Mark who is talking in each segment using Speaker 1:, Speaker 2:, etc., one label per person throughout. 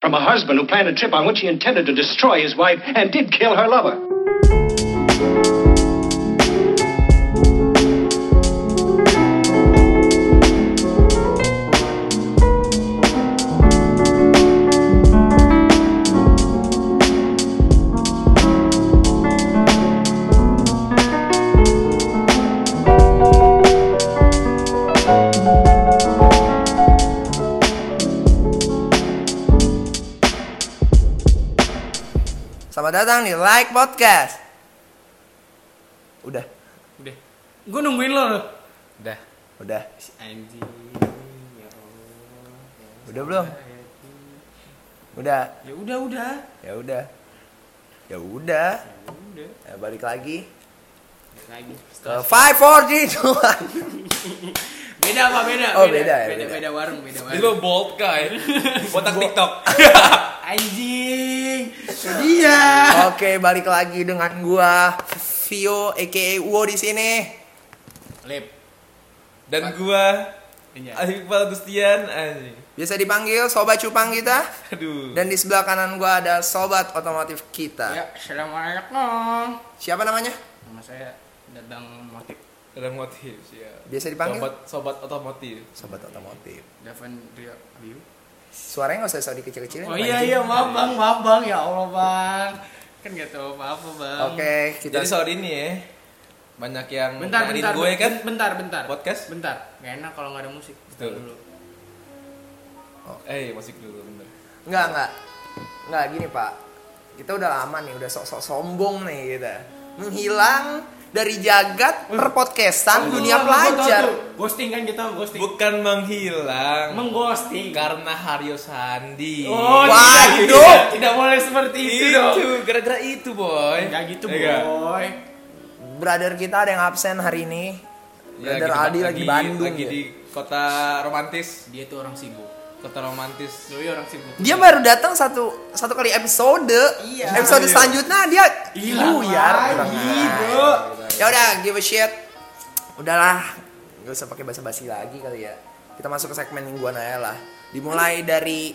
Speaker 1: From a husband who planned a trip on which he intended to destroy his wife and did kill her lover.
Speaker 2: Selamat datang di Like Podcast. Udah,
Speaker 3: Udah. Gue nungguin lo loh. Udah.
Speaker 2: udah,
Speaker 3: Si anjing. Ya Allah.
Speaker 2: udah belum? Udah,
Speaker 3: Ya udah
Speaker 2: ya
Speaker 3: udah.
Speaker 2: udah, ya udah.
Speaker 3: Ya Udah.
Speaker 2: Ya, balik lagi
Speaker 3: Balik Lagi.
Speaker 2: ke Five Four Three Two
Speaker 3: Beda apa beda?
Speaker 2: Oh, beda ya,
Speaker 3: Beda
Speaker 2: beda.
Speaker 3: beda, warung beda
Speaker 4: Lu
Speaker 3: warung.
Speaker 4: bold guy. Botak TikTok.
Speaker 3: Anjing. Dia.
Speaker 2: Oke, balik lagi dengan gua Vio, aka Uwo di sini.
Speaker 3: Lip.
Speaker 4: Dan gua
Speaker 3: Iya.
Speaker 4: Iqbal Gustian anjing.
Speaker 2: Biasa dipanggil Sobat Cupang kita.
Speaker 4: Aduh.
Speaker 2: Dan di sebelah kanan gua ada Sobat Otomotif kita.
Speaker 3: Ya, assalamualaikum.
Speaker 2: Siapa namanya?
Speaker 3: Nama saya Dadang Motif
Speaker 4: Dan motif ya.
Speaker 2: Biasa dipanggil?
Speaker 4: Sobat sobat otomotif.
Speaker 2: Sobat Otomotif.
Speaker 3: Davan Ria Abiu.
Speaker 2: Suaranya nggak usah usah dikecil-kecilin.
Speaker 3: Oh iya
Speaker 2: anjing.
Speaker 3: iya, maaf bang, maaf bang, ya Allah bang. Kan gak tau apa-apa bang.
Speaker 2: Oke, kita
Speaker 4: Jadi soal ini ya. Banyak yang
Speaker 3: Bentar,
Speaker 4: nyariin
Speaker 3: bentar,
Speaker 4: gue
Speaker 3: ben-
Speaker 4: kan.
Speaker 3: bentar, bentar.
Speaker 4: Podcast?
Speaker 3: Bentar. Gak enak kalau gak ada musik.
Speaker 4: Betul.
Speaker 3: Dulu.
Speaker 4: Eh, masih dulu bentar.
Speaker 2: Enggak, enggak. Enggak gini, Pak. Kita udah lama nih, udah sok-sok sombong nih kita. Menghilang dari jagat perpodcastan Kan dunia pelajar.
Speaker 3: Ghosting kan kita ghosting.
Speaker 4: Bukan menghilang
Speaker 3: Mengghosting.
Speaker 4: karena Hario Sandi.
Speaker 3: Oh,
Speaker 2: Waduh.
Speaker 3: tidak, tidak, tidak boleh seperti itu, dong.
Speaker 4: gitu. itu gara-gara itu boy.
Speaker 3: Gak gitu,
Speaker 4: Ya nggak?
Speaker 3: boy.
Speaker 2: Brother kita ada yang absen hari ini.
Speaker 4: Ya,
Speaker 2: Brother
Speaker 4: lagi di-
Speaker 2: Aldi lagi, Bandung.
Speaker 4: Lagi
Speaker 2: ya.
Speaker 4: di kota romantis,
Speaker 3: Dia tuh orang sibuk.
Speaker 4: kota romantis.
Speaker 3: Doi iya orang sibuk.
Speaker 2: Dia baru datang satu satu kali episode.
Speaker 3: Iya.
Speaker 2: Episode
Speaker 4: Iya.
Speaker 2: selanjutnya dia
Speaker 3: Hilang
Speaker 2: buyar.
Speaker 3: lagi,
Speaker 2: Hilang.
Speaker 3: bro.
Speaker 2: Ya udah, give a shit. Udahlah, gak usah pakai basa-basi lagi kali ya. Kita masuk ke segmen mingguan aja lah. Dimulai dari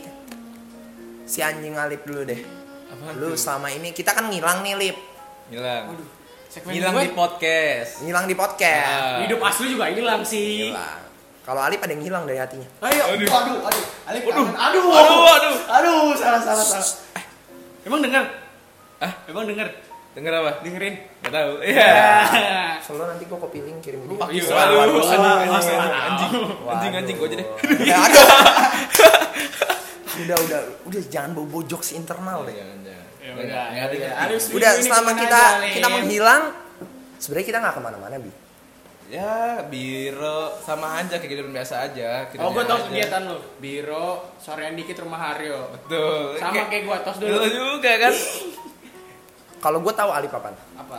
Speaker 2: si anjing Alip dulu deh.
Speaker 4: Apaan
Speaker 2: Lu
Speaker 4: tuh?
Speaker 2: selama ini kita kan ngilang nih Lip,
Speaker 4: Hilang.
Speaker 3: Waduh. Segmen
Speaker 4: Hilang
Speaker 3: gue,
Speaker 4: di podcast.
Speaker 2: ngilang di podcast.
Speaker 4: Ah.
Speaker 3: Hidup asli juga hilang sih.
Speaker 2: Hilang. Kalau Alip ada yang hilang dari hatinya.
Speaker 3: Ayo.
Speaker 4: Aduh.
Speaker 3: Aduh, aduh, aduh. Alif kangen. Aduh,
Speaker 4: Aduh, aduh.
Speaker 3: Aduh, salah, salah, salah. Eh, Emang denger?
Speaker 4: Hah?
Speaker 3: Emang denger? Ya
Speaker 4: Denger apa?
Speaker 3: Dengerin.
Speaker 4: Gak tau. Iya.
Speaker 2: Selalu nanti gua copy link kirim dia.
Speaker 4: Fuck you.
Speaker 3: Iya, waduh,
Speaker 4: Aduh, anjing,
Speaker 3: salah,
Speaker 4: anjing,
Speaker 3: salah.
Speaker 4: anjing, anjing, anjing, gue aja deh.
Speaker 2: Ya, aduh. udah, udah, udah jangan bawa bojok si internal deh.
Speaker 4: Jangan, jangan.
Speaker 3: Ya
Speaker 4: Jangan,
Speaker 3: udah,
Speaker 4: jangan,
Speaker 3: ya
Speaker 4: jangan.
Speaker 3: udah.
Speaker 2: Udah
Speaker 3: Ini
Speaker 2: selama
Speaker 3: kemana
Speaker 2: kita
Speaker 3: aja, Lip?
Speaker 2: kita menghilang, sebenarnya kita nggak kemana-mana bi.
Speaker 4: Ya, biro sama aja kayak gitu biasa aja. kita
Speaker 3: Oh, gue
Speaker 4: jalan
Speaker 3: tau
Speaker 4: aja.
Speaker 3: kegiatan lo. Biro, sorean dikit rumah Haryo.
Speaker 4: Betul.
Speaker 3: Sama kayak gue, tos dulu.
Speaker 4: Lu juga kan.
Speaker 2: Kalau gue tahu Alip apaan?
Speaker 3: Apa?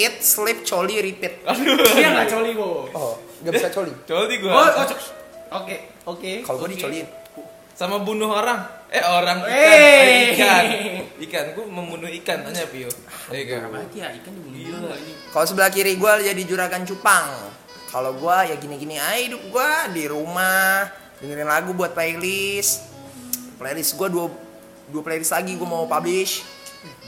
Speaker 2: Eat, sleep, coli, repeat.
Speaker 4: Aduh.
Speaker 3: Dia nggak coli, Bo.
Speaker 2: Oh, nggak bisa coli.
Speaker 4: Coba di gue.
Speaker 3: Oh, oh, co- Oke, oke.
Speaker 2: Kalau gue
Speaker 3: oke.
Speaker 2: dicoliin.
Speaker 4: Sama bunuh orang. Eh, orang ikan.
Speaker 3: Hey.
Speaker 4: Eh, Ikan. Ikan. Gue membunuh ikan. Tanya Pio. Iya, kan? Ayo,
Speaker 3: Parah
Speaker 4: gue.
Speaker 3: banget ya, ikan dibunuh
Speaker 4: Gila.
Speaker 3: juga ini.
Speaker 2: Kalau sebelah kiri gue jadi juragan cupang. Kalau gue ya gini-gini aja hidup gue di rumah dengerin lagu buat playlist. Playlist gue dua dua playlist lagi gue mau publish.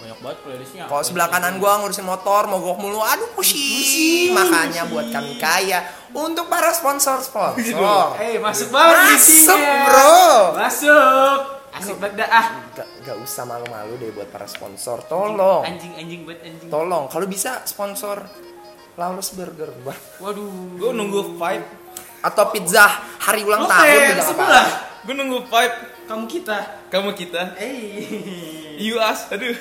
Speaker 3: Banyak banget playlistnya.
Speaker 2: Kalau sebelah kan- kanan gue ngurusin motor, mogok mulu, aduh pusing. Makanya buat kami kaya untuk para sponsor sponsor.
Speaker 3: Eh, masuk banget
Speaker 2: Masuk,
Speaker 3: isinya.
Speaker 2: bro.
Speaker 3: Masuk. Asik banget dah ah.
Speaker 2: Gak, gak usah malu-malu deh buat para sponsor, tolong,
Speaker 3: Anjing, anjing buat anjing.
Speaker 2: tolong. Kalau bisa sponsor Lawless Burger Bang.
Speaker 3: Waduh.
Speaker 4: Gue nunggu vibe.
Speaker 2: atau pizza hari ulang
Speaker 3: Oke,
Speaker 2: tahun
Speaker 3: yang
Speaker 2: juga nggak apa-apa.
Speaker 3: sebelah.
Speaker 4: Gue nunggu vibe.
Speaker 3: Kamu kita.
Speaker 4: Kamu kita.
Speaker 3: Eh.
Speaker 4: You us. Aduh.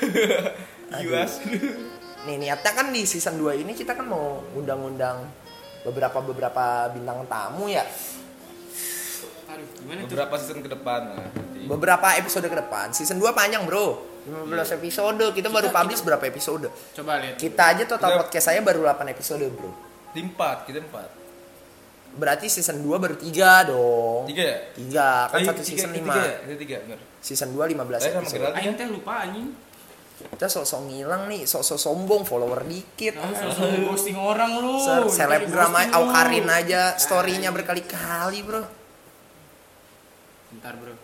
Speaker 4: You
Speaker 2: Aduh.
Speaker 4: us. Aduh.
Speaker 2: Nih niatnya kan di season 2 ini kita kan mau undang-undang beberapa beberapa bintang tamu ya.
Speaker 3: Aduh, gimana tuh?
Speaker 4: Beberapa season ke depan. lah.
Speaker 2: Beberapa episode ke depan. Season 2 panjang, Bro. 15 episode. Kita, baru publish berapa episode?
Speaker 3: Coba lihat.
Speaker 2: Kita aja total
Speaker 4: Kita-
Speaker 2: podcast saya baru 8 episode, Bro.
Speaker 4: Di empat. Kita empat.
Speaker 2: Berarti season 2 baru 3 dong.
Speaker 4: Tiga ya?
Speaker 2: 3. Kan
Speaker 4: Eh,
Speaker 2: satu
Speaker 4: tiga-
Speaker 2: season 5.
Speaker 4: tiga ya? Itu tiga, bener.
Speaker 2: Season 2 15
Speaker 4: Saya sama
Speaker 2: episode.
Speaker 4: Gerald.
Speaker 3: Aing teh lupa anjing.
Speaker 2: Kita sok-sok ngilang nih, sok-sok sombong, follower dikit. Oh,
Speaker 3: Nah, langsung ghosting orang lu.
Speaker 2: Ser-
Speaker 3: Jadi
Speaker 2: selebgram
Speaker 3: ghosting
Speaker 2: aja,
Speaker 3: lu.
Speaker 2: Aukarin aja Nah. story-nya berkali-kali, Bro.
Speaker 3: Bentar, Bro.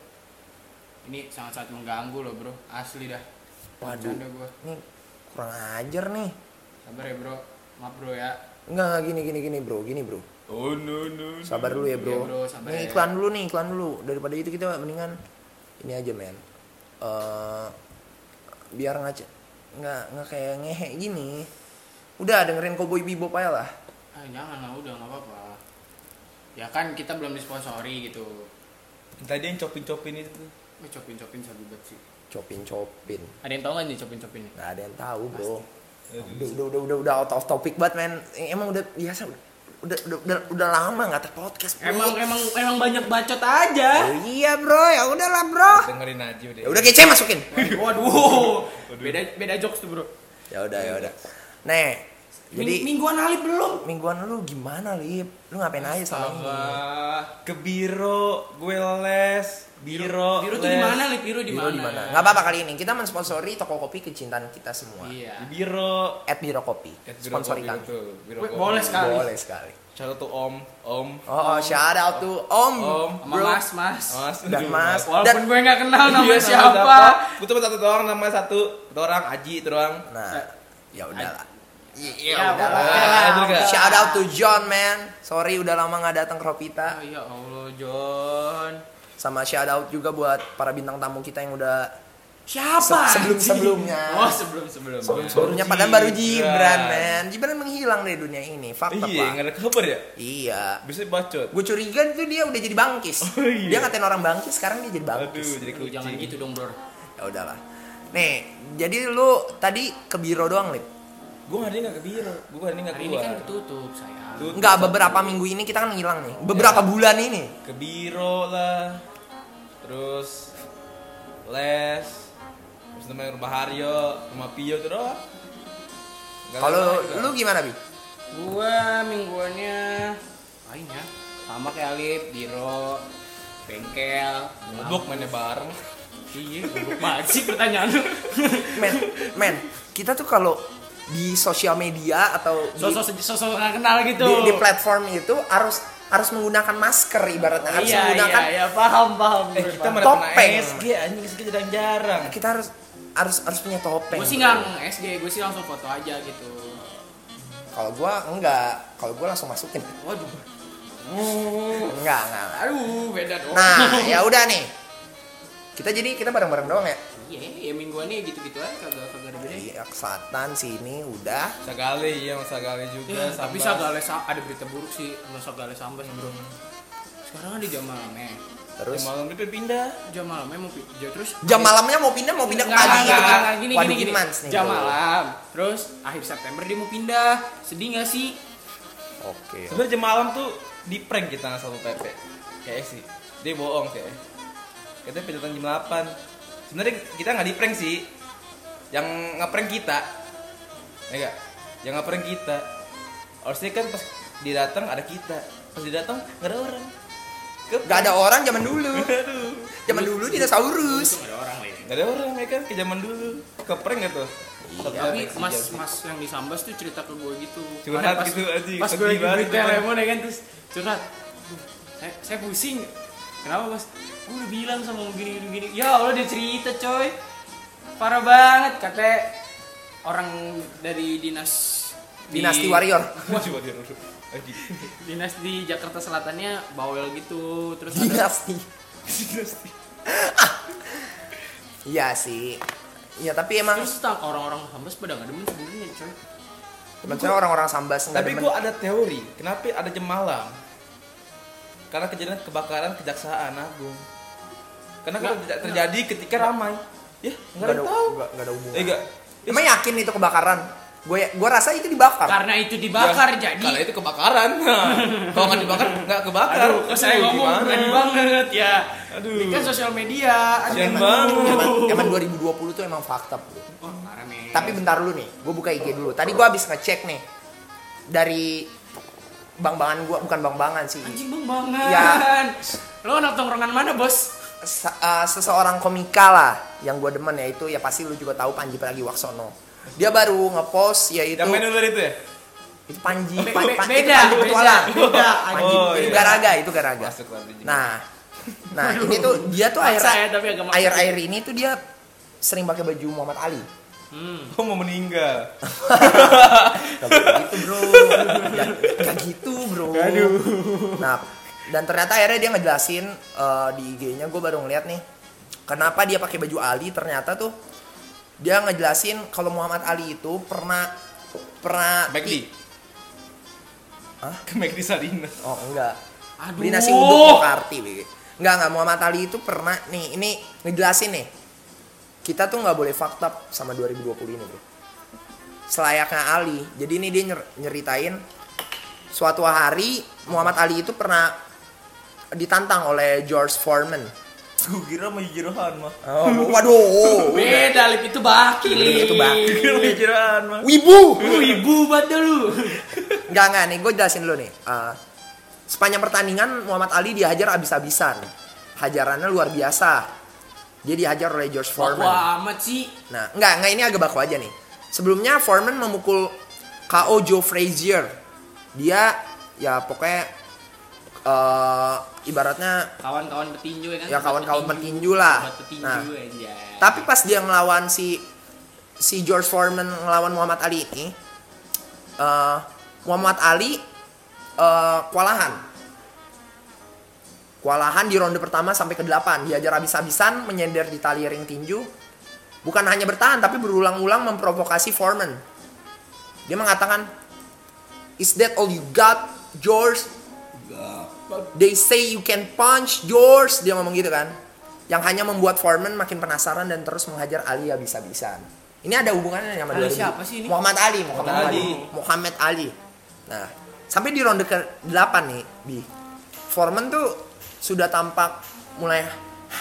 Speaker 3: Ini sangat-sangat mengganggu loh bro, asli dah.
Speaker 2: Waduh.
Speaker 3: Bercanda gua.
Speaker 2: Ini kurang ajar nih.
Speaker 3: Sabar ya bro, maaf bro ya.
Speaker 2: Enggak, enggak gini gini gini bro, gini bro.
Speaker 4: Oh no no. no.
Speaker 2: Sabar dulu ya bro.
Speaker 3: Hmm. Iya, bro, sabar
Speaker 2: nih
Speaker 3: ya.
Speaker 2: iklan dulu nih, iklan dulu. Daripada itu kita mendingan ini aja men. Eh biar ngaca nggak nggak kayak ngehe gini. Udah dengerin Cowboy Bebop aja lah.
Speaker 3: Ah jangan lah udah nggak apa-apa. Ya kan kita belum disponsori gitu.
Speaker 4: Tadi yang copin copin itu. tuh.
Speaker 3: Wih copin-copin sabi banget sih.
Speaker 2: Copin copin.
Speaker 3: Ada yang tau nggak nih copin-copin?
Speaker 2: Nggak ada yang tahu bro. Udah
Speaker 4: Aduh.
Speaker 2: udah udah udah, udah out of topic banget men. Eh, Emang udah biasa udah udah udah, udah, udah lama nggak tag podcast bro.
Speaker 3: Emang ya? emang emang banyak bacot aja.
Speaker 2: Oh, iya bro, ya udahlah bro.
Speaker 4: Dengerin aja udah.
Speaker 2: Ya udah kece masukin.
Speaker 3: Waduh, beda beda jokes tuh bro.
Speaker 2: Ya udah
Speaker 3: Hmm.
Speaker 2: ya udah. Nih, jadi
Speaker 3: Ming- mingguan Ali belum.
Speaker 2: mingguan lu gimana lip? Lu ngapain aja selama ini?
Speaker 4: Sabar. Ke biro, gue les. Biro.
Speaker 3: Biru tuh
Speaker 4: les.
Speaker 3: di mana Lip? Biru di
Speaker 2: Biro
Speaker 3: mana?
Speaker 2: di mana? Nggak apa-apa kali ini kita mensponsori toko kopi kecintaan kita semua.
Speaker 3: Iya.
Speaker 4: Di biro.
Speaker 2: At Biro Kopi.
Speaker 4: Eh, biro
Speaker 2: Sponsori
Speaker 4: kopi
Speaker 2: kami.
Speaker 4: itu, biro
Speaker 3: Weh,
Speaker 4: kopi.
Speaker 3: boleh sekali.
Speaker 2: Boleh sekali.
Speaker 4: Shout out to Om, Om.
Speaker 2: Oh, oh, shout out to Om,
Speaker 4: Om,
Speaker 3: Sama
Speaker 2: Bro,
Speaker 3: Mas, Mas.
Speaker 4: Mas,
Speaker 2: dan
Speaker 4: aduh,
Speaker 2: Mas,
Speaker 3: Walaupun
Speaker 2: dan
Speaker 3: gue nggak kenal
Speaker 4: Iya,
Speaker 3: namanya
Speaker 4: nama
Speaker 3: siapa.
Speaker 4: Gue cuma satu orang nama satu, satu orang Aji, satu orang.
Speaker 2: nah, ya udahlah.
Speaker 3: Ya,
Speaker 4: Ah, itu juga.
Speaker 2: Shout out to John man. Sorry udah lama nggak datang ke Ropita.
Speaker 3: Ah, ya Allah, John.
Speaker 2: Sama shout out juga buat para bintang tamu kita yang udah
Speaker 3: Siapa?
Speaker 2: Se- sebelum-sebelumnya.
Speaker 3: Oh, sebelum-sebelumnya.
Speaker 2: sebelumnya padahal baru
Speaker 4: Gibran.
Speaker 2: Gibran man. Gibran menghilang dari dunia ini. Fakta
Speaker 4: Iya,
Speaker 2: Pak.
Speaker 4: nggak ada kabar ya.
Speaker 2: Iya.
Speaker 4: Bisa bacot.
Speaker 2: Gue curiga itu dia udah jadi bangkis.
Speaker 4: Oh, iya.
Speaker 2: Dia ngatain orang bangkis, sekarang dia jadi
Speaker 4: Aduh,
Speaker 2: bangkis.
Speaker 4: jadi
Speaker 3: Aduh,
Speaker 4: kucing.
Speaker 3: jangan gitu dong, Bro.
Speaker 2: Ya udahlah. Nih, jadi lu tadi ke biro doang, Lip.
Speaker 4: Gue hari ini nggak ke biro, gue hari ini nggak
Speaker 3: Hari ini
Speaker 4: keluar.
Speaker 3: kan ketutup, sayang.
Speaker 4: Tuh,
Speaker 2: Enggak, beberapa minggu ini kita kan ngilang nih.
Speaker 3: Iya.
Speaker 2: Beberapa bulan ini.
Speaker 4: ke biro lah, terus les, terus namanya rumah Haryo, rumah Pio tuh doang. Nggak
Speaker 2: Kalau
Speaker 4: lain-lain,
Speaker 2: lu
Speaker 4: kan.
Speaker 2: gimana, Bi?
Speaker 3: Gua mingguannya lainnya sama kayak Alip, Biro, bengkel,
Speaker 4: mabuk mainnya bareng.
Speaker 3: Iya, goblok banget sih pertanyaan lu.
Speaker 2: Men, men, kita tuh kalau di sosial media atau di,
Speaker 3: Sosok sosok nggak kenal gitu.
Speaker 2: di- di platform itu harus harus menggunakan masker ibaratnya harus
Speaker 3: iya,
Speaker 2: menggunakan
Speaker 3: iya, iya, paham, paham.
Speaker 4: kan? Eh kita
Speaker 2: mana-
Speaker 3: mana?
Speaker 4: mereka kena
Speaker 2: Topeng.
Speaker 4: SG Iya, anjing SG jarang-jarang.
Speaker 2: kita harus harus harus punya topeng.
Speaker 3: Gue iya. sih nggak SG, gue sih langsung foto aja gitu.
Speaker 2: Kalau gua enggak, kalau gua langsung masukin.
Speaker 3: Waduh,
Speaker 4: Nah.
Speaker 3: Oh.
Speaker 2: Enggak, enggak. enggak.
Speaker 3: aduh, beda dong.
Speaker 2: Nah, ya udah nih. Kita jadi kita bareng-bareng doang ya.
Speaker 3: Iya, ya mingguannya gitu-gitu aja kagak kagak ada bedanya.
Speaker 2: Iya, kesatan sini udah.
Speaker 4: Sagali iya sama Sagali juga.
Speaker 3: Ya, tapi
Speaker 4: Sambas.
Speaker 3: Sagale Sa- ada berita buruk sih sama Sagale Sambas bro. Sekarang ada jam malamnya.
Speaker 4: Terus
Speaker 2: Terus
Speaker 4: malam itu pindah.
Speaker 3: Jam malamnya mau pi- ya, terus
Speaker 2: jam malamnya mau pindah mau pindah ke
Speaker 3: Nggak,
Speaker 2: pagi
Speaker 3: nggak,
Speaker 2: gitu kan.
Speaker 3: nggak, gini,
Speaker 2: Waduh
Speaker 3: gini, gini.
Speaker 2: gimans nih.
Speaker 3: Jam
Speaker 2: bro.
Speaker 3: malam. Terus akhir September dia mau pindah. Sedih gak sih?
Speaker 2: Oke.
Speaker 4: Sebenarnya jam malam tuh di prank kita sama satu PP. Kayak sih. Dia bohong kayak. Katanya penjelasan jam 8. Sebenarnya kita nggak di prank sih. Yang ngeprank kita. Ya enggak? Yang ngeprank kita. Harusnya kan pas dia datang ada kita. Pas dia datang nggak ada orang. Ke-
Speaker 2: Gak ada orang zaman dulu.
Speaker 4: Aduh.
Speaker 2: Zaman dulu dinosaurus.
Speaker 3: Untung ada orang lain.
Speaker 4: Nggak ada orang ya kan ke zaman dulu. Ke prank nggak tuh?
Speaker 2: Iya,
Speaker 3: Tapi
Speaker 4: Satu
Speaker 3: mas
Speaker 4: jam.
Speaker 3: mas yang disambas tuh cerita ke gue gitu.
Speaker 4: Curhat
Speaker 3: Karena pas,
Speaker 4: gitu, anjing.
Speaker 3: Pas gue
Speaker 4: Sedih
Speaker 3: lagi
Speaker 4: banget
Speaker 3: beli
Speaker 4: itu, kan.
Speaker 3: telepon ya kan terus curhat. "Duh, Saya, saya pusing. Kenapa mas? Gue udah bilang sama lo gini gini gini. Ya Allah dia cerita coy. Parah banget katanya orang dari dinas di-
Speaker 2: Dinasti warrior.
Speaker 4: Wah, coba dia dulu. Lagi.
Speaker 3: dinas di Jakarta Selatannya bawel gitu terus ada
Speaker 2: Dinasti. Ah. Iya sih. Iya tapi emang
Speaker 3: terus tang- orang-orang Sambas pada nggak demen sebenarnya coy
Speaker 2: maksudnya orang-orang sambas nggak
Speaker 4: Tapi
Speaker 2: demen.
Speaker 4: gue ada teori, kenapa ada jam malam? Karena kejadian kebakaran kejaksaan agung. Karena kalau tidak terjadi ketika ramai, ya
Speaker 2: nggak
Speaker 4: nggak ada
Speaker 2: ada
Speaker 4: yang tahu.
Speaker 2: nggak- nggak ada
Speaker 4: Eh
Speaker 2: hubungan.
Speaker 4: enggak.
Speaker 2: Emang yakin itu kebakaran? Gue gue rasa itu dibakar.
Speaker 3: karena itu dibakar jadi
Speaker 4: Karena itu kebakaran. Nah, kalau nggak dibakar nggak kebakar.
Speaker 3: aduh kok saya ngomong berani banget ya
Speaker 4: Aduh.
Speaker 3: ini kan sosial media aduh,
Speaker 4: Jangan
Speaker 3: gimana?
Speaker 4: banget.
Speaker 2: Zaman, zaman 2020 tuh emang fakta. Bro.
Speaker 3: Wah, Oh, parah men
Speaker 2: Tapi bentar dulu nih, gue buka IG dulu. Tadi gue habis ngecek nih dari bang-bangan gue, bukan bang-bangan sih.
Speaker 3: anjing bang banget
Speaker 2: Ya.
Speaker 3: lo anak tongkrongan mana bos
Speaker 2: Se- eh, seseorang komika lah yang gue demen ya itu ya pasti lu juga tahu Panji Pragiwaksono. Dia baru ngepost yaitu
Speaker 4: Yang main ular itu ya?
Speaker 2: itu Panji,
Speaker 3: Be-
Speaker 2: Pan-
Speaker 3: be-
Speaker 2: Pan-
Speaker 3: beda, Oh, iya.
Speaker 2: itu Panji
Speaker 3: beda,
Speaker 2: Petualang.
Speaker 3: beda.
Speaker 2: Panji
Speaker 4: Oh,
Speaker 2: itu
Speaker 4: iya.
Speaker 2: Garaga, itu Garaga.
Speaker 4: Masuk lah, biji.
Speaker 2: Nah, Nah, ini tuh dia tuh air
Speaker 3: Maksa ya, tapi agak maksa.
Speaker 2: air air ini tuh dia sering pakai baju Muhammad Ali.
Speaker 3: Hmm.
Speaker 4: Kok mau meninggal?
Speaker 2: Gak gitu bro, Gak- gak gitu bro. Nah, dan ternyata akhirnya dia ngejelasin eh, di IG-nya gue baru ngeliat nih, kenapa dia pakai baju Ali ternyata tuh dia ngejelasin kalau Muhammad Ali itu pernah pernah
Speaker 4: McD.
Speaker 2: Hah?
Speaker 4: Ke McD Sarina.
Speaker 2: Oh enggak.
Speaker 3: Aduh.
Speaker 2: Beli nasi
Speaker 3: Oh.
Speaker 2: uduk Karti, Bege. Enggak, enggak Muhammad Ali itu pernah nih, ini ngejelasin nih. Kita tuh nggak boleh fucked up sama 2020 ini, Bro. Selayaknya Ali. Jadi ini dia nyer- nyeritain suatu hari Muhammad Ali itu pernah ditantang oleh George Foreman.
Speaker 4: Gue kira sama Jirohan mah.
Speaker 2: Oh, waduh.
Speaker 3: Beda lip itu baki lip.
Speaker 2: Itu baki.
Speaker 4: Kira sama Jirohan mah.
Speaker 2: Wibu.
Speaker 3: Lu ibu banget dah lu.
Speaker 2: Enggak, enggak nih, gue jelasin dulu nih. Eh, sepanjang pertandingan Muhammad Ali dihajar abis-abisan. Hajarannya luar biasa. Dia dihajar oleh George Foreman.
Speaker 3: Wah amat sih.
Speaker 2: Nah, enggak, enggak ini agak baku aja nih. Sebelumnya Foreman memukul KO Joe Frazier. Dia ya pokoknya eh ibaratnya
Speaker 3: Kawan-kawan petinju ya kan.
Speaker 2: ya
Speaker 3: Sobat
Speaker 2: kawan-kawan petinju lah.
Speaker 3: Sobat petinju
Speaker 2: Nah,
Speaker 3: aja.
Speaker 2: tapi pas dia ngelawan si si George Foreman ngelawan Muhammad Ali ini, eh, Muhammad Ali eh, kewalahan. Kewalahan di ronde pertama sampai ke 8 diajar habis-habisan menyender di tali ring tinju. Bukan hanya bertahan tapi berulang-ulang memprovokasi Foreman. Dia mengatakan, "Is that all you got, George?" They say you can punch George dia ngomong gitu kan. Yang hanya membuat Foreman makin penasaran dan terus menghajar Ali habis-habisan. Ini ada hubungannya sama
Speaker 3: Ali
Speaker 2: 2000.
Speaker 3: siapa sih ini?
Speaker 2: Muhammad Ali, Muhammad
Speaker 4: Muhammad
Speaker 2: Ali.
Speaker 4: Ali.
Speaker 2: Muhammad Ali. Nah, sampai di ronde ke-8 nih, Bi. Foreman tuh sudah tampak mulai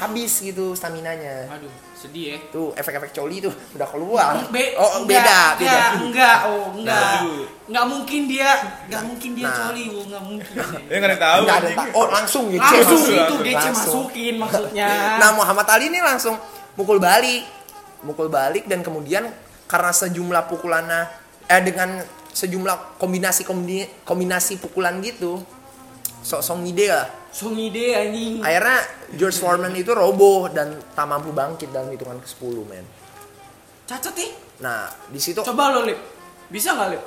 Speaker 2: habis gitu staminanya.
Speaker 3: Aduh sedih ya.
Speaker 2: Tuh, efek-efek coli tuh udah keluar.
Speaker 3: Be-
Speaker 2: oh,
Speaker 3: enggak,
Speaker 2: beda, beda.
Speaker 3: Enggak, enggak, oh, enggak.
Speaker 4: Aduh.
Speaker 3: Enggak mungkin dia, enggak mungkin dia
Speaker 2: Nah.
Speaker 3: coli, oh, enggak mungkin.
Speaker 4: Ya nggak ada yang tahu.
Speaker 2: Nggak ada
Speaker 4: anjing.
Speaker 2: ta- oh, langsung gitu.
Speaker 3: Langsung
Speaker 4: Langsung,
Speaker 3: itu
Speaker 4: langsung,
Speaker 3: DC
Speaker 2: langsung.
Speaker 3: masukin maksudnya.
Speaker 2: Nah Muhammad Ali ini langsung mukul balik, mukul balik dan kemudian karena sejumlah pukulannya eh dengan sejumlah kombinasi kombi- kombinasi pukulan gitu, sok song ide lah.
Speaker 3: Songide anjing.
Speaker 2: Akhirnya George Foreman itu roboh dan tak mampu bangkit dalam hitungan ke 10 men.
Speaker 3: Cacat nih.
Speaker 2: Nah di situ
Speaker 3: Coba lo, Lip. Bisa nggak, Lip?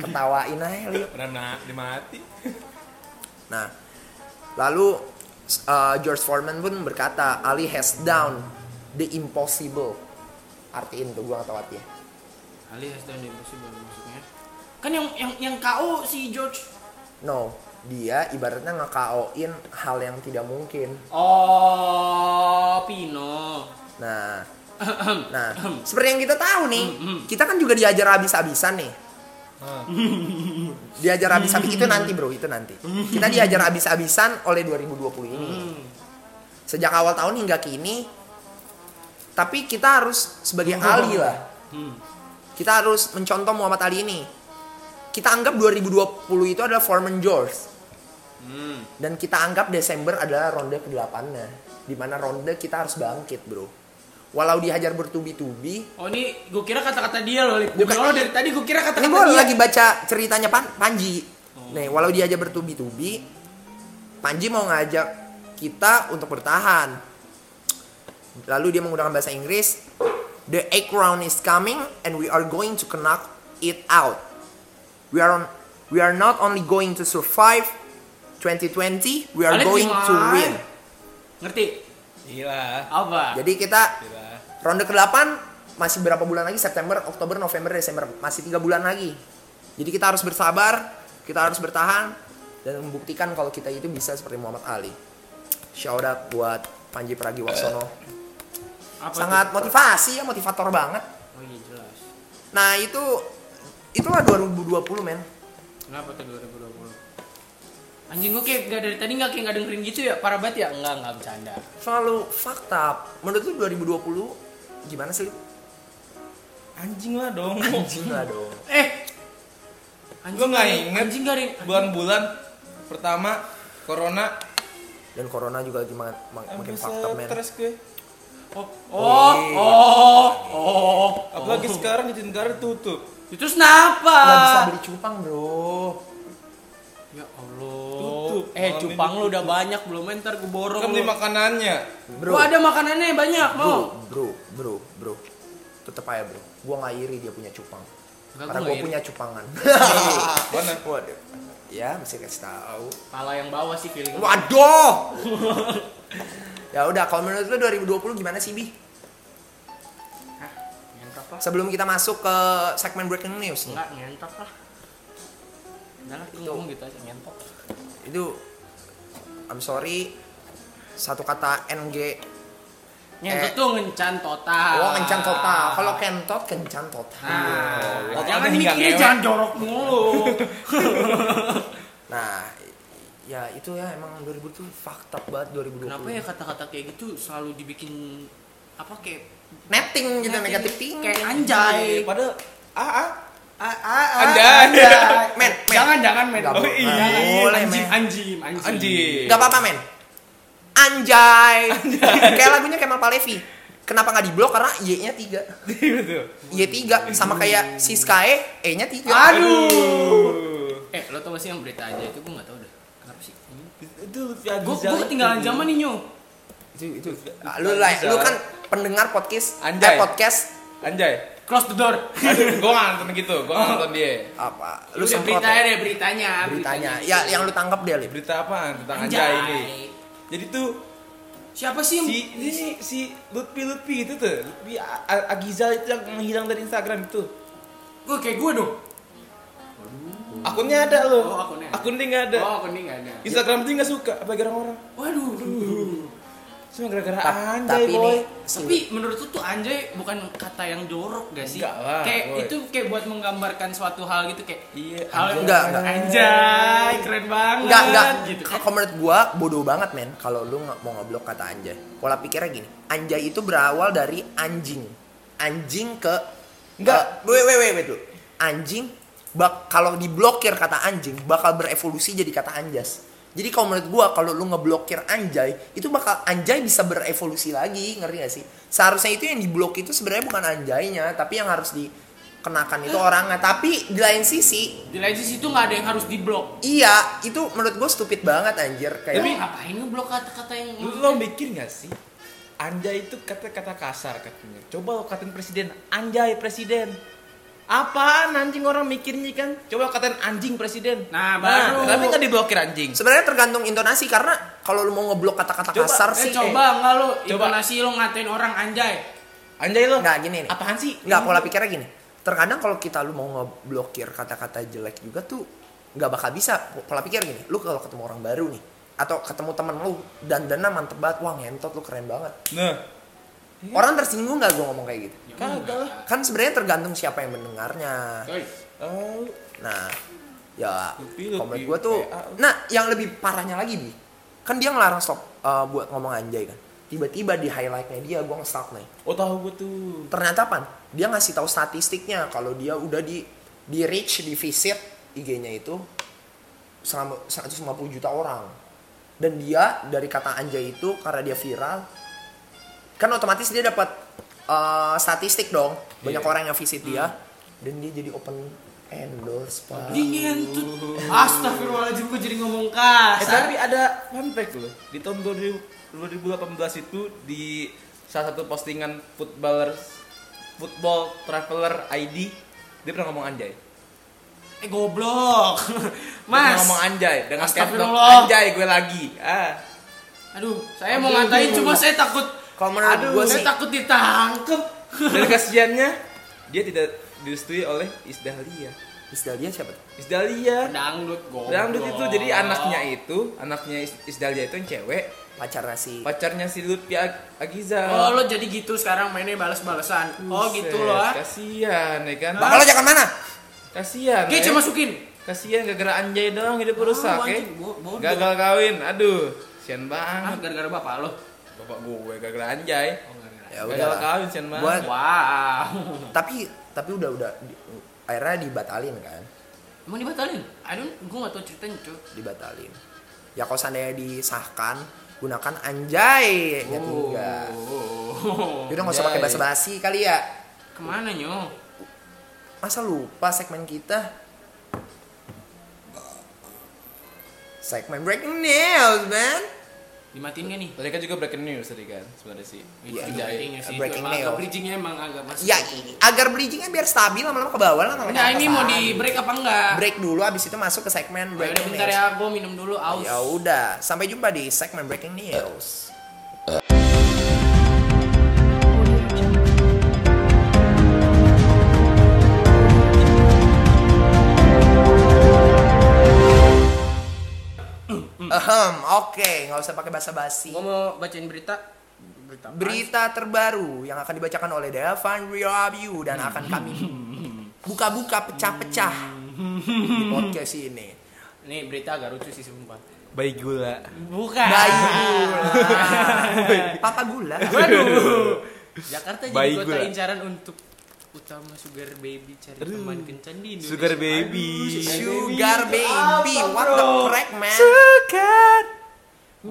Speaker 2: ketawain aja Lip.
Speaker 4: Pernah na- dia mati.
Speaker 2: Nah lalu s- uh, George Foreman pun berkata Ali has down the impossible. Artiin tuh gua gak tau artinya.
Speaker 3: Ali Hasdan dan Impossible maksudnya. Kan yang yang yang KO si George.
Speaker 2: No, dia ibaratnya nge-KO-in hal yang tidak mungkin.
Speaker 3: Oh, Pino.
Speaker 2: Nah, nah, seperti yang kita tahu nih, kita kan juga diajar habis-habisan nih.
Speaker 4: Ah.
Speaker 2: Diajar habis-habisan itu nanti bro, itu nanti. Kita diajar habis-habisan oleh 2020 ini.
Speaker 3: Mm.
Speaker 2: Sejak awal tahun hingga kini, tapi kita harus sebagai Ali lah.
Speaker 3: Hmm.
Speaker 2: Kita harus mencontoh Muhammad Ali ini. Kita anggap 2020 itu adalah Foreman George.
Speaker 3: Hmm.
Speaker 2: dan kita anggap Desember adalah ronde ke-8 nah di mana ronde kita harus bangkit bro walau dihajar bertubi-tubi
Speaker 3: Oh ini gue kira kata-kata dia loh, Lip.
Speaker 2: Bukan.
Speaker 3: Gue dari tadi gue kira
Speaker 2: ini
Speaker 3: kata-kata
Speaker 2: gue
Speaker 3: dia.
Speaker 2: lagi baca ceritanya Pan Panji nih walau dihajar bertubi-tubi Panji mau ngajak kita untuk bertahan lalu dia menggunakan bahasa Inggris the egg round is coming and we are going to knock it out we are on, we are not only going to survive 2020 we are
Speaker 3: Alex,
Speaker 2: going to
Speaker 3: gimana?
Speaker 2: win
Speaker 3: Ngerti?
Speaker 4: Gila.
Speaker 3: Apa?
Speaker 2: Jadi kita
Speaker 4: Gila.
Speaker 2: ronde ke-8 masih berapa bulan lagi? September, Oktober, November, Desember. Masih tiga bulan lagi. Jadi kita harus bersabar, kita harus bertahan dan membuktikan kalau kita itu bisa seperti Muhammad Ali. Shout out buat Panji Pragiwaksono.
Speaker 3: Apa tuh?
Speaker 2: Sangat motivasi ya, motivator banget.
Speaker 3: Oh iya jelas.
Speaker 2: Nah, itu itulah 2020, men.
Speaker 3: Kenapa tuh 2020? Anjing gue kayak nggak dari tadi nggak kayak nggak dengerin gitu ya parah banget ya nggak nggak bercanda
Speaker 2: Selalu fakta. Menurut lu 2020 gimana sih?
Speaker 4: Anjing lah dong.
Speaker 2: Anjing lah dong.
Speaker 3: eh
Speaker 4: Gua nggak
Speaker 3: garing,
Speaker 4: inget.
Speaker 3: anjing garing
Speaker 4: Bulan-bulan pertama corona
Speaker 2: Dan corona juga lagi ma- ma- makin
Speaker 4: Abis
Speaker 2: fakta, men.
Speaker 4: stres gue
Speaker 3: oh oh oh oh,
Speaker 4: apalagi sekarang di negara tutup
Speaker 2: Ah.
Speaker 3: itu kenapa
Speaker 2: Gak bisa beli cupang, bro.
Speaker 3: Ya Allah.
Speaker 4: Tutup.
Speaker 3: Eh,
Speaker 4: Malam
Speaker 3: cupang
Speaker 4: ini
Speaker 3: lu udah banyak belum? Eh, Ntar gue borong.
Speaker 4: Kan beli
Speaker 3: lu.
Speaker 4: makanannya.
Speaker 2: Bro.
Speaker 3: Gua ada makanannya banyak, mau.
Speaker 2: Bro, bro, bro, bro. Tetep aja bro. Gua nggak iri dia punya cupang.
Speaker 3: Enggak,
Speaker 2: Karena gua
Speaker 3: gua nggak
Speaker 2: punya cupangan.
Speaker 4: Mana?
Speaker 2: Waduh. Ya, mesti kasih tahu.
Speaker 3: Pala yang bawah sih feeling. gua.
Speaker 2: Waduh. ya udah, kalau menurut lu 2020 gimana sih, Bi?
Speaker 3: Hah? Ngentot lah.
Speaker 2: Sebelum kita masuk ke segmen breaking news nih.
Speaker 3: Enggak, ngentot lah. Udah lah, lu ngomong gitu aja, ngentot.
Speaker 2: Itu I'm sorry satu kata NG.
Speaker 3: Ngentot
Speaker 2: Eh.
Speaker 3: tuh ngencan total.
Speaker 2: Oh, kencan total. Kalau kentot tota. kencan total.
Speaker 3: Nah,
Speaker 4: Total
Speaker 3: jangan
Speaker 4: deh, nggak
Speaker 3: mikirnya
Speaker 4: ngewek.
Speaker 3: jangan jorok mulu.
Speaker 2: Nah, ya itu ya emang 2000 tuh fucked up banget 2020.
Speaker 3: Kenapa ya kata-kata kayak gitu selalu dibikin apa kayak
Speaker 2: Netting gitu negatif thinking.
Speaker 3: kayak anjay.
Speaker 4: Padahal ah ah.
Speaker 3: Ah, ah, ah,
Speaker 4: Anjay.
Speaker 2: iya. Men, men.
Speaker 3: Jangan, jangan, men.
Speaker 2: Nggak
Speaker 4: Oh,
Speaker 2: boleh.
Speaker 4: iya.
Speaker 2: Nggak boleh,
Speaker 3: anjing,
Speaker 2: men.
Speaker 3: anjing, anjing.
Speaker 4: Anjing.
Speaker 2: Gak apa-apa men Anjay, Kayak lagunya Kemal Palevi Kenapa gak diblok karena Y-nya 3
Speaker 4: Iya, Betul.
Speaker 2: Y 3 sama kayak Siskae E-nya 3
Speaker 4: Aduh.
Speaker 3: Eh, lo tau gak sih yang berita aja itu gue gak tau deh. Kenapa sih?
Speaker 4: Itu
Speaker 3: Gue gue ketinggalan zaman nih nyu.
Speaker 4: Itu itu.
Speaker 2: Lu, lah, lu kan pendengar podcast eh,
Speaker 4: Anjay.
Speaker 2: podcast
Speaker 4: anjay.
Speaker 3: Close the door.
Speaker 4: Aduh, gua nggak nonton gitu, gua nggak nonton dia.
Speaker 2: apa
Speaker 3: Lu
Speaker 2: lu
Speaker 3: udah
Speaker 2: semprot
Speaker 3: berita
Speaker 2: ya?
Speaker 3: deh beritanya.
Speaker 2: beritanya ya yang lu tangkap dia Lip
Speaker 4: Berita apa tentang
Speaker 3: Anjay.
Speaker 4: anjay ini? Jadi tuh
Speaker 3: Siapa sih? yang-
Speaker 4: si ini nih, si Lutfi Lutfi itu tuh, Lutfi A- A- Agizal itu yang menghilang dari Instagram itu.
Speaker 3: Gue kayak gue dong.
Speaker 4: Akunnya ada loh.
Speaker 3: Oh, akunnya ada.
Speaker 4: Akun dia nggak ada.
Speaker 3: Oh, aku nih gak ada.
Speaker 4: Instagram dia nggak suka, apa orang-orang.
Speaker 3: Waduh.
Speaker 4: Cuma gara-gara
Speaker 2: Ta-
Speaker 4: anjay
Speaker 2: tapi
Speaker 4: boy.
Speaker 2: ini
Speaker 3: Tapi menurut lu tuh anjay bukan kata yang jorok gak sih?
Speaker 4: Enggak lah,
Speaker 3: Kayak
Speaker 4: boy.
Speaker 3: itu kayak buat menggambarkan suatu hal gitu kayak
Speaker 4: Iya,
Speaker 3: hal
Speaker 4: anjay.
Speaker 2: Enggak, enggak.
Speaker 3: Anjay, keren banget.
Speaker 2: Enggak, enggak.
Speaker 3: Gitu kan.
Speaker 2: Kalau menurut gua bodoh banget men kalau lu nggak mau ngeblok kata anjay. Pola pikirnya gini, anjay itu berawal dari anjing. Anjing ke eh,
Speaker 4: Enggak.
Speaker 2: wait, wait, wait, wait dulu. Anjing bak kalau diblokir kata anjing bakal berevolusi jadi kata anjas. Jadi kalau menurut gua kalau lu ngeblokir anjay itu bakal anjay bisa berevolusi lagi, ngerti gak sih? Seharusnya itu yang diblok itu sebenarnya bukan anjaynya, tapi yang harus dikenakan itu orangnya. Tapi di lain sisi,
Speaker 3: Di lain sisi tuh gak ada yang harus diblok.
Speaker 2: iya itu menurut gua stupid banget anjir kayak.
Speaker 3: Tapi ngapain lu blok kata-kata yang
Speaker 4: Lu lo mikir gak sih? Anjay itu kata-kata kasar katanya. Coba lo katain presiden, anjay presiden. Apaan anjing orang mikirnya kan? Coba katain anjing presiden.
Speaker 3: Nah, baru.
Speaker 4: tapi nggak diblokir anjing.
Speaker 2: Sebenarnya tergantung intonasi karena kalau lu mau ngeblok kata-kata
Speaker 4: Coba,
Speaker 2: kasar
Speaker 3: Eh
Speaker 2: sih
Speaker 3: coba enggak lu
Speaker 4: Coba.
Speaker 3: intonasi lu ngatain orang anjay.
Speaker 4: Anjay lo.
Speaker 2: Nggak, gini nih.
Speaker 4: Apaan sih?
Speaker 2: eh, nggak pola pikirnya gini. Terkadang kalau kita lu mau ngeblokir kata-kata jelek juga tuh nggak bakal bisa. Pola pikir gini, lu kalau ketemu orang baru nih atau ketemu temen lu dan dana mantep banget, wah ngentot lu keren banget.
Speaker 4: Nah,
Speaker 3: Iya.
Speaker 2: Orang tersinggung nggak gua ngomong kayak gitu?
Speaker 3: Ya
Speaker 4: kagak
Speaker 3: enggak.
Speaker 4: lah.
Speaker 2: Kan sebenarnya tergantung siapa yang mendengarnya.
Speaker 3: Coy,
Speaker 4: Oh,
Speaker 2: Nah, ya
Speaker 4: Lebih-
Speaker 2: kalau menurut
Speaker 4: lebih
Speaker 2: gue tuh,
Speaker 4: PA.
Speaker 2: nah yang lebih parahnya lagi bi, kan dia ngelarang stop eh, buat ngomong anjay kan. Tiba-tiba di highlightnya dia gue nge-stalk nih.
Speaker 4: oh tahu gue tuh.
Speaker 2: Ternyata apa? Dia ngasih tahu statistiknya kalau dia udah di di reach di visit IG-nya itu selama 150 juta orang. Dan dia dari kata anjay itu karena dia viral kan otomatis dia dapat eh, statistik dong. Banyak
Speaker 4: Iya.
Speaker 2: orang yang visit dia dan dia jadi open endorse pak.
Speaker 4: Iya,
Speaker 3: dingin tuh. Astagfirullahaladzim gua jadi ngomong kasar.
Speaker 4: Eh, tapi ada fun fact loh. Di tahun 2018 itu di salah satu postingan footballer football traveler ID dia pernah ngomong anjay.
Speaker 3: Eh goblok.
Speaker 4: Mas.
Speaker 3: Mas.
Speaker 4: ngomong anjay dengan caption
Speaker 3: Astagfirullah.
Speaker 4: anjay gue lagi. Ah.
Speaker 3: Aduh, saya mau ngatain cuma saya takut.
Speaker 2: Kalau menurut
Speaker 3: Aduh,
Speaker 2: gua
Speaker 3: saya
Speaker 2: sih-
Speaker 3: takut ditangkep.
Speaker 4: Dan kasihannya dia tidak direstui oleh Isdahlia.
Speaker 2: Isdalia siapa tuh?
Speaker 4: Isdahlia.
Speaker 3: Dangdut goblok.
Speaker 4: Dangdut itu jadi anaknya itu, anaknya Is- Isdahlia itu yang cewek,
Speaker 2: Pacarnya si
Speaker 4: pacarnya si Lutfi Ag- Agiza.
Speaker 3: Oh, lo jadi gitu sekarang mainnya balas-balasan. Oh, gitu lo. ah.
Speaker 4: Kasihan ya kan.
Speaker 2: Bakal lo jangan mana?
Speaker 4: Kasihan.
Speaker 3: Gece
Speaker 4: ya.
Speaker 3: masukin.
Speaker 4: Kasihan gara-gara anjay doang hidup
Speaker 3: Ah,
Speaker 4: rusak ya.
Speaker 3: anjing, bo- bodoh.
Speaker 4: Gagal kawin. Aduh, sian
Speaker 3: Ah,
Speaker 4: banget.
Speaker 3: gara-gara bapak lo.
Speaker 4: Bapak gue gagal anjay.
Speaker 2: Ya
Speaker 4: Gagal
Speaker 2: udah.
Speaker 4: kawin sian
Speaker 2: Buat-
Speaker 4: banget.
Speaker 3: Wow.
Speaker 2: Tapi tapi udah udah di- akhirnya dibatalin kan?
Speaker 3: Emang dibatalin? I don't, gue gak tau ceritanya cuy
Speaker 2: Dibatalin. Ya kalau seandainya disahkan gunakan anjay ya
Speaker 3: Oh.
Speaker 2: tiga. Yaudah nggak usah
Speaker 4: Anjay.
Speaker 2: pakai basa-basi kali ya.
Speaker 3: Kemana nyo?
Speaker 2: Masa lupa segmen kita? Segmen breaking news, man.
Speaker 3: Dimatiin gak nih?
Speaker 4: Tadi kan juga breaking news tadi kan sebenarnya sih.
Speaker 3: Itu
Speaker 2: Iya,
Speaker 3: tidak
Speaker 2: iya.
Speaker 3: ingat sih. itu
Speaker 2: Breaking
Speaker 3: Emang agak
Speaker 2: news.
Speaker 3: bridgingnya emang agak masuk.
Speaker 2: Ya, agar bridgingnya biar stabil lama-lama ke bawah lama-lama
Speaker 3: Nah
Speaker 2: ke
Speaker 3: ini mau
Speaker 2: atasan.
Speaker 3: di break apa enggak?
Speaker 2: kan? break dulu abis itu masuk ke segmen
Speaker 3: Ya udah
Speaker 2: breaking
Speaker 3: bentar
Speaker 2: news.
Speaker 3: ya, gue minum dulu aus.
Speaker 2: Ya udah, sampai jumpa di segmen breaking news. Ahem, oke, nggak usah pakai basa-basi.
Speaker 3: Gue mau bacain berita. Berita. apa?
Speaker 2: Berita terbaru yang akan dibacakan oleh Devan Review dan akan kami buka-buka pecah-pecah di podcast ini.
Speaker 3: Nih berita agak lucu sih sumpah.
Speaker 4: Bayi gula.
Speaker 3: Bukan.
Speaker 2: Bayi gula. Papa gula.
Speaker 3: Waduh. Jakarta jadi
Speaker 4: Bayi
Speaker 3: kota
Speaker 4: gula.
Speaker 3: incaran untuk utama sugar baby cari
Speaker 4: Aduh.
Speaker 3: teman kencan di Indonesia.
Speaker 4: Sugar baby.
Speaker 2: Sugar baby,
Speaker 3: Apa,
Speaker 2: what the
Speaker 3: bro?
Speaker 2: crack man?
Speaker 4: Sugar.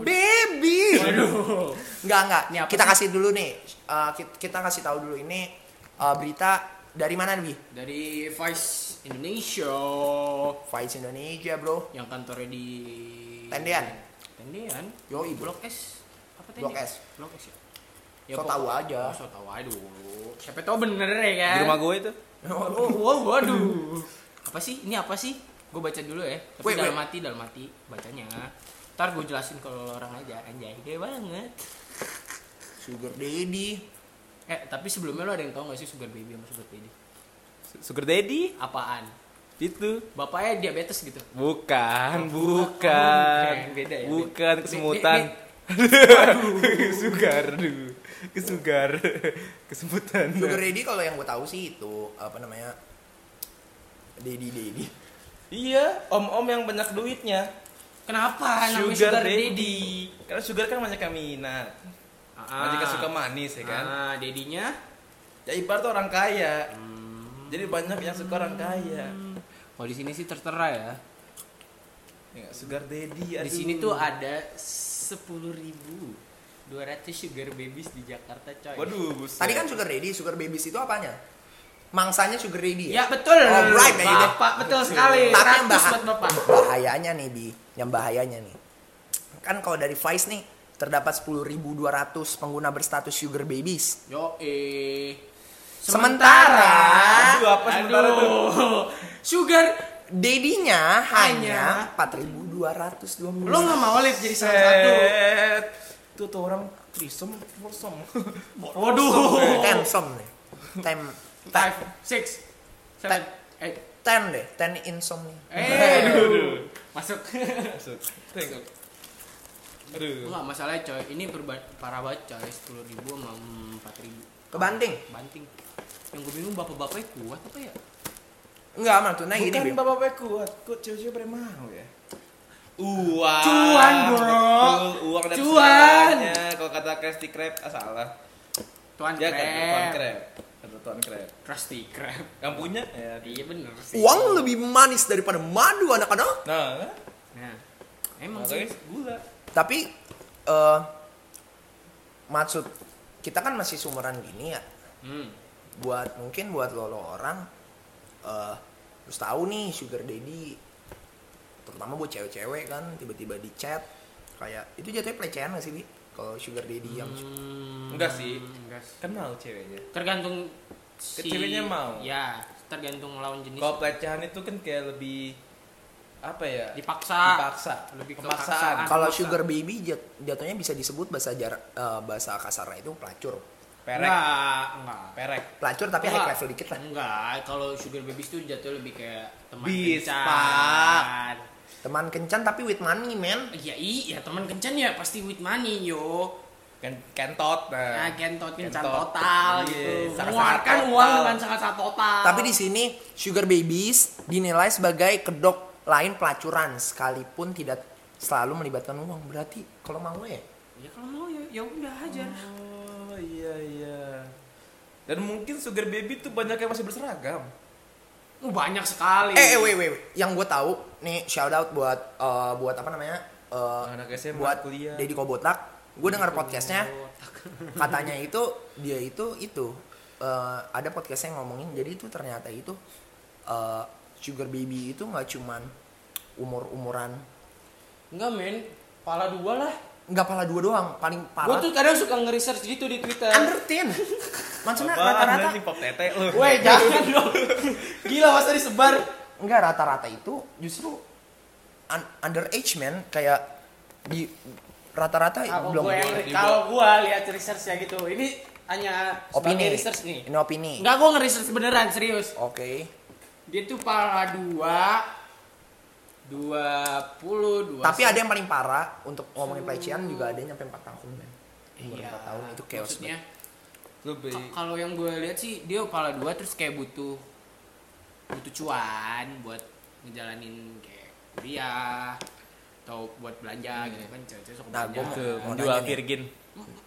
Speaker 2: Baby.
Speaker 3: Waduh.
Speaker 2: Enggak enggak.
Speaker 3: Ini apa
Speaker 2: Kita
Speaker 3: sih?
Speaker 2: kasih dulu nih. eh, kita, kita kasih tahu dulu ini eh, berita dari mana nih?
Speaker 3: Dari Vice Indonesia
Speaker 2: Vice Indonesia, Bro.
Speaker 3: yang kantornya di
Speaker 2: Tendean.
Speaker 3: Tendean.
Speaker 2: Yoi, bro.
Speaker 3: Blok S. Apa
Speaker 2: Blok
Speaker 3: Tendean?
Speaker 2: S.
Speaker 3: Blok S ya.
Speaker 2: So
Speaker 3: pokok-
Speaker 2: tahu aja.
Speaker 3: Oh, so tahu aja dulu. Siapa tahu bener ya kan?
Speaker 4: Di rumah gue itu.
Speaker 3: Oh, wow, waduh. apa sih? Ini apa sih? Gue baca dulu ya. Tapi
Speaker 2: Wait,
Speaker 3: dalam
Speaker 2: wait.
Speaker 3: hati, dalam hati bacanya. Ntar gue jelasin kalau orang aja anjay gede banget.
Speaker 2: Sugar daddy.
Speaker 3: Eh, tapi sebelumnya lo ada yang tau gak sih sugar baby sama sugar daddy?
Speaker 4: Sugar daddy
Speaker 3: Apaan?
Speaker 4: itu.
Speaker 3: Bapaknya diabetes gitu. bukan.
Speaker 4: Bukan, bukan.
Speaker 3: Beda ya,
Speaker 4: Bukan
Speaker 3: beda.
Speaker 4: kesemutan.
Speaker 3: Be-
Speaker 4: Sugar, aduh. Kesugar. Kesemutan.
Speaker 2: Sugar daddy kalau yang gue tahu sih itu apa namanya? Daddy daddy.
Speaker 4: Iya, om-om yang banyak duitnya.
Speaker 3: Kenapa Ah, namanya sugar, daddy?
Speaker 4: Karena sugar kan banyak yang minat. Banyak yang Ah. suka manis ya kan.
Speaker 3: Ah, dedinya
Speaker 4: Ya ibarat tuh orang kaya. Jadi banyak yang suka orang kaya.
Speaker 3: kalau di sini sih tertera ya.
Speaker 4: Ya, nggak, sugar daddy.
Speaker 3: Di
Speaker 4: aduh.
Speaker 3: sini tuh ada 10.200 sugar babies di Jakarta, coy.
Speaker 4: Waduh, buset.
Speaker 2: Tadi kan sugar daddy, sugar babies itu apanya? Mangsanya sugar daddy ya?
Speaker 3: Ya betul.
Speaker 2: Alright, baby.
Speaker 3: Bapak betul sekali.
Speaker 2: Tapi yang
Speaker 3: Ratus
Speaker 2: bahaya-
Speaker 3: Iya. buat bapak.
Speaker 2: bahayanya nih bi yang bahayanya nih kan kalau dari Vice nih terdapat 10.200 pengguna berstatus sugar babies
Speaker 3: Yo eh.
Speaker 2: Sementara-
Speaker 4: Aduh, apa sementara
Speaker 3: tuh? Sugar,
Speaker 2: dedinya hanya
Speaker 3: Hanya-
Speaker 2: 4.220
Speaker 3: lo nggak mau lihat jadi salah
Speaker 4: Eh,
Speaker 3: satu.
Speaker 4: Set. Tuh tuh orang trisom, borsom.
Speaker 3: Waduh.
Speaker 2: tensom nih ten
Speaker 3: Five, six, seven, eight.
Speaker 2: ten deh ten insomnia
Speaker 3: Eh,
Speaker 4: aduh.
Speaker 3: masuk.
Speaker 4: Masuk. Tengok. Aduh.
Speaker 3: Enggak masalah coy, ini perba- parah banget coy, sepuluh ribu sama empat ribu.
Speaker 2: kebanting
Speaker 3: Banting. Yang gue bingung bapak-bapaknya kuat apa ya?
Speaker 2: enggak maksudnya gini Bi.
Speaker 4: Bukan bapak gue kuat, kok cewek-cewek pada mau ya? Uang.
Speaker 3: Cuan, bro.
Speaker 4: Betul, uang dan
Speaker 3: Cuan.
Speaker 4: segalanya. Kalau kata Krusty Krab, ah, salah.
Speaker 3: Tuan
Speaker 4: Ya kan, Tuan
Speaker 3: krep.
Speaker 4: Krab. Kata Tuan Krab.
Speaker 3: Krusty Krab.
Speaker 4: Yang punya? Ya.
Speaker 3: Iya bener sih.
Speaker 2: uang lebih manis daripada madu anak-anak
Speaker 4: Nah, kan?
Speaker 3: Nah, emang
Speaker 4: makanya
Speaker 3: sih.
Speaker 4: gula.
Speaker 2: tapi eh maksud kita kan masih sumuran gini ya
Speaker 3: Hmm.
Speaker 2: buat mungkin buat lo, lo orang eh terus tahu nih sugar daddy terutama buat cewek-cewek kan tiba-tiba di chat kayak itu jatuhnya pelecehan gak sih bi kalau sugar daddy yang
Speaker 3: Hmm,
Speaker 4: Enggak sih.
Speaker 3: Enggak sih.
Speaker 4: Kan mau ceweknya.
Speaker 3: Tergantung
Speaker 4: Ke ceweknya mau.
Speaker 3: Ya, tergantung lawan jenis.
Speaker 4: Kalau pelecehan itu kan kayak lebih apa ya?
Speaker 3: dipaksa.
Speaker 4: Dipaksa.
Speaker 3: Lebih ke
Speaker 4: Pemaksaan.
Speaker 3: paksaan.
Speaker 2: kalau
Speaker 3: Paksa.
Speaker 2: sugar baby jat- jatuhnya bisa disebut bahasa jar eh, bahasa kasarnya itu pelacur
Speaker 4: Perek.
Speaker 3: Enggak, enggak.
Speaker 4: Perek.
Speaker 2: pelacur tapi
Speaker 3: Enggak.
Speaker 2: high level dikit lah
Speaker 3: Enggak, kalau sugar babies tuh jatuh lebih kayak teman
Speaker 4: Bis,
Speaker 3: kencan.
Speaker 4: Pak.
Speaker 2: teman kencan tapi with money man
Speaker 3: Iya, iya teman kencan ya pasti with money yo.
Speaker 4: Kan kentot.
Speaker 3: Nah, kentot kencan
Speaker 4: Kentot.
Speaker 3: total
Speaker 4: Iya,
Speaker 3: gitu.
Speaker 4: sangat-sangat
Speaker 3: Mengeluarkan
Speaker 4: total.
Speaker 3: uang dengan sangat-sangat total.
Speaker 2: tapi di sini sugar babies dinilai sebagai kedok lain pelacuran sekalipun tidak selalu melibatkan uang berarti kalau mau ya
Speaker 3: ya kalau mau ya ya udah aja.
Speaker 4: Oh iya iya. Dan mungkin sugar baby tuh banyak yang masih berseragam.
Speaker 3: Oh, banyak sekali.
Speaker 2: Eh, eh, wait, wait, wait. Yang gue tahu nih shout out buat eh, buat apa namanya? Eh,
Speaker 4: Anak SMA,
Speaker 2: buat
Speaker 4: kuliah.
Speaker 2: Deddy Kobotak. Gue dengar podcastnya,
Speaker 3: Kotak.
Speaker 2: katanya itu dia itu itu eh, ada podcastnya yang ngomongin. Jadi itu ternyata itu eh, sugar baby itu nggak cuman umur umuran
Speaker 3: Enggak men, pala dua lah.
Speaker 2: Nggak pala dua doang, paling
Speaker 3: Gue
Speaker 2: parah.
Speaker 3: tuh kadang suka nge-research gitu di Twitter.
Speaker 2: under 10. Maksudnya
Speaker 4: Apaan
Speaker 2: Nah, rata-rata
Speaker 4: nanti pop tete lu.
Speaker 3: Weh jangan dong. Gila masa disebar.
Speaker 2: enggak rata-rata itu justru un- underage man kayak di rata-rata
Speaker 3: Kalau
Speaker 2: belum
Speaker 3: gue kalau gue lihat research ya gitu, ini hanya
Speaker 2: opini.
Speaker 3: sebagai research nih.
Speaker 2: Ini opini.
Speaker 3: Enggak gue nge-research beneran serius.
Speaker 2: Oke.
Speaker 3: Dia tuh pala dua, dua puluh dua.
Speaker 2: Tapi ada yang paling parah untuk ngomongin pelecehan juga ada yang nyampe 4 tahun men. Umur
Speaker 3: Iya,
Speaker 2: empat tahun itu chaos
Speaker 3: maksudnya
Speaker 4: Lu beli.
Speaker 3: ka- kalau yang gue lihat sih dia kepala dua terus kayak butuh butuh cuan buat ngejalanin kayak kuliah atau buat belanja gitu kan cewek-cewek suka
Speaker 2: Nah,
Speaker 3: belanja
Speaker 2: gua
Speaker 4: Tuh,
Speaker 2: Mau
Speaker 4: menjual
Speaker 2: nanya nih.
Speaker 4: virgin.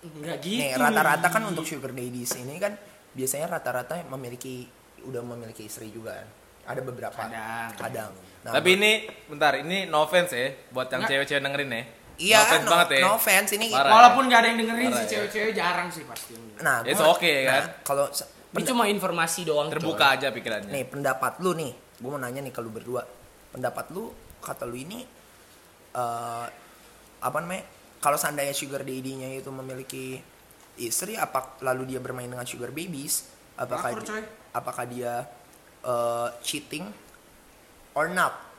Speaker 3: enggak gitu
Speaker 2: Nih rata-rata kan untuk sugar daddies ini kan biasanya rata-rata memiliki udah memiliki istri juga kan. Ada beberapa.
Speaker 3: Kadang.
Speaker 2: Kadang. Nah,
Speaker 4: Tapi ini bentar, ini no offense ya buat yang
Speaker 3: Nggak.
Speaker 4: cewek-cewek dengerin ya.
Speaker 2: Iya,
Speaker 4: no offense
Speaker 2: no-
Speaker 4: banget ya.
Speaker 2: no offense, ini-
Speaker 4: Parah.
Speaker 3: walaupun gak ada yang dengerin
Speaker 4: Parah,
Speaker 3: sih
Speaker 4: ya.
Speaker 3: cewek-cewek jarang sih pasti yang dengerin.
Speaker 2: nah,
Speaker 4: It's
Speaker 2: gua-
Speaker 4: okay,
Speaker 2: nah,
Speaker 4: kan?
Speaker 2: Kalau se-
Speaker 3: ini cuma informasi doang
Speaker 4: terbuka
Speaker 3: coy.
Speaker 4: aja pikirannya.
Speaker 2: Nih pendapat lu nih, gue mau nanya nih ke lu berdua. Pendapat lu, kata lu ini, eh apa namanya? Kalau seandainya sugar daddy-nya itu memiliki istri, apa lalu dia bermain dengan sugar babies? Apakah
Speaker 3: Lapor,
Speaker 2: di-
Speaker 3: coy.
Speaker 2: apakah dia eh, cheating or not?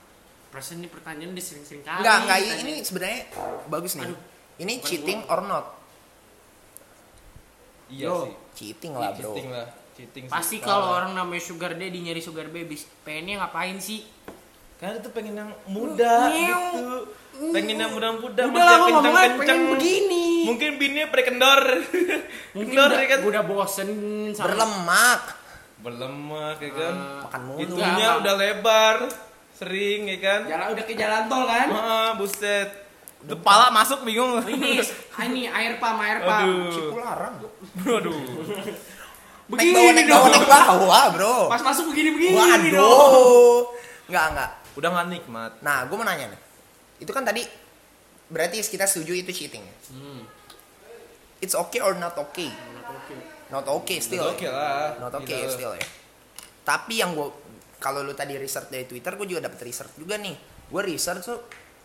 Speaker 3: perasaan ini pertanyaan udah sering-sering kali
Speaker 2: Enggak, enggak ini,
Speaker 3: ditanya.
Speaker 2: ini sebenarnya bagus nih.
Speaker 3: Aduh,
Speaker 2: ini
Speaker 3: bukan
Speaker 2: cheating
Speaker 3: gua.
Speaker 2: or not?
Speaker 4: Iya
Speaker 3: Yo.
Speaker 4: sih.
Speaker 2: Cheating
Speaker 4: Ini
Speaker 2: lah, Bro.
Speaker 4: Cheating lah. Cheating sih.
Speaker 3: pasti kalau orang namanya sugar daddy nyari sugar baby pengennya ngapain sih
Speaker 4: Karena dia tuh pengen yang muda
Speaker 3: Nyeu.
Speaker 4: gitu. Pengen yang muda-muda,
Speaker 3: udah lah
Speaker 4: masih
Speaker 3: gua ngomongnya pengen
Speaker 4: kenceng-kenceng.
Speaker 3: begini
Speaker 4: Mungkin bininya pada kendor.
Speaker 3: mungkin
Speaker 4: kendor
Speaker 3: udah,
Speaker 4: ya kan.
Speaker 3: gua udah bosen sama
Speaker 2: Berlemak,
Speaker 4: Berlemak ya kan.
Speaker 2: makan mulu.
Speaker 3: Itu-
Speaker 4: Hidungnya
Speaker 3: Enggak.
Speaker 4: udah lebar, sering ya kan.
Speaker 3: jalan udah ke jalan tol kan
Speaker 4: Ah, buset. Tuh pala masuk bingung.
Speaker 3: ini ah, ini air pam air pam
Speaker 4: Aduh.
Speaker 2: Larang.
Speaker 4: Aduh.
Speaker 2: Naik bawah, naik bawah, naik bawah, Bro.
Speaker 3: pas masuk begini begini dong
Speaker 2: Waduh. Enggak, enggak.
Speaker 4: Udah nggak nikmat.
Speaker 2: Nah, gue mau nanya nih. Itu kan tadi berarti kita setuju itu cheating. ya?
Speaker 3: Hmm,
Speaker 2: It's okay or not okay?
Speaker 3: menurut oke.
Speaker 2: Not okay still.
Speaker 4: Oke
Speaker 2: ya?
Speaker 4: lah.
Speaker 2: Not okay
Speaker 4: Gila.
Speaker 2: still ya. Tapi yang gue kalau lu tadi research dari Twitter, gue juga dapet research juga nih. Gue research tuh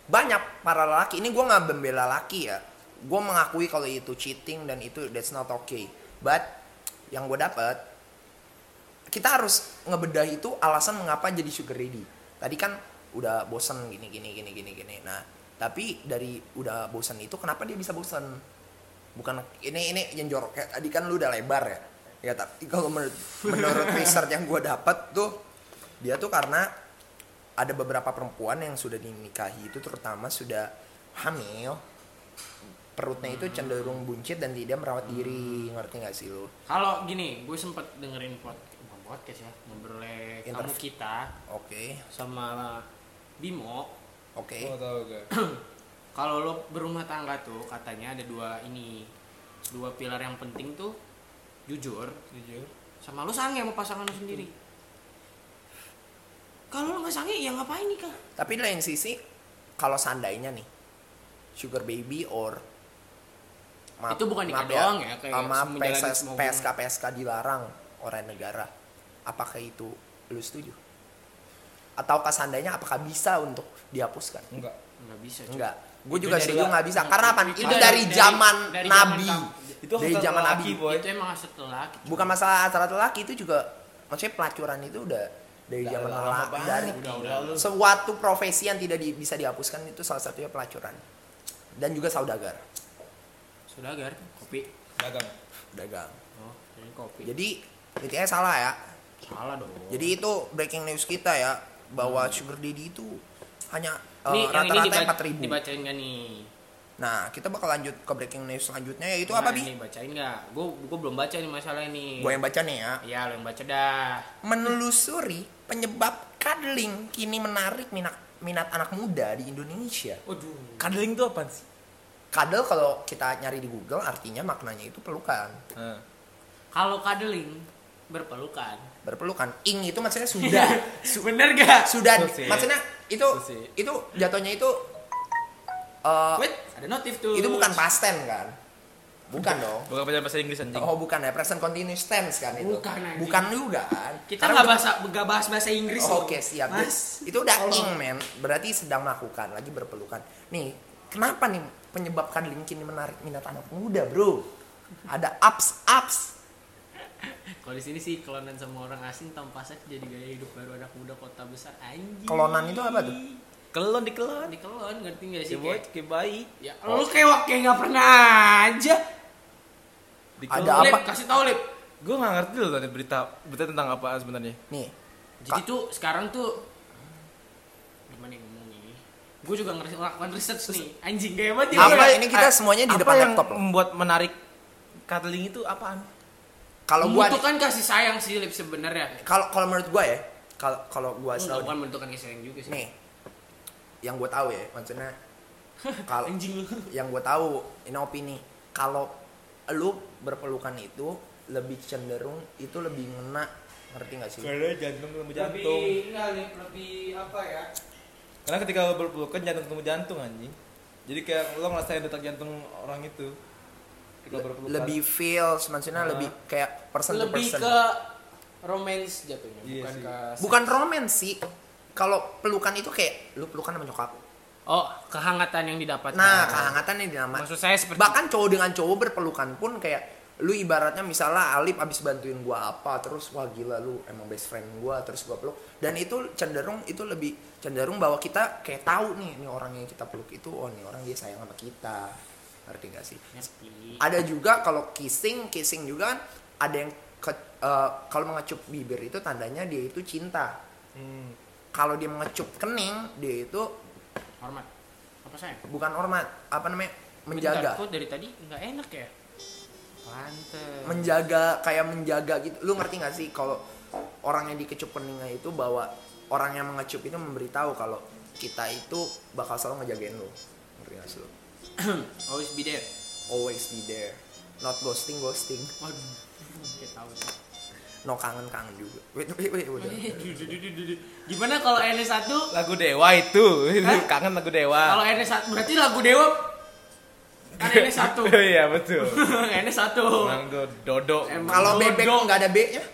Speaker 2: banyak para lelaki. Ini gue nggak membela laki ya. Gue mengakui kalau itu cheating dan itu that's not okay. But yang gue dapet, kita harus ngebedah itu alasan mengapa jadi sugar daddy. Tadi kan udah bosen gini gini gini gini gini. Nah, tapi dari udah bosen itu kenapa dia bisa bosen? Bukan ini ini yang jorok kayak tadi kan lu udah lebar ya. Ya tapi kalau menurut, menurut research yang gue dapat tuh dia tuh karena ada beberapa perempuan yang sudah dinikahi itu terutama sudah hamil perutnya itu cenderung buncit dan tidak merawat diri ngerti nggak sih lu?
Speaker 3: kalau gini gue sempet dengerin pod bukan podcast ya ngobrolnya kamu
Speaker 2: Interview.
Speaker 3: kita
Speaker 2: Oke
Speaker 3: sama Bimo
Speaker 2: oke.
Speaker 4: Gua nggak Oh, tahu gue.
Speaker 3: kalau lo berumah tangga tuh katanya ada dua ini dua pilar yang penting tuh jujur
Speaker 4: Jujur.
Speaker 3: sama lo sange sama pasangan lo sendiri kalau lo nggak sange ya ngapain nikah
Speaker 2: Tapi di lain sisi, kalau seandainya nih, sugar baby or
Speaker 3: Itu bukan nikah
Speaker 2: maaf
Speaker 3: doang ya, kayak
Speaker 2: ah, maaf,
Speaker 3: menjalani
Speaker 2: PSS,
Speaker 3: semua hubungan.
Speaker 2: PSK PSK dilarang orang negara. Apakah itu lu setuju? Ataukah seandainya apakah bisa untuk dihapuskan?
Speaker 4: Enggak.
Speaker 3: nggak bisa cuy.
Speaker 2: Enggak. Gue
Speaker 4: Itu
Speaker 2: juga
Speaker 4: dari
Speaker 2: setuju
Speaker 4: la-
Speaker 2: nggak bisa. Karena apa?
Speaker 3: Itu
Speaker 2: Itu
Speaker 3: dari-
Speaker 2: dari
Speaker 3: dari-
Speaker 2: zaman
Speaker 3: dari zaman
Speaker 2: Nabi.
Speaker 3: kamu.
Speaker 4: Itu
Speaker 2: Dari
Speaker 4: hasrat
Speaker 2: zaman
Speaker 4: lelaki,
Speaker 2: Nabi.
Speaker 4: Boy.
Speaker 3: itu emang setelah
Speaker 2: Bukan masalah antara lelaki itu juga maksudnya pelacuran itu udah dari
Speaker 4: Udah
Speaker 2: zaman
Speaker 4: lama
Speaker 2: lelaki
Speaker 4: banget.
Speaker 2: dari
Speaker 3: udah udah lu
Speaker 2: suatu profesi yang tidak di- bisa dihapuskan itu salah satunya pelacuran dan juga saudagar
Speaker 3: sudah gar kopi
Speaker 4: Dagang.
Speaker 2: dagang
Speaker 3: oh ini kopi
Speaker 2: jadi intinya salah ya
Speaker 3: salah dong
Speaker 2: jadi itu breaking news kita ya bahwa sugar daddy itu hanya eh,
Speaker 3: ini yang ini
Speaker 2: rata-rata
Speaker 3: dibaca,
Speaker 2: empat ribu
Speaker 3: dibacain nggak nih
Speaker 2: nah kita bakal lanjut ke breaking news selanjutnya yaitu
Speaker 3: Nah,
Speaker 2: apa bi
Speaker 3: ini bacain nggak gue gue belum baca nih masalah ini
Speaker 2: gue yang baca nih ya
Speaker 3: Iya, lo yang baca dah
Speaker 2: menelusuri penyebab cuddling kini menarik minat minat anak muda di Indonesia
Speaker 3: Waduh.
Speaker 4: Cuddling tuh apa sih?
Speaker 2: cuddle kalau kita nyari di Google artinya maknanya itu pelukan
Speaker 4: Heeh.
Speaker 3: Kalau kadeling berpelukan.
Speaker 2: berpelukan ing itu maksudnya sudah
Speaker 3: Bener gak?
Speaker 2: sudah
Speaker 4: Iya. Itu sih.
Speaker 2: maksudnya itu
Speaker 4: Itu sih.
Speaker 2: itu jatuhnya itu eh,
Speaker 3: Wait, ada notif tuh.
Speaker 2: itu bukan pasten kan Bukan dong.
Speaker 4: Bukan pacaran bahasa Inggris anjing.
Speaker 2: Oh bukan ya, present continuous tense kan itu.
Speaker 3: Bukan, anjing.
Speaker 2: Bukan juga kan.
Speaker 3: Kita
Speaker 2: Karena
Speaker 3: nggak
Speaker 2: udah-
Speaker 3: bahasa nggak bahas bahasa Inggris.
Speaker 2: Oh,
Speaker 3: loh.
Speaker 2: Oke siap.
Speaker 3: Mas,
Speaker 2: Itu udah
Speaker 3: tolong.
Speaker 2: ing men. Berarti sedang melakukan lagi berpelukan. Nih kenapa nih penyebabkan LinkedIn menarik minat anak muda bro? Ada apps apps.
Speaker 3: Kalau di sini sih kelonan sama orang asing tanpa seks jadi gaya hidup baru anak muda kota besar anjing.
Speaker 2: Kelonan itu apa tuh?
Speaker 4: Kelon dikelon.
Speaker 2: Iya
Speaker 3: Ini kelon ngerti gak sih?
Speaker 4: Ya boy,
Speaker 3: Kayak-
Speaker 4: kayak bayi.
Speaker 3: Ya, lu kayak kayak nggak pernah aja.
Speaker 4: Dikelon.
Speaker 2: Ada
Speaker 3: Lip,
Speaker 2: apa?
Speaker 3: kasih tau lip.
Speaker 4: Gue nggak ngerti loh tadi berita berita tentang apa sebenarnya.
Speaker 2: Nih
Speaker 3: Jadi
Speaker 2: Kak.
Speaker 3: tuh sekarang tuh gimana yang ngomong ini? Gue juga ngerti melakukan riset nih. Anjing gaya banget ya.
Speaker 2: Apa
Speaker 3: Iya.
Speaker 2: ini kita
Speaker 4: eh,
Speaker 2: semuanya di
Speaker 4: apa
Speaker 2: depan
Speaker 4: yang
Speaker 2: laptop loh.
Speaker 4: membuat menarik cuddling itu apaan?
Speaker 2: kalau gua
Speaker 3: Itu kan kasih sayang sih lip sebenarnya.
Speaker 2: kalau kalau menurut gua ya kalau kalau gua
Speaker 3: Enggak
Speaker 2: selalu
Speaker 3: bukan bentukan kasih sayang juga sih.
Speaker 2: nih yang gua tahu ya maksudnya kalau
Speaker 3: Anjing lu.
Speaker 2: yang gue tahu ini opini kalau lu berpelukan itu lebih cenderung itu lebih ngena ngerti nggak sih
Speaker 4: Karena jantung ketemu jantung.
Speaker 3: enggak lip lebih apa ya?
Speaker 4: Karena ketika lo berpelukan jantung ketemu jantung anjing. Jadi kayak lo ngerasain detak jantung orang itu. Ketika berpelukan.
Speaker 2: lebih feels maksudnya
Speaker 4: Ah.
Speaker 2: lebih kayak person to
Speaker 3: Nah. Lebih
Speaker 2: person
Speaker 3: ke romance jatuhnya,
Speaker 4: Iya
Speaker 3: bukan
Speaker 4: sih.
Speaker 3: ke
Speaker 2: bukan romance sih kalau pelukan itu kayak lu pelukan sama nyokap
Speaker 3: Oh, kehangatan yang didapatkan.
Speaker 2: nah kehangatan yang dinamakan
Speaker 3: Maksud saya seperti
Speaker 2: bahkan cowok dengan cowok berpelukan pun kayak lu ibaratnya misalnya Alip abis bantuin gua apa terus wah gila lu emang best friend gua terus gua peluk dan itu cenderung itu lebih cenderung bahwa kita kayak tahu nih nih orang yang kita peluk itu oh nih orang dia sayang sama kita ngerti gak sih
Speaker 3: Ya, Ngerti.
Speaker 2: ada juga kalau kissing kissing juga kan ada yang ke- eh, kalau mengecup bibir itu tandanya dia itu cinta
Speaker 4: Hmm.
Speaker 2: kalau dia mengecup kening dia itu
Speaker 3: hormat. Apa sayang?
Speaker 2: bukan hormat apa namanya menjaga
Speaker 3: Bentar, kok dari tadi nggak enak ya? Pantes.
Speaker 2: menjaga kayak menjaga gitu lu ngerti gak sih kalau orang yang dikecup keningnya itu bahwa orang yang mengecup itu memberitahu kalau kita itu bakal selalu ngejagain lu ngerti gak sih lu
Speaker 3: Always be there.
Speaker 2: always be there not ghosting ghosting
Speaker 3: Waduh. Kayak tahu sih.
Speaker 2: no kangen kangen juga wait wait wait udah
Speaker 3: Gimana kalau NS1?
Speaker 4: Lagu Dewa itu, Itu
Speaker 3: Hah?
Speaker 4: kangen lagu Dewa.
Speaker 3: Kalau NS1 berarti lagu Dewa kan NS1.
Speaker 4: Iya betul.
Speaker 3: NS1.
Speaker 4: Orang tuh dodo.
Speaker 3: Emang.
Speaker 2: kalau
Speaker 3: Bodoh.
Speaker 2: bebek nggak ada Eh, b nya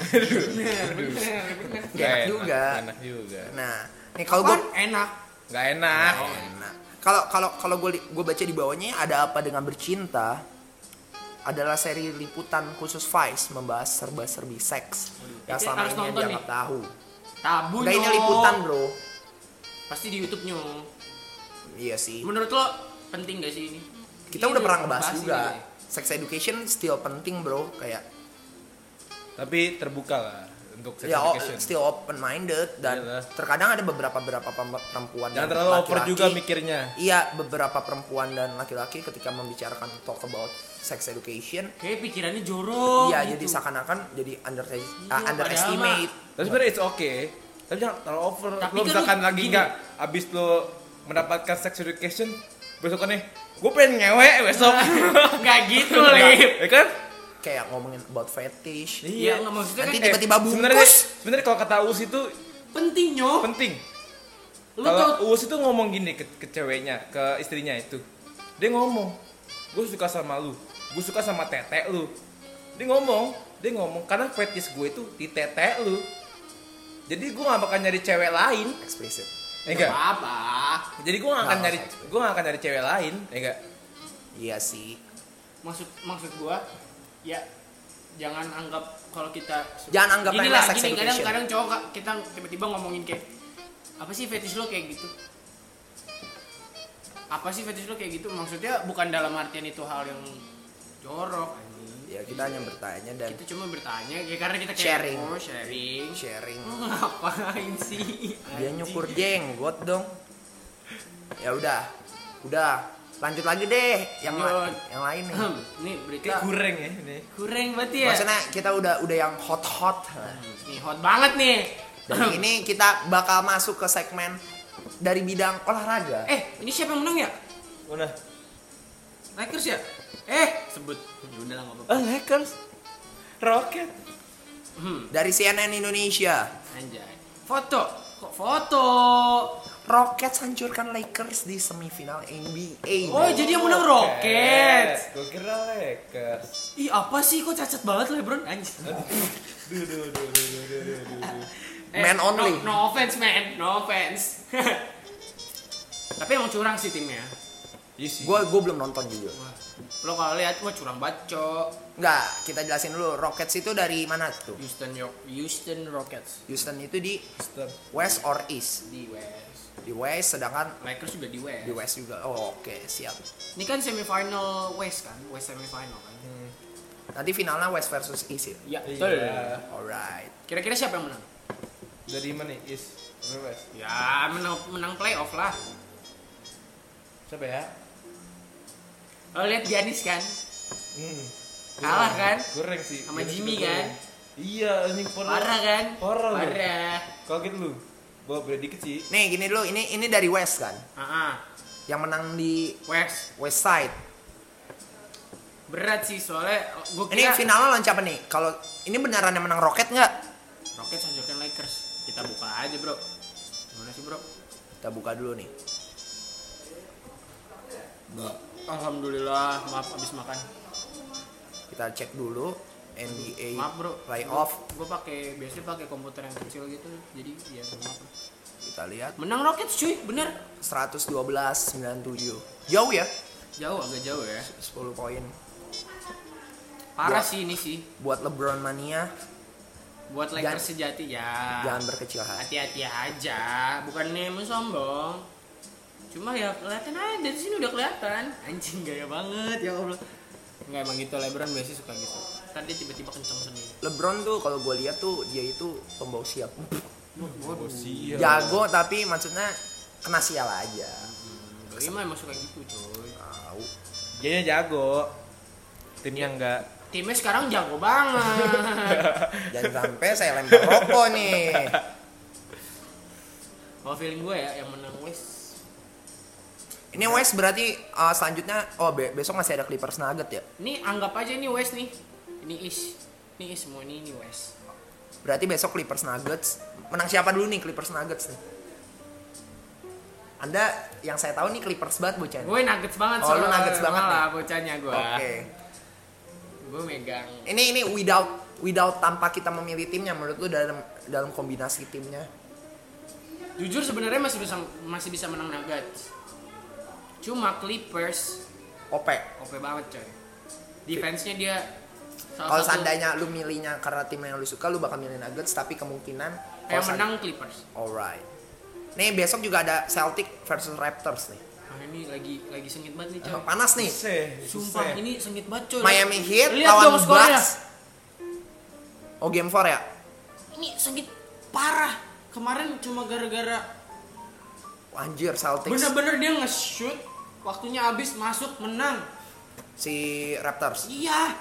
Speaker 3: Bener, bener, bener.
Speaker 2: Gak enak juga.
Speaker 4: Enak juga.
Speaker 2: nah nih kalau gue
Speaker 3: Kan enak.
Speaker 4: Gak enak.
Speaker 3: Oh.
Speaker 2: Nah, kalau kalau kalau gue gue baca di bawahnya ada apa dengan bercinta adalah seri liputan khusus Vice membahas serba-serbi seks yang
Speaker 3: Ini
Speaker 2: selama
Speaker 3: harus
Speaker 2: ini
Speaker 3: nonton
Speaker 2: dianggap
Speaker 3: nih.
Speaker 2: tahu.
Speaker 4: Oh,
Speaker 3: Tabu
Speaker 2: Nah ini
Speaker 3: Nyok.
Speaker 2: liputan bro.
Speaker 3: Pasti di YouTube nyo.
Speaker 2: Iya sih.
Speaker 3: Menurut lo penting gak sih ini?
Speaker 2: Kita
Speaker 3: Ini
Speaker 2: udah pernah ngebahas
Speaker 3: bahas
Speaker 2: juga.
Speaker 3: ini.
Speaker 2: Sex education still penting bro. Kayak
Speaker 4: Tapi terbuka lah untuk sex
Speaker 2: ya oh,
Speaker 4: education.
Speaker 2: still open minded dan
Speaker 4: Iyalah.
Speaker 2: terkadang ada beberapa beberapa pem- perempuan
Speaker 4: Jangan
Speaker 2: dan
Speaker 4: terlalu over
Speaker 2: laki-laki-
Speaker 4: juga mikirnya.
Speaker 2: Iya beberapa perempuan dan laki-laki ketika membicarakan talk about sex education
Speaker 3: Kayak pikirannya jorok.
Speaker 2: Iya,
Speaker 3: gitu.
Speaker 2: jadi seakan-akan jadi under
Speaker 3: Iya,
Speaker 2: ah, underestimate.
Speaker 4: Tapi sebenarnya it's okay. Tapi jangan terlalu over.
Speaker 3: Tapi
Speaker 4: lo
Speaker 3: kan
Speaker 4: misalkan
Speaker 3: lu
Speaker 4: lagi
Speaker 3: gini.
Speaker 4: nggak abis lo mendapatkan sex education besokannya gue pengen ngewe besok.
Speaker 3: Gak gitu, Lip.
Speaker 4: Ya kan?
Speaker 2: Kayak ngomongin about fetish.
Speaker 3: Iya, nggak maksudnya kan
Speaker 2: Nanti
Speaker 4: Eh,
Speaker 2: tiba-tiba
Speaker 4: Sebenarnya
Speaker 2: bungkus.
Speaker 4: sebenarnya kalau kata Uus itu
Speaker 3: penting nyo.
Speaker 4: penting.
Speaker 3: Lu tau
Speaker 4: Kalau Uus itu ngomong gini ke, ke ceweknya, ke istrinya itu. Dia ngomong, gue suka sama lu, gue suka sama tetek lu. Dia ngomong, dia ngomong karena fetish gue itu di tetek lu. Jadi gue gak bakal nyari cewek lain,
Speaker 2: Explicit.
Speaker 4: ya enggak?
Speaker 3: apa?
Speaker 4: Jadi gue gak akan
Speaker 2: Nah,
Speaker 4: nyari,
Speaker 2: maksud
Speaker 4: gue gak akan nyari cewek lain, ya enggak?
Speaker 2: Iya sih.
Speaker 3: Maksud maksud gua ya jangan anggap kalau kita
Speaker 2: Jangan anggap remeh
Speaker 3: Inilah,
Speaker 2: sex
Speaker 3: gini, kadang
Speaker 2: education.
Speaker 3: kadang cowok ka- kita tiba-tiba ngomongin kayak apa sih fetish lo kayak gitu apa sih fetish lo kayak gitu maksudnya bukan dalam artian itu hal yang jorok anjing.
Speaker 2: Ya kita hanya bertanya dan
Speaker 3: kita cuma bertanya ya karena kita kayak
Speaker 2: Sharing.
Speaker 3: oh sharing
Speaker 2: sharing.
Speaker 3: Lu ngapain sih
Speaker 2: Dia
Speaker 3: anjing?
Speaker 2: nyukur jenggot dong. Ya udah. Udah. Lanjut lagi deh yang la-
Speaker 3: Lanjut.
Speaker 2: yang lain nih.
Speaker 3: Ahem, nih berita
Speaker 4: Kayak goreng ya ini.
Speaker 3: kurang berarti ya
Speaker 2: Maksudnya kita udah udah yang hot-hot.
Speaker 3: nih hot banget nih
Speaker 2: Dan ini kita bakal masuk ke segmen dari bidang olahraga.
Speaker 3: eh ini siapa yang menang ya
Speaker 4: Udah.
Speaker 3: Lakers ya? Eh, sebut. Ya udah lah, nggak apa-apa.
Speaker 4: Ah Lakers, Rocket.
Speaker 3: Hmm,
Speaker 2: Dari CNN Indonesia.
Speaker 3: anjay. Foto. Kok foto?
Speaker 2: Rockets hancurkan Lakers di semifinal NBA.
Speaker 3: Oh, jadi yang menang Rockets.
Speaker 4: Gue Eh, kira Lakers.
Speaker 3: Ih, apa sih kok cacat banget LeBron? Anjir.
Speaker 4: Duh, duh, duh, duh, duh, duh, duh, duh.
Speaker 2: Man
Speaker 3: Eh. no-
Speaker 2: only.
Speaker 3: No, offense, man. No offense. Tapi emang curang sih timnya.
Speaker 4: Iya sih.
Speaker 2: Gue gue belum nonton jujur.
Speaker 3: Wah, Lo kalau lihat wah curang banget, Cok.
Speaker 2: Enggak, kita jelasin dulu. Rockets itu dari mana tuh?
Speaker 3: Houston York, Houston Rockets
Speaker 2: Houston itu di
Speaker 4: Mister.
Speaker 2: West or East?
Speaker 3: di West.
Speaker 2: Di West, sedangkan
Speaker 3: Lakers juga di West.
Speaker 2: di West juga. Oh, Oke, siap.
Speaker 3: Ini kan semifinal West kan? West semifinal kan?
Speaker 2: Nanti finalnya West versus East ya?
Speaker 3: Iya, betul.
Speaker 4: Iya.
Speaker 2: Alright.
Speaker 3: Kira-kira siapa yang menang?
Speaker 4: Dari mana nih? Is. Dari West.
Speaker 3: Ya, menang menang playoff lah.
Speaker 4: Siapa ya?
Speaker 3: Lo lihat Giannis kan?
Speaker 4: Hmm.
Speaker 3: Kalah kan?
Speaker 4: Goreng sih.
Speaker 3: Sama
Speaker 4: Goreng
Speaker 3: Jimmy
Speaker 4: sih,
Speaker 3: kan?
Speaker 4: goreng. Iya, anjing parah.
Speaker 3: Parah kan?
Speaker 4: Parah. lu.
Speaker 3: Parah.
Speaker 4: Kaget gitu lu. Gua beda dikit sih.
Speaker 2: Nih, gini dulu. Ini ini dari West kan?
Speaker 3: Ah, ah.
Speaker 2: Yang menang di
Speaker 3: West.
Speaker 2: West Side.
Speaker 3: Berat sih soalnya gue
Speaker 2: Ini
Speaker 3: kira
Speaker 2: finalnya lawan siapa nih? Kalau ini beneran yang menang Rocket nggak?
Speaker 3: Rockets hancurkan Lakers. Kita buka aja, Bro. Gimana sih, Bro?
Speaker 2: Kita buka dulu nih.
Speaker 3: Alhamdulillah, maaf abis makan.
Speaker 2: Kita cek dulu NBA
Speaker 3: Maaf, Bro.
Speaker 2: playoff.
Speaker 3: Gue pakai biasanya pakai komputer yang kecil gitu. Jadi ya maaf.
Speaker 2: Kita lihat
Speaker 3: Menang Rockets, cuy. Bener.
Speaker 2: 112-97. Jauh ya?
Speaker 3: Jauh agak jauh ya.
Speaker 2: 10 poin.
Speaker 3: Parah
Speaker 2: Buat-
Speaker 3: sih ini sih.
Speaker 2: Buat LeBron mania,
Speaker 3: Buat Lakers sejati ya.
Speaker 2: jangan berkecil hati.
Speaker 3: Hati-hati aja. Bukannya mau sombong. Cuma ya kelihatan aja dari sini udah kelihatan. Anjing gaya banget ya Allah. Enggak emang gitu LeBron biasanya suka gitu. Tadi tiba-tiba kenceng sendiri.
Speaker 2: LeBron tuh kalau gue lihat tuh dia itu pembawa siap.
Speaker 3: Waduh.
Speaker 4: Iya.
Speaker 2: Jago tapi maksudnya kena sial aja.
Speaker 3: Doi mah emang suka gitu coy
Speaker 2: Tahu.
Speaker 4: Dia jago. Timnya enggak.
Speaker 3: Timnya sekarang jago banget
Speaker 2: Jangan sampai saya lempar rokok nih.
Speaker 3: Kalau feeling gue ya yang menang West
Speaker 2: Ini West berarti uh, selanjutnya oh be- besok masih ada Clippers Nugget ya.
Speaker 3: Ini anggap aja ini West nih Ini is Ini is semua ini, ini West
Speaker 2: Berarti besok Clippers Nuggets menang siapa dulu nih Clippers Nuggets nih? Anda yang saya tahu nih Clippers banget bocah. Oke.
Speaker 3: Gue nuggets banget
Speaker 2: Oh, lu Nuggets banget
Speaker 3: lah bocahnya gue Gue megang
Speaker 2: Ini ini without without tanpa kita memilih timnya menurut lu dalam dalam kombinasi timnya.
Speaker 3: Jujur sebenarnya masih bisa masih bisa menang Nuggets Cuma Clippers
Speaker 2: OP.
Speaker 3: OP banget coy Defense-nya dia salah
Speaker 2: Kalau
Speaker 3: satu-
Speaker 2: seandainya lu milihnya karena tim yang lu suka lu bakal milih Nuggets tapi kemungkinan
Speaker 3: Yang
Speaker 2: kalau seand-
Speaker 3: menang Clippers
Speaker 2: Alright. Nih besok juga ada Celtic versus Raptors nih.
Speaker 3: Nah ini lagi lagi sengit banget nih coy
Speaker 2: Panas nih.
Speaker 4: Seh,
Speaker 3: Sumpah
Speaker 4: seh.
Speaker 3: ini sengit banget coy
Speaker 2: Miami Heat
Speaker 3: Lihat
Speaker 2: lawan
Speaker 3: dong skornya.
Speaker 2: Bucks. Oh game 4 ya?
Speaker 3: Ini sengit parah Kemarin cuma gara-gara
Speaker 2: Anjir Celtics.
Speaker 3: Bener-bener dia nge-shoot Waktunya habis masuk menang
Speaker 2: Si Raptors.
Speaker 3: Iya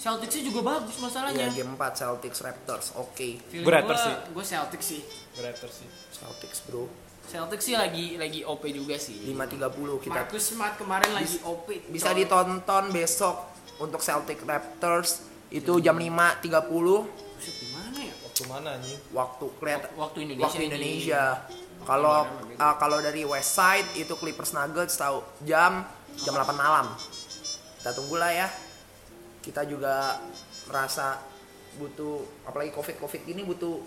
Speaker 3: Celtics juga bagus
Speaker 2: Iya
Speaker 3: masalahnya
Speaker 2: game 4 Celtics Raptors. Oke.
Speaker 3: Feeling
Speaker 4: Berat
Speaker 3: gua-
Speaker 4: sih.
Speaker 3: Gua Celtics sih
Speaker 4: Raptors sih.
Speaker 2: Celtics bro.
Speaker 3: Celtics sih lagi lagi OP juga sih
Speaker 2: 5.30 kita
Speaker 3: Marcus Smart kemarin lagi OP
Speaker 2: bisa
Speaker 3: coy.
Speaker 2: ditonton besok untuk Celtic Raptors itu jam 5.30
Speaker 3: Buset, Gimana ya?
Speaker 4: Waktu mana anjing?
Speaker 2: waktu keliat,
Speaker 3: Waktu Indonesia
Speaker 2: waktu
Speaker 3: ini.
Speaker 2: Indonesia. Kalau uh, kalau dari West Side itu Clippers Nuggets tahu jam jam 8 malam. Kita tunggulah ya. Kita juga merasa butuh apalagi Covid-Covid ini butuh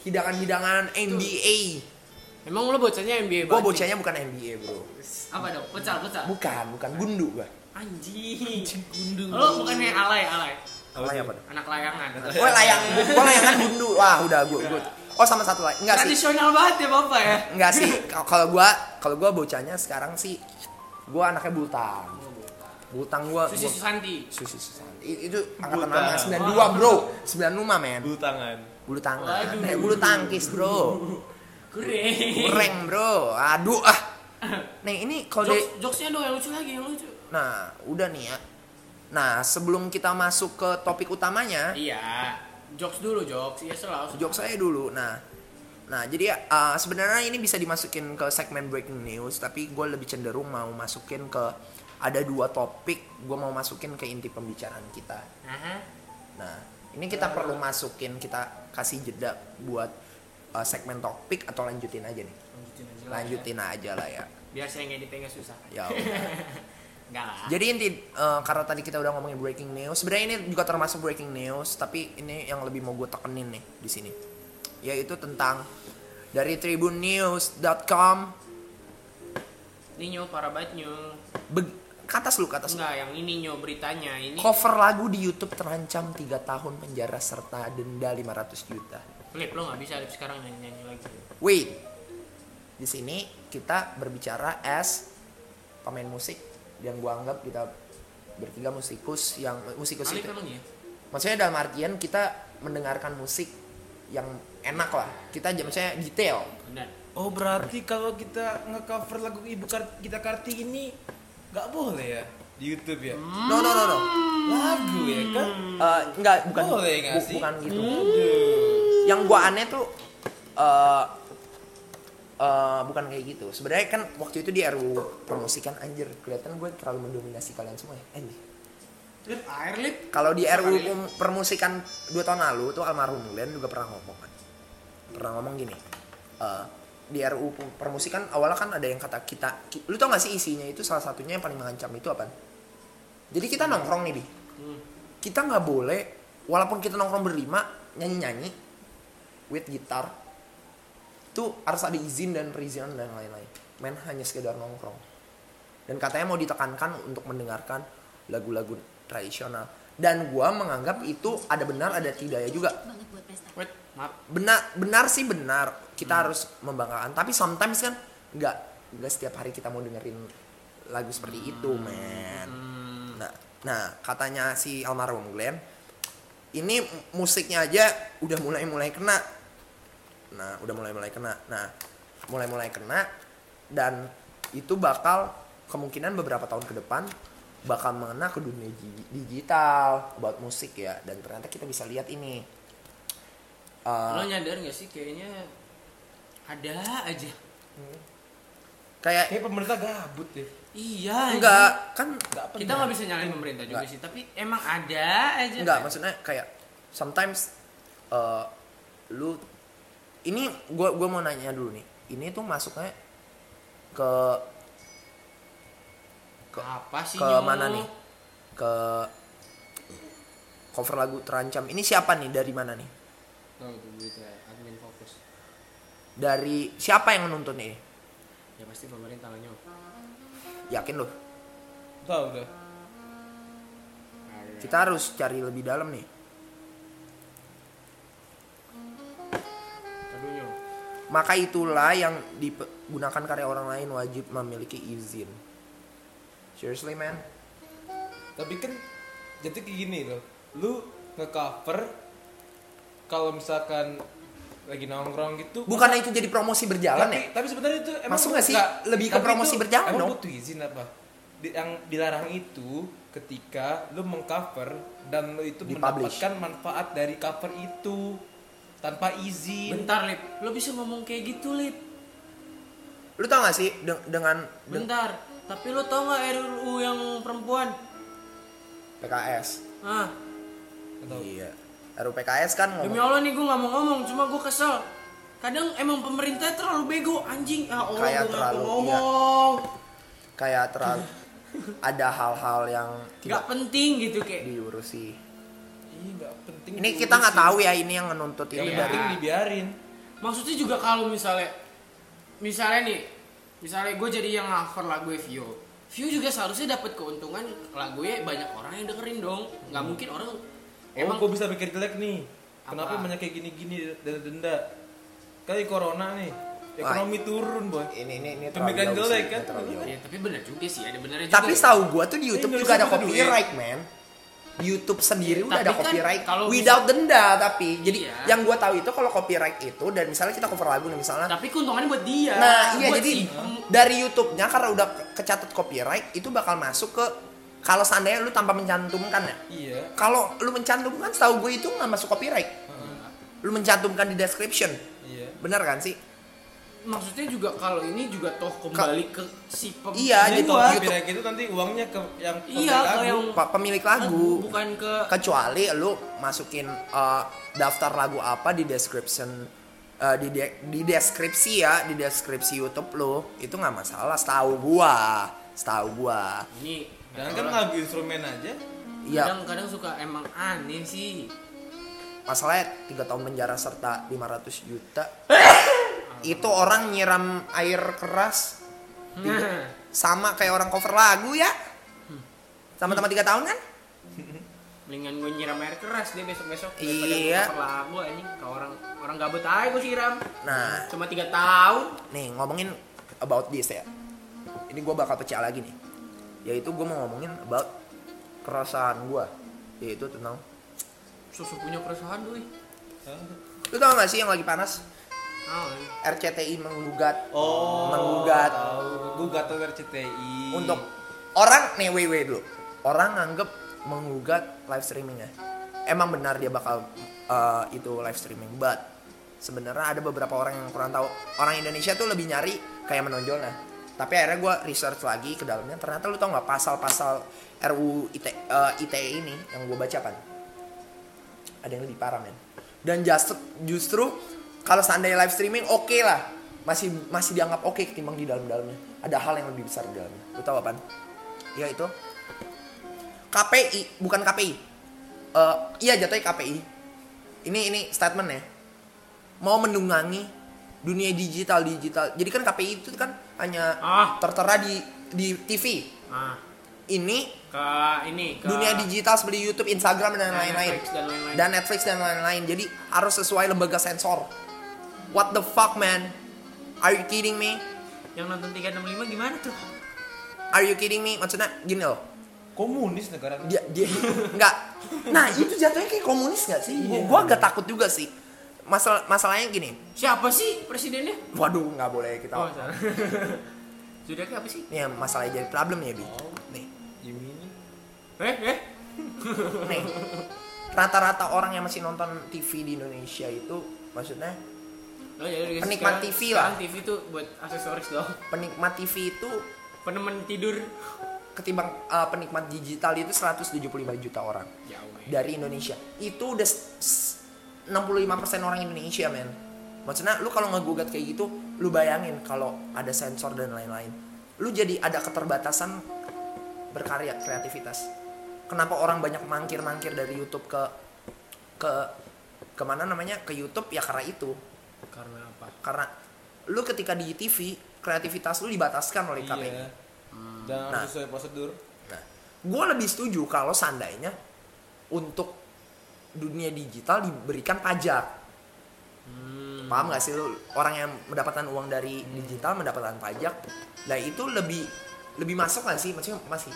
Speaker 2: hidangan-hidangan NBA.
Speaker 3: Emang lo bocahnya NBA
Speaker 2: Gua
Speaker 3: banget nih?
Speaker 2: bocahnya bukan NBA, Bro.
Speaker 3: Apa dong? Pecal, pecal
Speaker 2: Bukan, bukan gundu gua.
Speaker 3: Anjing Lo bukannya alay, alay
Speaker 2: Apa apa? tuh?
Speaker 3: Anak layangan
Speaker 2: Gua layang, gua layangan gundu. Wah, udah gua, gua. Oh, sama satu lagi. Enggak sih.
Speaker 3: Tradisional banget ya bapak ya
Speaker 2: Enggak sih. Kalau- Kalau gua, kalau gua bocahnya sekarang sih gua anaknya bultang. Bultang gua.
Speaker 3: Susi
Speaker 2: gua-
Speaker 3: Susanti
Speaker 2: Susi Susanti. I- Itu angkatan
Speaker 4: Bultang.
Speaker 2: lama 92, Bro. 95, men.
Speaker 4: Bulu tangan.
Speaker 2: Bulu tangan.
Speaker 3: Waduh.
Speaker 2: Eh, bulu tangkis, Bro.
Speaker 3: Keren
Speaker 2: Kureng, Bro. Aduh ah. Nih, ini kalau
Speaker 3: Jokes,
Speaker 2: de-
Speaker 3: jokesnya dong yang lucu lagi yang lucu
Speaker 2: Nah, udah nih ya. Nah, sebelum kita masuk ke topik utamanya,
Speaker 3: Iya Jokes dulu jokes Iya selalu
Speaker 2: jok saya dulu. Nah, nah jadi uh, sebenarnya ini bisa dimasukin ke segmen breaking news, tapi gue lebih cenderung mau masukin ke ada dua topik gue mau masukin ke inti pembicaraan kita.
Speaker 3: Aha.
Speaker 2: Nah, ini kita perlu masukin kita kasih jeda buat uh, segmen topik eh, atau lanjutin aja nih.
Speaker 3: lanjutin aja lah
Speaker 2: lanjutin aja lah ya
Speaker 3: ya. biar saya ngeditnya nggak susah
Speaker 2: ya udah.
Speaker 3: enggak lah
Speaker 2: jadi inti eh, karena tadi kita udah ngomongin breaking news sebenarnya ini juga termasuk breaking news tapi ini yang lebih mau gue tekenin nih di sini yaitu tentang dari tribunnews.com
Speaker 3: ini nyu parah banget nyu
Speaker 2: Be- ke atas lu ke atas lu.
Speaker 3: enggak yang ini nyu beritanya ini
Speaker 2: cover lagu di YouTube terancam 3 tahun penjara serta denda 500 juta
Speaker 3: klip lo nggak bisa lip sekarang nyanyi nyanyi lagi
Speaker 2: wait di sini kita berbicara as pemain musik yang gua anggap kita bertiga musikus yang musikus
Speaker 3: Alif
Speaker 2: itu
Speaker 3: emang ya
Speaker 2: maksudnya dalam artian kita mendengarkan musik yang enak lah kita j- maksudnya detail
Speaker 3: benar
Speaker 4: Oh berarti kalau kita nge-cover lagu ibu Kar- kita kartini nggak boleh ya di YouTube ya?
Speaker 2: no no no no
Speaker 4: Lagu ya kan?
Speaker 2: Eh, enggak bukan
Speaker 4: Boleh nggak
Speaker 2: bu-
Speaker 4: sih? Hmm.
Speaker 2: bukan gitu
Speaker 4: Aduh.
Speaker 2: yang gua aneh tuh eh eh, bukan kayak gitu sebenarnya kan waktu itu di RU promosikan anjir kelihatan gue terlalu mendominasi kalian semua ya anjir
Speaker 3: lip air lip
Speaker 2: kalau di RU
Speaker 3: Kali.
Speaker 2: pem- permusikan dua tahun lalu tuh almarhum Glenn juga pernah ngomong kan pernah ngomong gini eh, di RU pem- permusikan awalnya kan ada yang kata kita ki- lu tau gak sih isinya itu salah satunya yang paling mengancam itu apa jadi kita nongkrong nih di
Speaker 3: Hmm.
Speaker 2: kita nggak boleh walaupun kita nongkrong berlima nyanyi nyanyi with gitar itu harus ada izin dan perizinan dan lain-lain main hanya sekedar nongkrong dan katanya mau ditekankan untuk mendengarkan lagu-lagu tradisional dan gua menganggap itu ada benar ada tidaknya juga
Speaker 5: banget buat pesta.
Speaker 3: wait maaf
Speaker 2: benar benar sih benar kita harus membanggakan tapi sometimes kan nggak nggak setiap hari kita mau dengerin lagu seperti itu men nah nah katanya si almarhum Glenn ini mu- musiknya aja udah mulai mulai kena nah udah mulai mulai kena nah mulai mulai kena dan itu bakal kemungkinan beberapa tahun ke depan bakal mengena ke dunia di- digital buat musik ya dan ternyata kita bisa lihat ini Eh,
Speaker 3: lo nyadar nggak sih kayaknya ada aja
Speaker 2: kayak
Speaker 4: Kayak pemerintah gabut ya.
Speaker 3: iya
Speaker 2: enggak kan
Speaker 3: anjing. kita nggak bisa ya. nyalain pemerintah juga
Speaker 2: Nggak.
Speaker 3: sih tapi emang ada aja
Speaker 2: enggak maksudnya kayak sometimes eh, lu ini gua gua mau nanya dulu nih ini tuh masuknya ke ke-
Speaker 3: apa sih
Speaker 2: ke
Speaker 3: Nyu?
Speaker 2: mana nih ke cover lagu terancam ini siapa nih dari mana nih
Speaker 3: Tuh, itu berita admin fokus
Speaker 2: dari siapa yang menuntut ini
Speaker 3: ya pasti pemerintah lah Nyu.
Speaker 2: yakin loh
Speaker 4: Tahu udah.
Speaker 3: Ada.
Speaker 2: kita harus cari lebih dalam nih
Speaker 3: Aduh, Nyu.
Speaker 2: Maka itulah yang digunakan karya orang lain wajib memiliki izin. Seriously man?
Speaker 4: Tapi kan jadi kayak gini loh. Lu nge-cover kalau misalkan lagi nongkrong gitu.
Speaker 2: Bukannya itu jadi promosi berjalan
Speaker 4: tapi,
Speaker 2: ya?
Speaker 4: tapi sebenarnya itu emang
Speaker 2: Masuk nggak sih?
Speaker 4: nggak-
Speaker 2: Lebih ke
Speaker 4: tapi
Speaker 2: promosi
Speaker 4: itu
Speaker 2: berjalan
Speaker 4: emang
Speaker 2: dong.
Speaker 4: butuh izin apa? Di- yang dilarang itu ketika lu mengcover dan lu itu
Speaker 2: Dipublish.
Speaker 4: mendapatkan manfaat dari cover itu tanpa izin.
Speaker 3: bentar lip lo bisa ngomong kayak gitu lip
Speaker 2: Lu tau gak sih deng- dengan deng-
Speaker 3: bentar tapi lo tau nggak RUU yang perempuan
Speaker 2: PKS?
Speaker 3: ah
Speaker 4: Atau
Speaker 2: Iya. RUU PKS kan
Speaker 3: Demi
Speaker 2: ngomong
Speaker 3: Allah nih gue gak mau ngomong, cuma gue kesel. Kadang emang pemerintah terlalu bego, anjing. Ya Allah,
Speaker 2: Kayak
Speaker 3: gue gak
Speaker 2: terlalu,
Speaker 3: mau
Speaker 2: iya.
Speaker 3: ngomong.
Speaker 2: kayak terlalu ada hal-hal yang
Speaker 3: Gak
Speaker 2: tidak
Speaker 3: penting gitu kayak.
Speaker 2: diurusi.
Speaker 4: Iya, nggak penting.
Speaker 2: Ini kita nggak tahu ya ini yang menuntut
Speaker 4: Yang
Speaker 2: ini
Speaker 3: Iya.
Speaker 2: dari
Speaker 4: penting dibiarin.
Speaker 3: Maksudnya juga kalau misalnya, misalnya nih, misalnya gue jadi yang cover lagu Vio. Vio juga seharusnya dapat keuntungan lagunya banyak orang yang dengerin dong. Gak mungkin orang emang
Speaker 4: Emang gue bisa mikir jelek nih. Kenapa
Speaker 3: Apa?
Speaker 4: banyak kayak gini-gini denda denda? Kali corona nih, ekonomi turun boy.
Speaker 2: ini ini ini terlalu
Speaker 4: Pemikiran
Speaker 2: jauh
Speaker 4: jelek
Speaker 2: sih,
Speaker 4: kan?
Speaker 2: ini terlalu jauh.
Speaker 3: Ya, tapi bener juga sih, ada benernya juga.
Speaker 2: Tapi tahu gua tuh di YouTube
Speaker 4: Ini
Speaker 2: juga ada
Speaker 4: harus ada duit.
Speaker 2: copyright, man. Di YouTube sendiri
Speaker 3: Iya,
Speaker 2: udah
Speaker 3: tapi
Speaker 2: ada
Speaker 3: kan
Speaker 2: copyright
Speaker 3: kalau
Speaker 2: without denda tapi. Jadi
Speaker 3: Iya.
Speaker 2: yang gua tahu itu kalau copyright itu dan misalnya kita cover lagu nih misalnya.
Speaker 3: Tapi keuntungannya buat dia.
Speaker 2: nah, iya
Speaker 3: buat
Speaker 2: jadi
Speaker 3: si pem-
Speaker 2: dari YouTube-nya karena udah ke- kecatat copyright itu bakal masuk ke kalau seandainya lu tanpa mencantumkan ya.
Speaker 4: Iya.
Speaker 2: Kalau lu mencantumkan tahu gue itu nggak masuk copyright. Lu mencantumkan di description.
Speaker 4: Iya.
Speaker 2: Bener kan sih?
Speaker 3: maksudnya juga kalau ini juga toh kembali ke si pem-
Speaker 2: Iya,
Speaker 4: Nah,
Speaker 2: jadi
Speaker 4: itu
Speaker 2: YouTube-
Speaker 4: akhirnya gitu nanti uangnya ke yang
Speaker 3: Iya,
Speaker 4: pemilik
Speaker 3: ke
Speaker 4: lagu.
Speaker 3: yang
Speaker 2: Pa- Pemilik lagu.
Speaker 3: bukan ke
Speaker 2: eh, kecuali lu masukin uh, daftar lagu apa di description eh, di de- di deskripsi ya, di deskripsi YouTube lo itu nggak masalah. Setahu gua, setahu gua.
Speaker 3: Ini
Speaker 4: Jangan kan lagu instrumen aja.
Speaker 2: Iya,
Speaker 3: kadang-kadang suka emang aneh sih.
Speaker 2: masalahnya tiga tahun penjara serta 500 juta. itu orang nyiram air keras Iya.
Speaker 3: Nah,
Speaker 2: sama kayak orang cover lagu ya. Sama-sama tiga tahun kan?
Speaker 3: mendingan gue nyiram air keras deh besok-besok daripada
Speaker 2: Iya.
Speaker 3: gua cover lagu anjing ke orang orang gabut aja gue siram.
Speaker 2: Nah,
Speaker 3: Cuma tiga tahun.
Speaker 2: nih ngomongin about this ya ini gue bakal pecah lagi nih yaitu gue mau ngomongin about keresahan gue yaitu tentang
Speaker 3: Susu punya keresahan gue.
Speaker 2: lu tau gak sih yang lagi panas
Speaker 3: Ah, iya.
Speaker 2: RCTI menggugat
Speaker 4: Oh.
Speaker 2: Menggugat.
Speaker 4: Tahu. Gugat tuh RCTI.
Speaker 2: untuk orang nih wait wait dulu orang nganggep menggugat live streamingnya emang benar dia bakal uh, itu live streaming but sebenarnya ada beberapa orang yang kurang tahu orang Indonesia tuh lebih nyari kayak menonjolnya tapi akhirnya gue research lagi ke dalamnya ternyata lu tau nggak pasal-pasal RUU IT, uh, ITE ini yang gue baca kan ada yang lebih parah men dan justru justru kalau seandainya live streaming oke lah masih masih dianggap oke ketimbang di dalam dalamnya ada hal yang lebih besar di dalamnya lu tahu apaan ya itu KPI bukan KPI Eh, iya jatuhnya KPI ini ini statement ya mau mendungangi dunia digital digital jadi kan KPI itu kan hanya
Speaker 3: Ah.
Speaker 2: tertera di di TV
Speaker 3: Ah,
Speaker 2: ini
Speaker 3: ke ini ke
Speaker 2: dunia digital seperti YouTube, Instagram dan
Speaker 3: Dan
Speaker 2: lain-lain.
Speaker 3: Netflix dan lain-lain.
Speaker 2: Dan Netflix dan lain-lain. Jadi harus sesuai lembaga sensor. What the fuck man? Are you kidding me?
Speaker 3: yang nonton 365 gimana tuh?
Speaker 2: Are you kidding me? Maksudnya gini loh.
Speaker 4: komunis negara kita.
Speaker 2: Dia dia enggak. Nah, itu jatuhnya kayak komunis gak sih? Gua, gua agak takut juga sih. Masalah masalahnya gini.
Speaker 3: Siapa sih presidennya?
Speaker 2: Waduh, nggak boleh kita.
Speaker 3: Oh, salah. Sudah apa sih?
Speaker 2: Nih, masalahnya jadi problem ya, Bi. Nih.
Speaker 4: Jimmy.
Speaker 3: Eh, eh.
Speaker 2: nih rata-rata orang yang masih nonton TV di Indonesia itu maksudnya
Speaker 3: Oh, jadi guys,
Speaker 2: Penikmat
Speaker 3: sekarang-
Speaker 2: TV lah.
Speaker 3: sekarang TV tuh buat aksesoris dong.
Speaker 2: penikmat TV itu
Speaker 3: Penemen tidur.
Speaker 2: ketimbang uh, penikmat digital itu 175 juta orang
Speaker 3: Jauh. ya.
Speaker 2: dari Indonesia. Itu udah s- s- 65% orang Indonesia, men. Maksudnya lu kalau ngegugat kayak gitu, lu bayangin kalau ada sensor dan lain-lain. Lu jadi ada keterbatasan berkarya kreativitas. Kenapa orang banyak mangkir-mangkir dari YouTube ke ke kemana namanya ke YouTube ya karena itu
Speaker 3: Karena apa?
Speaker 2: karena lu ketika di TV kreativitas lu dibataskan oleh KPI
Speaker 4: Iya. Dan
Speaker 2: Nah.
Speaker 4: sesuai prosedur.
Speaker 2: Nah, gue lebih setuju kalau seandainya untuk dunia digital diberikan pajak. Paham gak sih lu? Orang yang mendapatkan uang dari digital mendapatkan pajak. Nah itu lebih lebih masuk gak sih? Maksudnya masih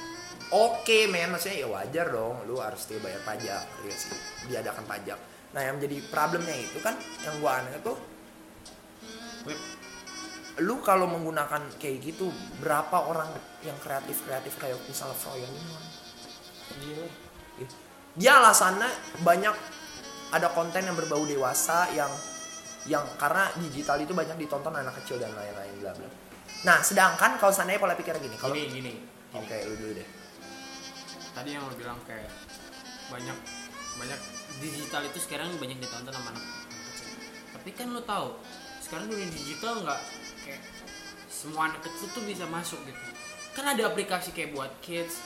Speaker 2: oke men. Maksudnya ya wajar dong. Lu harus dia bayar pajak. Iya sih. Diadakan pajak. Nah yang menjadi problemnya itu kan yang gue aneh tuh lu kalau menggunakan kayak gitu berapa orang yang kreatif kreatif kayak misalnya Froyo Nino,
Speaker 4: Iya.
Speaker 2: dia alasannya banyak ada konten yang berbau dewasa yang yang karena digital itu banyak ditonton anak kecil dan lain-lain bla bla. Nah, sedangkan kalau seandainya pola pikir gini, kalau
Speaker 3: Gini,
Speaker 2: oke
Speaker 3: gini. Gini.
Speaker 2: lu dulu deh.
Speaker 3: Tadi yang lo bilang kayak banyak banyak digital itu sekarang banyak ditonton sama anak kecil. Tapi kan lo tahu, sekarang dunia digital nggak kayak semua anak kecil tuh bisa masuk gitu. Kan ada aplikasi kayak buat kids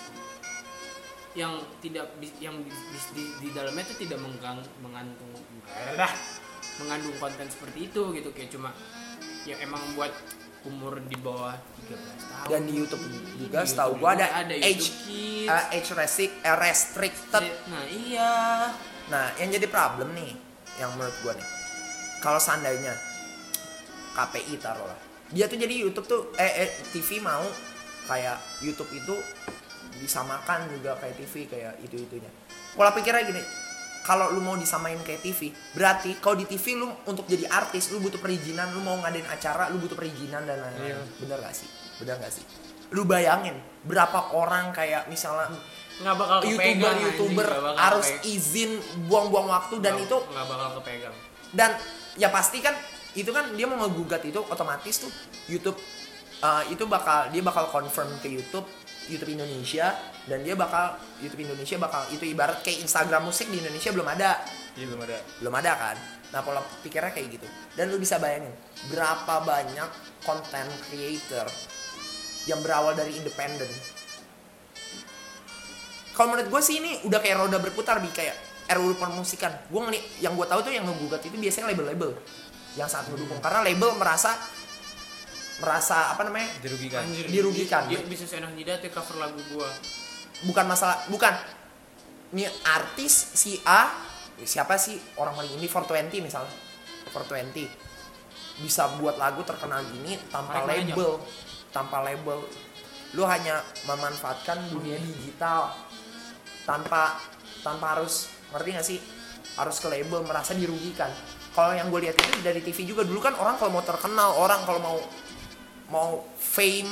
Speaker 3: yang tidak bi- yang di, di- di- di dalamnya tuh tidak menggang, mengantung mengandung konten seperti itu gitu kayak cuma ya emang buat umur di bawah 13 tahun
Speaker 2: Dan di YouTube juga
Speaker 3: Di
Speaker 2: setahu
Speaker 3: YouTube
Speaker 2: gua
Speaker 3: juga
Speaker 2: ada, age
Speaker 3: YouTube Kids.
Speaker 2: eh, age restrict, eh, restricted.
Speaker 3: Nah iya.
Speaker 2: Nah, yang jadi problem nih yang menurut gua nih. Kalau seandainya KPI taruhlah. Dia tuh jadi YouTube tuh eh, eh, TV mau kayak YouTube itu disamakan juga kayak TV kayak itu-itunya. Pola pikirnya gini, kalau lu mau disamain kayak TV, berarti kalau di TV lu untuk jadi artis lu butuh perizinan, lu mau ngadain acara lu butuh perizinan dan lain-lain. Bener gak sih? Bener gak sih? Lu bayangin berapa orang kayak misalnya
Speaker 3: Nggak bakal kepegang.
Speaker 2: youtuber
Speaker 3: anjing,
Speaker 2: youtuber
Speaker 3: nggak bakal
Speaker 2: harus
Speaker 3: kepegang.
Speaker 2: izin buang-buang waktu dan
Speaker 3: Nggak-
Speaker 2: itu
Speaker 3: nggak bakal kepegang.
Speaker 2: dan ya pasti kan itu kan dia mau ngegugat itu otomatis tuh YouTube eh, itu bakal dia bakal confirm ke YouTube YouTube Indonesia dan dia bakal YouTube Indonesia bakal itu ibarat kayak Instagram musik di Indonesia belum ada
Speaker 4: Iya belum ada.
Speaker 2: belum ada kan nah pola pikirnya kayak gitu dan lu bisa bayangin berapa banyak content creator yang berawal dari independen kalau menurut gue sih ini udah kayak roda berputar bi kayak RUU permusikan gue ngeli yang gue tahu tuh yang ngegugat itu biasanya label-label yang saat mendukung karena label merasa merasa apa namanya
Speaker 4: Dirugikan.
Speaker 3: Anjir,
Speaker 2: Dirugikan.
Speaker 3: Dia bisa seenak jidat ya cover lagu gua.
Speaker 2: bukan masalah bukan ini artis si A ya siapa sih orang paling ini 420 misalnya 420 bisa buat lagu terkenal gini tanpa
Speaker 3: Mereka aja.
Speaker 2: label tanpa label lu hanya memanfaatkan dunia digital tanpa tanpa harus ngerti gak sih harus ke label merasa dirugikan kalau yang gue lihat itu dari TV juga dulu kan orang kalau mau terkenal orang kalau mau mau fame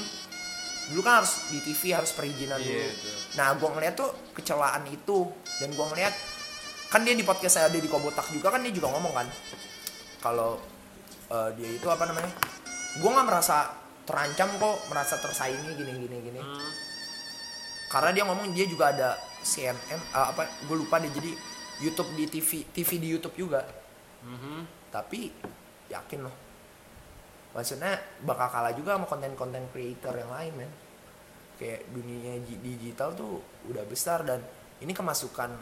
Speaker 2: dulu kan harus di TV harus perizinan dulu
Speaker 4: Iya, betul.
Speaker 2: nah gue ngeliat tuh kecelaan itu dan gue ngeliat kan dia di podcast saya ada di Kobotak juga kan dia juga ngomong kan kalau eh, dia itu apa namanya gue nggak merasa terancam kok merasa tersaingi gini gini gini
Speaker 3: Hmm.
Speaker 2: karena dia ngomong dia juga ada CNN eh, apa gue lupa deh jadi YouTube di TV TV di YouTube juga
Speaker 3: Mhm.
Speaker 2: tapi yakin loh maksudnya bakal kalah juga sama konten-konten creator yang lain men kayak dunia ji- digital tuh udah besar dan ini kemasukan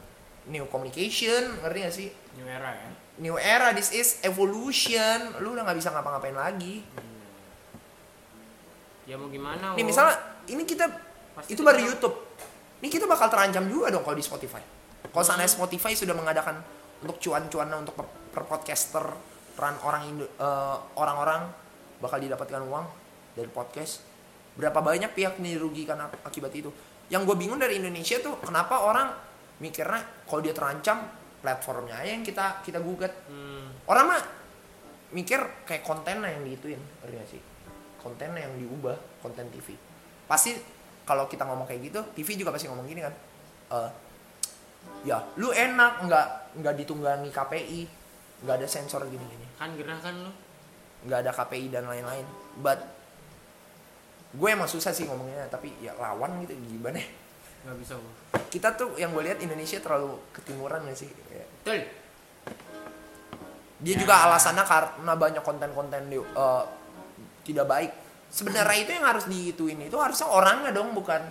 Speaker 2: new communication ngerti gak sih
Speaker 3: New era ya.
Speaker 2: new era this is evolution lu udah nggak bisa ngapa-ngapain lagi
Speaker 3: Ya mau gimana?
Speaker 2: nih
Speaker 3: Wo?
Speaker 2: misalnya ini kita
Speaker 3: Pasti
Speaker 2: itu
Speaker 3: kita-
Speaker 2: baru YouTube ini kita bakal terancam juga dong kalau di Spotify kalau
Speaker 3: Hmm.
Speaker 2: seandainya Spotify sudah mengadakan untuk cuan-cuannya untuk per, per podcaster peran orang Indo- eh, orang-orang bakal didapatkan uang dari podcast berapa banyak pihak yang dirugikan ak- akibat itu yang gue bingung dari Indonesia tuh kenapa orang mikirnya kalau dia terancam platformnya aja yang kita kita gugat
Speaker 3: Hmm.
Speaker 2: orang mah mikir kayak kontennya yang diituin ngerti gak sih kontennya yang diubah konten TV pasti kalau kita ngomong kayak gitu TV juga pasti ngomong gini kan Eh ya lu enak nggak nggak ditunggangi KPI nggak ada sensor gini gini
Speaker 3: Kan gerah kan lu.
Speaker 2: nggak ada KPI dan lain-lain but gue emang susah sih ngomongnya tapi ya lawan gitu gimana ya.
Speaker 3: Gak bisa gua.
Speaker 2: kita tuh yang gue lihat Indonesia terlalu ketimuran gak sih Ya,
Speaker 3: Betul.
Speaker 2: dia
Speaker 3: Ya.
Speaker 2: juga alasannya karena banyak konten-konten di- eh, tidak baik sebenarnya itu yang harus diituin itu harusnya orangnya dong bukan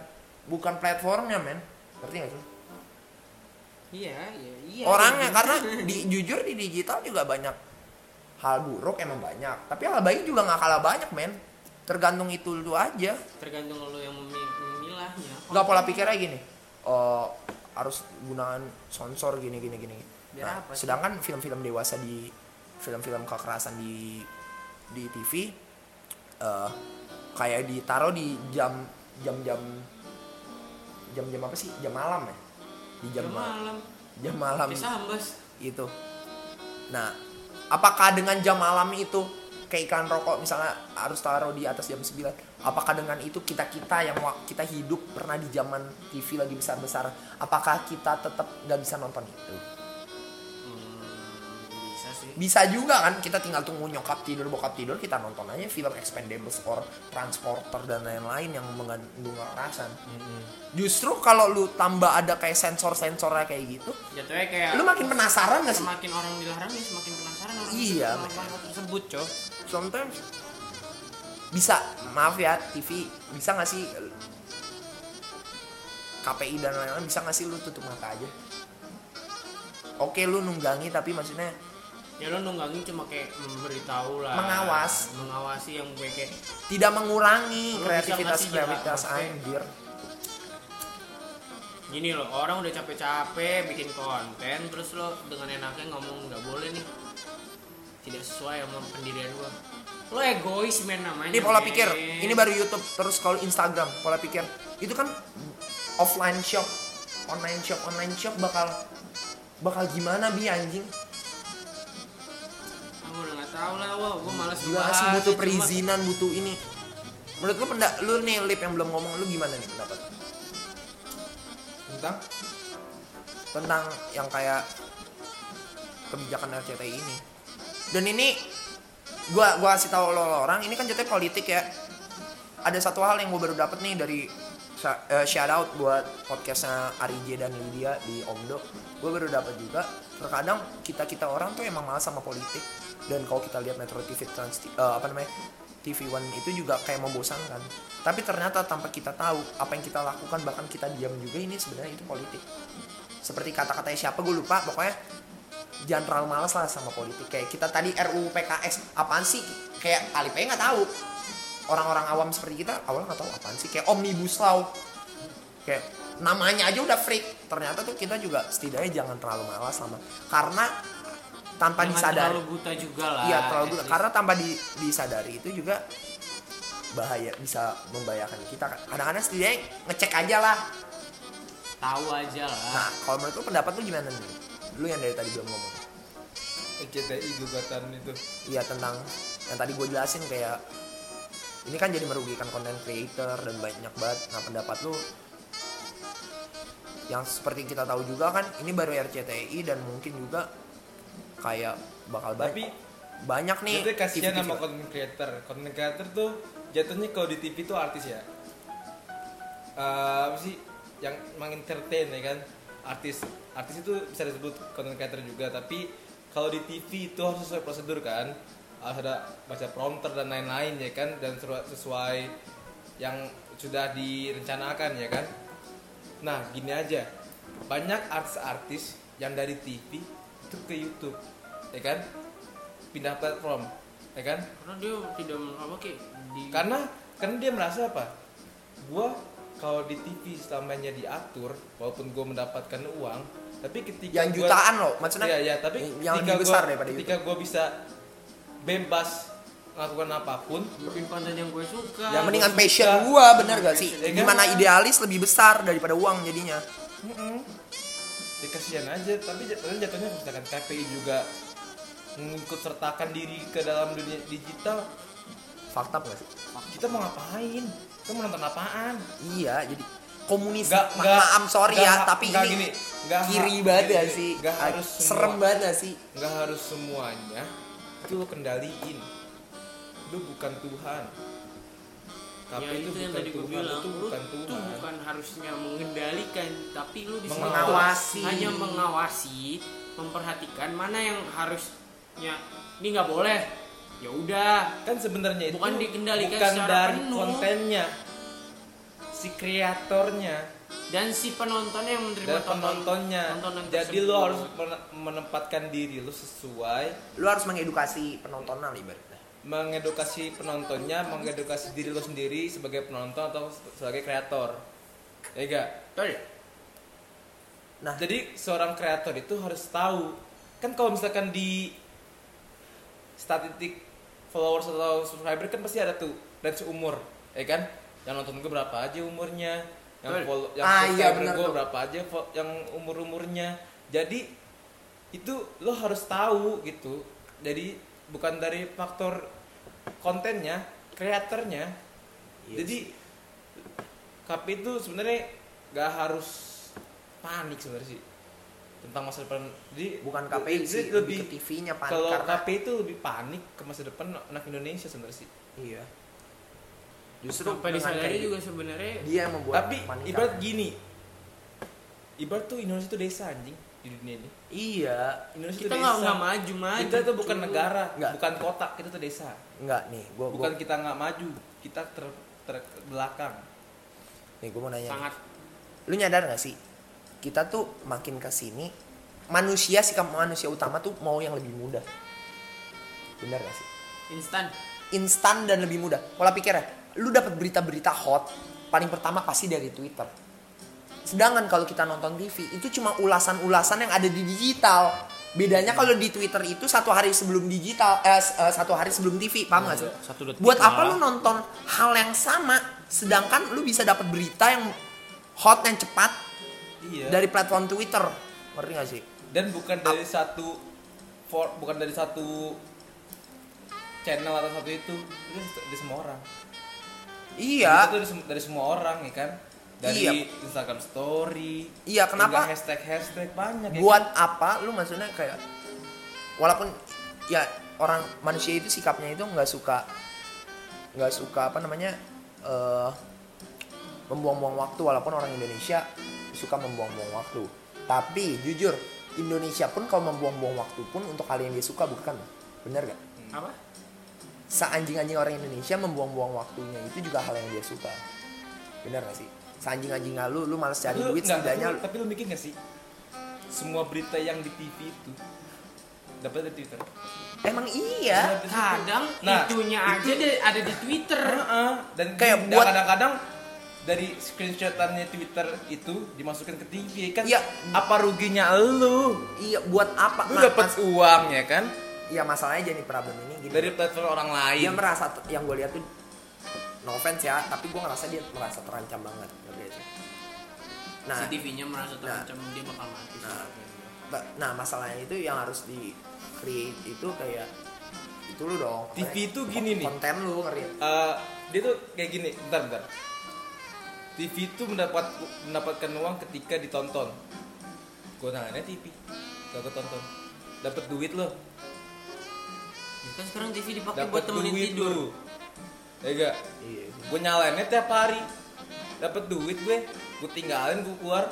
Speaker 2: bukan platformnya men ngerti gak sih
Speaker 3: Iya, iya, iya.
Speaker 2: orangnya
Speaker 3: iya.
Speaker 2: karena di- jujur di digital juga banyak hal buruk emang banyak tapi hal baik juga nggak kalah banyak men tergantung itu lu aja
Speaker 3: tergantung lu yang memi- ya. memilahnya.
Speaker 2: nggak pola pikirnya gini eh, harus gunakan sensor gini gini gini
Speaker 3: Biar
Speaker 2: Nah,
Speaker 3: apa sih?
Speaker 2: sedangkan film-film dewasa di film-film kekerasan di di TV eh kayak ditaruh di jam jam jam jam jam apa sih jam malam ya di jam
Speaker 3: Jam
Speaker 2: ma-
Speaker 3: malam.
Speaker 2: jam malam
Speaker 3: Bisa hambas.
Speaker 2: itu Gitu. nah apakah dengan jam malam itu kayak iklan rokok misalnya harus taruh di atas jam 9 apakah dengan itu kita kita yang wa- kita hidup pernah di zaman TV lagi besar besar apakah kita tetap nggak bisa nonton itu
Speaker 3: Hmm, bisa sih.
Speaker 2: bisa juga kan kita tinggal tunggu nyokap tidur bokap tidur kita nonton aja film Expendables or Transporter dan lain-lain yang mengandung kekerasan justru kalau lu tambah ada kayak sensor sensornya kayak gitu
Speaker 3: Jatuhnya kayak
Speaker 2: lu makin penasaran gak sih
Speaker 3: semakin orang dilarang ya semakin penasaran orang
Speaker 2: Iya,
Speaker 3: sama hal tersebut cow
Speaker 2: sometimes bisa maaf ya TV bisa nggak sih KPI dan lain-lain bisa nggak sih lu tutup mata aja oke lu nunggangi tapi maksudnya
Speaker 3: ya lo nunggangin cuma kayak memberitahu lah
Speaker 2: Mengawas.
Speaker 3: mengawasi yang gue kayak
Speaker 2: tidak mengurangi
Speaker 3: Lu bisa nggak
Speaker 2: kreativitas
Speaker 3: sih
Speaker 2: kreativitas
Speaker 3: jelas?
Speaker 2: anjir
Speaker 3: gini loh orang udah capek-capek bikin konten terus lo dengan enaknya ngomong nggak boleh nih tidak sesuai sama pendirian gua lo egois men namanya
Speaker 2: ini pola
Speaker 3: men.
Speaker 2: pikir ini baru YouTube terus kalau Instagram pola pikir itu kan offline shop online shop online shop bakal bakal gimana bi anjing
Speaker 3: Ah, gua udah nggak tahu lah wow gua malas
Speaker 2: Gila
Speaker 3: dibahas,
Speaker 2: sih butuh
Speaker 3: ya, cuma-
Speaker 2: perizinan, butuh ini. Menurut lu pendak lu nih lip yang belum ngomong lu gimana nih pendapat
Speaker 4: Tentang
Speaker 2: tentang yang kayak kebijakan RCTI ini? Dan ini gua gua kasih tahu lo, lo orang ini kan jatuhnya politik ya. Ada satu hal yang gua baru dapat nih dari Sha- eh, shout out buat podcastnya Arije dan Lydia di Omdo gue baru dapat juga terkadang kita kita orang tuh emang malas sama politik dan kalau kita lihat Metro TV Trans eh, apa namanya TV One itu juga kayak membosankan tapi ternyata tanpa kita tahu apa yang kita lakukan bahkan kita diam juga ini sebenarnya itu politik seperti kata-katanya siapa gue lupa pokoknya jangan terlalu malas lah sama politik kayak kita tadi RUU PKS apaan sih kayak Alipay nggak tahu orang-orang awam seperti kita awalnya nggak tahu apaan sih kayak omnibus law kayak namanya aja udah freak ternyata tuh kita juga setidaknya jangan terlalu malas sama karena tanpa
Speaker 3: Jangan
Speaker 2: disadari
Speaker 3: terlalu ya buta juga lah
Speaker 2: iya terlalu buta.
Speaker 3: at
Speaker 2: karena tanpa di- disadari itu juga bahaya bisa membahayakan kita kadang-kadang setidaknya ngecek aja lah
Speaker 3: least tahu aja lah
Speaker 2: nah kalau menurut lu pendapat lu gimana nih lu yang dari tadi belum ngomong
Speaker 4: ECTI gugatan itu
Speaker 2: iya tentang yang tadi gue jelasin kayak ini kan jadi merugikan content creator dan banyak banget nah pendapat lu yang seperti kita tahu juga kan ini baru RCTI dan mungkin juga kayak bakal banyak
Speaker 4: Tapi-
Speaker 2: banyak nih
Speaker 4: Jadi kasihan
Speaker 2: TV-TV.
Speaker 4: sama content creator. Content creator tuh jatuhnya kalau di TV tuh artis ya. Eh, apa sih yang mengentertain ya kan? Artis. Artis itu bisa disebut content creator juga, tapi kalau di TV itu harus sesuai prosedur kan? Harus ada baca prompter dan lain-lain ya kan dan seru- sesuai yang sudah direncanakan ya kan? Nah, gini aja. Banyak artis-artis yang dari TV itu ke YouTube, ya kan? Pindah platform, ya kan?
Speaker 3: karena dia tidak meng- apa kayak di
Speaker 4: Karena karena dia merasa apa? Gua kalau di TV selamanya diatur, walaupun gua mendapatkan uang, tapi ketika
Speaker 2: yang
Speaker 4: gua-
Speaker 2: jutaan loh maksudnya
Speaker 4: Iya, iya, tapi
Speaker 2: yang
Speaker 4: ketika
Speaker 2: lebih besar
Speaker 4: gua,
Speaker 2: daripada
Speaker 4: ketika
Speaker 2: itu
Speaker 4: gua bisa bebas melakukan apapun,
Speaker 3: bikin konten yang gue suka
Speaker 2: yang
Speaker 4: Yang
Speaker 2: mendingan
Speaker 4: gua
Speaker 2: passion
Speaker 4: suka.
Speaker 2: gua bener gak sih
Speaker 4: Passion, ya kan?
Speaker 2: gimana idealis lebih besar daripada uang jadinya
Speaker 4: Mm-mm. Ya, kasihan aja, tapi jatuhnya jatuhnya misalkan KPI juga mengikut sertakan diri ke dalam dunia digital,
Speaker 2: fakta gak sih
Speaker 4: kita mau ngapain? Kita mau nonton apaan?
Speaker 2: iya jadi komunis
Speaker 4: Nggak-
Speaker 2: ma-
Speaker 4: nggak-
Speaker 2: maaf sorry ya
Speaker 4: nggak-
Speaker 2: tapi
Speaker 4: nggak
Speaker 2: ini
Speaker 4: gini, nggak
Speaker 2: kiri
Speaker 4: ha-
Speaker 2: banget
Speaker 4: gini,
Speaker 2: ya
Speaker 4: gini,
Speaker 2: sih
Speaker 4: nggak
Speaker 2: Ah,
Speaker 4: harus semua.
Speaker 2: serem banget ya sih
Speaker 4: Nggak harus semuanya itu lo kendaliin. Lu bukan Tuhan.
Speaker 3: ya itu,
Speaker 4: KPI itu,
Speaker 3: yang
Speaker 4: bukan
Speaker 3: tadi gue
Speaker 4: Tuhan,
Speaker 3: bilang
Speaker 4: itu bukan
Speaker 3: lu tuh
Speaker 4: Tuhan.
Speaker 3: bukan harusnya mengendalikan tapi lu di situ
Speaker 2: Mengawasi.
Speaker 3: hanya mengawasi memperhatikan mana yang harusnya ini nggak boleh ya udah
Speaker 4: Kan sebenarnya itu
Speaker 3: Bukan dikendalikan
Speaker 4: bukan
Speaker 3: secara
Speaker 4: dari
Speaker 3: penuh.
Speaker 4: kontennya. Si kreatornya
Speaker 3: dan si penontonnya yang menerima
Speaker 4: dan penontonnya.
Speaker 3: tontonan
Speaker 4: Jadi lo
Speaker 3: tersebut.
Speaker 4: harus men- menempatkan diri lo sesuai
Speaker 2: lu harus mengedukasi penonton lah ibaratnya
Speaker 4: mengedukasi penontonnya, mengedukasi diri lo sendiri sebagai penonton atau sebagai kreator. Ya enggak?
Speaker 2: nah
Speaker 4: Jadi seorang kreator itu harus tahu kan kalau misalkan di statistik followers atau subscriber kan pasti ada tuh range umur, ya kan? Yang nonton gue berapa aja umurnya, yang
Speaker 3: Betul.
Speaker 4: follow, yang
Speaker 2: Ah, iya,
Speaker 4: subscriber
Speaker 2: benar
Speaker 4: gue
Speaker 2: tuh.
Speaker 4: berapa aja, fo- yang umur umurnya. Jadi itu lo harus tahu gitu. Jadi bukan dari faktor kontennya, kreatornya.
Speaker 2: Iya
Speaker 4: Jadi KPI itu sebenarnya nggak harus panik sebenarnya sih tentang masa depan. Jadi
Speaker 2: bukan KPI
Speaker 4: jadi
Speaker 2: sih
Speaker 4: lebih,
Speaker 2: lebih ke TV-nya panik
Speaker 4: kalau
Speaker 2: karena
Speaker 4: KPI itu lebih panik ke masa depan anak Indonesia sebenarnya sih.
Speaker 2: iya justru
Speaker 3: sampai
Speaker 2: dengan
Speaker 3: disadari
Speaker 2: kayak
Speaker 3: juga sebenarnya
Speaker 2: gitu, dia yang membuat
Speaker 4: Tapi
Speaker 2: panik kan.
Speaker 4: ibarat
Speaker 2: karena-
Speaker 4: gini, ibarat tuh Indonesia itu desa anjing di dunia ini.
Speaker 2: iya
Speaker 4: Indonesia
Speaker 3: kita
Speaker 4: tuh
Speaker 3: nggak
Speaker 4: desa.
Speaker 3: nggak maju maju
Speaker 4: kita tuh bukan
Speaker 3: cuy.
Speaker 4: negara,
Speaker 2: Nggak.
Speaker 4: bukan kota, kita tuh desa.
Speaker 2: enggak nih gua gua
Speaker 4: Bukan kita nggak maju, kita ter, terbelakang.
Speaker 2: nih gua mau nanya
Speaker 3: sangat
Speaker 2: lu nyadar gak sih kita tuh makin ke sini manusia sikap manusia utama tuh mau yang lebih mudah bener gak sih
Speaker 3: instan
Speaker 4: Hmm.
Speaker 2: instan dan lebih mudah. Pola pikirnya, lu dapat berita-berita hot paling pertama pasti dari Twitter. Sedangkan kalau kita nonton TV itu cuma ulasan-ulasan yang ada di digital. Bedanya kalau di Twitter itu satu hari sebelum digital, eh, s- eh, satu hari sebelum TV, paham nggak sih?
Speaker 3: Satu detik
Speaker 2: Buat apa
Speaker 3: lah.
Speaker 2: lu nonton hal yang sama, sedangkan lu bisa dapat berita yang hot yang cepat
Speaker 3: Ya.
Speaker 4: Iya.
Speaker 2: dari platform Twitter, ngerti nggak sih?
Speaker 4: dan bukan dari satu for, bukan dari satu channel atau satu itu itu dari semua orang
Speaker 2: Iya.
Speaker 4: itu dari, sem- dari semua orang ya kan dari
Speaker 2: Iya.
Speaker 4: Instagram Story
Speaker 2: Iya, kenapa?
Speaker 4: hashtag hashtag banyak ya
Speaker 2: buat apa lu maksudnya kayak walaupun ya orang manusia itu sikapnya itu nggak suka nggak suka apa namanya eh membuang-buang waktu walaupun orang Indonesia suka membuang-buang waktu tapi jujur Indonesia pun kalau membuang-buang waktu pun untuk hal yang dia suka bukan bener gak
Speaker 3: apa
Speaker 2: seanjing-anjing orang Indonesia membuang-buang waktunya itu juga hal yang dia suka bener gak sih seanjing-anjing lu lu males cari
Speaker 4: kan? Lu-
Speaker 2: duit
Speaker 4: enggak,
Speaker 2: setidaknya
Speaker 4: tapi,
Speaker 2: lu-
Speaker 4: tapi lu mikir gak sih semua berita yang di TV itu dapat dari Twitter
Speaker 2: emang iya
Speaker 4: Dapat dari Twitter.
Speaker 3: kadang
Speaker 4: Nah,
Speaker 3: itunya aja de- ada di Twitter
Speaker 4: Heeh. dan
Speaker 2: Kayak
Speaker 4: di-
Speaker 2: buat-
Speaker 4: kadang-kadang dari screenshotannya Twitter itu dimasukin ke TV kan
Speaker 2: Iya.
Speaker 4: apa ruginya lu
Speaker 2: iya buat apa
Speaker 4: lu
Speaker 2: Nah,
Speaker 4: dapat
Speaker 2: mas-
Speaker 4: uang ya kan
Speaker 2: ya masalahnya jadi problem ini gini
Speaker 4: dari platform orang
Speaker 2: dia
Speaker 4: lain
Speaker 2: merasa yang gue lihat tuh no offense ya tapi gue ngerasa dia merasa terancam banget ngerti gak sih? nah
Speaker 3: si TV-nya merasa terancam dia bakal mati
Speaker 2: Nah. ba- nah masalahnya itu yang harus di create itu kayak itu lu dong
Speaker 4: TV itu gini nih.
Speaker 2: konten lu ngerti gak?
Speaker 4: Eh, dia tuh kayak gini bentar bentar TV itu mendapat mendapatkan uang ketika ditonton kewenangannya TV gak ketonton dapat duit loh
Speaker 3: Ya kan sekarang TV dipakai buat
Speaker 4: dapat
Speaker 3: temenin
Speaker 4: duit
Speaker 3: tidur
Speaker 4: lu ya gak
Speaker 2: iya
Speaker 4: gue nyalainnya tiap hari dapat duit gue gue tinggalin gue keluar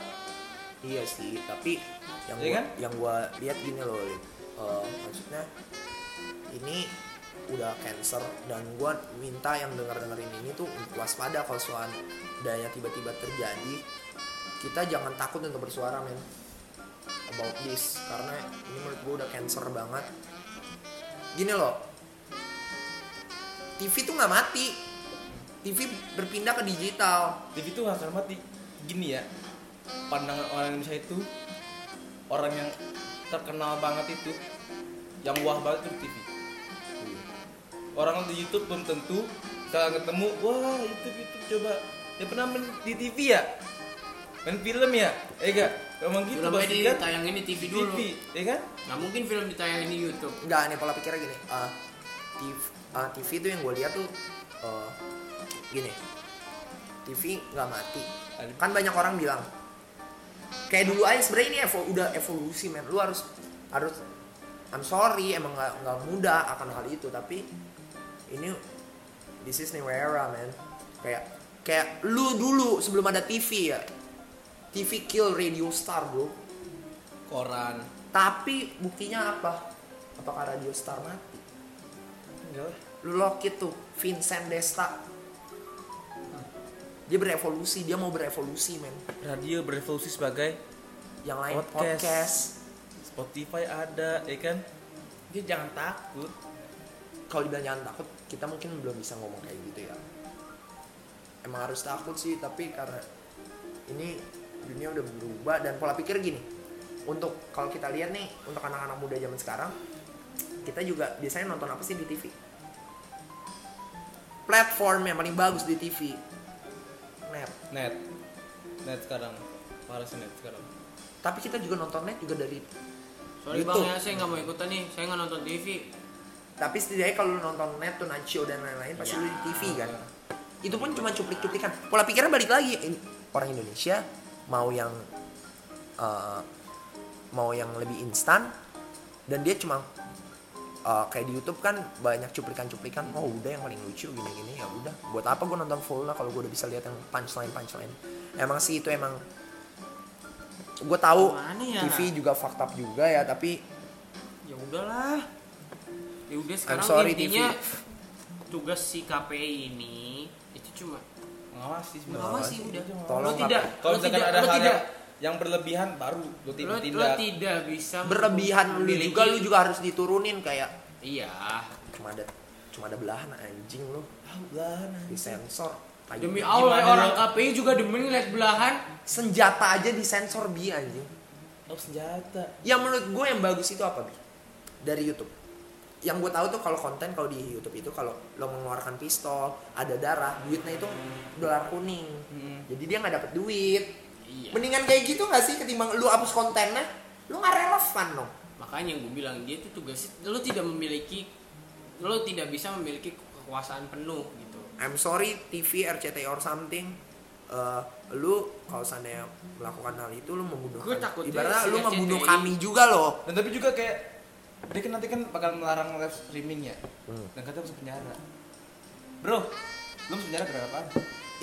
Speaker 2: iya sih tapi yang
Speaker 4: Iya
Speaker 2: gua,
Speaker 4: kan?
Speaker 2: yang gue lihat gini loh Lin. Eh, maksudnya ini udah cancer dan gue minta yang denger dengerin ini tuh waspada kalau daya tiba-tiba terjadi kita jangan takut untuk bersuara men about this karena ini menurut gue udah cancer banget gini loh TV tuh nggak mati TV berpindah ke digital
Speaker 4: TV itu nggak akan mati gini ya pandangan orang Indonesia itu orang yang terkenal banget itu yang wah banget itu di TV orang di YouTube belum tentu kalau ketemu wah YouTube YouTube coba dia pernah main di TV ya main film ya eh gak emang gitu
Speaker 3: Belum
Speaker 4: pasti
Speaker 3: di
Speaker 4: kan
Speaker 3: tayangin di TV dulu
Speaker 4: TV ya kan
Speaker 3: nggak mungkin film ditayangin di YouTube
Speaker 2: Enggak, nih pola pikirnya gini. eh, TV, eh, TV tuh yang gue lihat tuh eh, gini. TV nggak mati. Kan banyak orang bilang kayak dulu aja sebenarnya ini evo- udah evolusi men. Lu harus harus I'm sorry emang nggak nggak mudah akan hal itu tapi ini this is new era man. Kayak kayak lu dulu sebelum ada TV ya. TV kill radio star bro.
Speaker 4: koran
Speaker 2: Tapi buktinya apa? Apakah radio star mati?
Speaker 4: enggak lah.
Speaker 2: lu lokit tuh Vincent Desta dia berevolusi dia mau berevolusi men
Speaker 4: radio berevolusi sebagai
Speaker 2: yang lain
Speaker 4: Podcast.
Speaker 2: podcast,
Speaker 4: Spotify ada ya kan dia jangan takut
Speaker 2: kalau dibilang jangan takut kita mungkin belum bisa ngomong kayak gitu ya emang harus takut sih tapi karena ini dunia udah berubah dan pola pikir gini untuk kalau kita lihat nih untuk anak-anak muda zaman sekarang kita juga biasanya nonton apa sih di TV platform yang paling bagus di TV net
Speaker 4: net net sekarang parah sih net sekarang
Speaker 2: tapi kita juga nontonnya juga dari
Speaker 3: Sorry
Speaker 2: YouTube.
Speaker 3: bang ya, saya nggak mau ikutan nih, saya nggak nonton TV.
Speaker 2: tapi setidaknya kalau lu nonton net tuh Nacho dan lain-lain pasti lu di TV kan itu pun cuma cuplik-cuplikan pola pikirnya balik lagi In- orang Indonesia mau yang eh, mau yang lebih instan dan dia cuma eh, kayak di YouTube kan banyak cuplikan-cuplikan oh udah yang paling lucu gini-gini ya udah buat apa gue nonton full lah kalau gue udah bisa lihat yang punchline punchline emang sih itu emang gue tahu
Speaker 3: Gimana ya?
Speaker 2: TV juga fucked up juga ya tapi
Speaker 3: Ya udahlah. Ya udah sekarang
Speaker 2: sorry,
Speaker 3: intinya tugas si KPI ini itu cuma
Speaker 4: ngawasi
Speaker 3: mengawasi udah.
Speaker 2: Tolong,
Speaker 3: lo tidak,
Speaker 2: KPI.
Speaker 4: kalau
Speaker 3: lo
Speaker 4: misalkan
Speaker 3: tidak,
Speaker 4: ada
Speaker 3: lo
Speaker 4: hal
Speaker 3: tidak,
Speaker 4: yang, yang berlebihan baru lu
Speaker 3: lo,
Speaker 4: tindak
Speaker 3: lo
Speaker 4: tindak
Speaker 3: tidak bisa
Speaker 2: berlebihan lu
Speaker 3: memiliki-
Speaker 2: juga lu juga harus diturunin kayak
Speaker 3: Iya.
Speaker 2: cuma ada cuma ada belahan anjing lu disensor Tai.
Speaker 3: Demi Allah
Speaker 4: Gimana
Speaker 3: orang
Speaker 4: lo-
Speaker 3: KPI juga demen lihat belahan.
Speaker 2: senjata aja disensor bi anjing
Speaker 4: oh senjata
Speaker 2: yang menurut gue yang bagus itu apa bi dari YouTube yang gue tahu tuh kalau konten kalau di YouTube itu kalau lo mengeluarkan pistol ada darah duitnya itu dolar kuning
Speaker 4: Hmm.
Speaker 2: jadi dia nggak dapet duit
Speaker 3: Iya.
Speaker 2: mendingan kayak gitu nggak sih ketimbang lu hapus kontennya lu nggak relevan dong
Speaker 3: Makanya gue bilang dia itu tugas lo tidak memiliki lo tidak bisa memiliki kekuasaan penuh gitu.
Speaker 2: I'm sorry TV RCTI or something eh, lu kalau seandainya melakukan hal itu lu membunuh
Speaker 3: Gua
Speaker 2: kami.
Speaker 3: takutnya
Speaker 2: ibaratnya
Speaker 3: si
Speaker 2: lu membunuh
Speaker 3: RCTI.
Speaker 2: kami juga loh
Speaker 4: dan tapi juga kayak dia kan nanti kan bakal melarang live
Speaker 2: Hmm.
Speaker 4: streaming ya dan katanya masuk penjara bro lu masuk penjara karena apa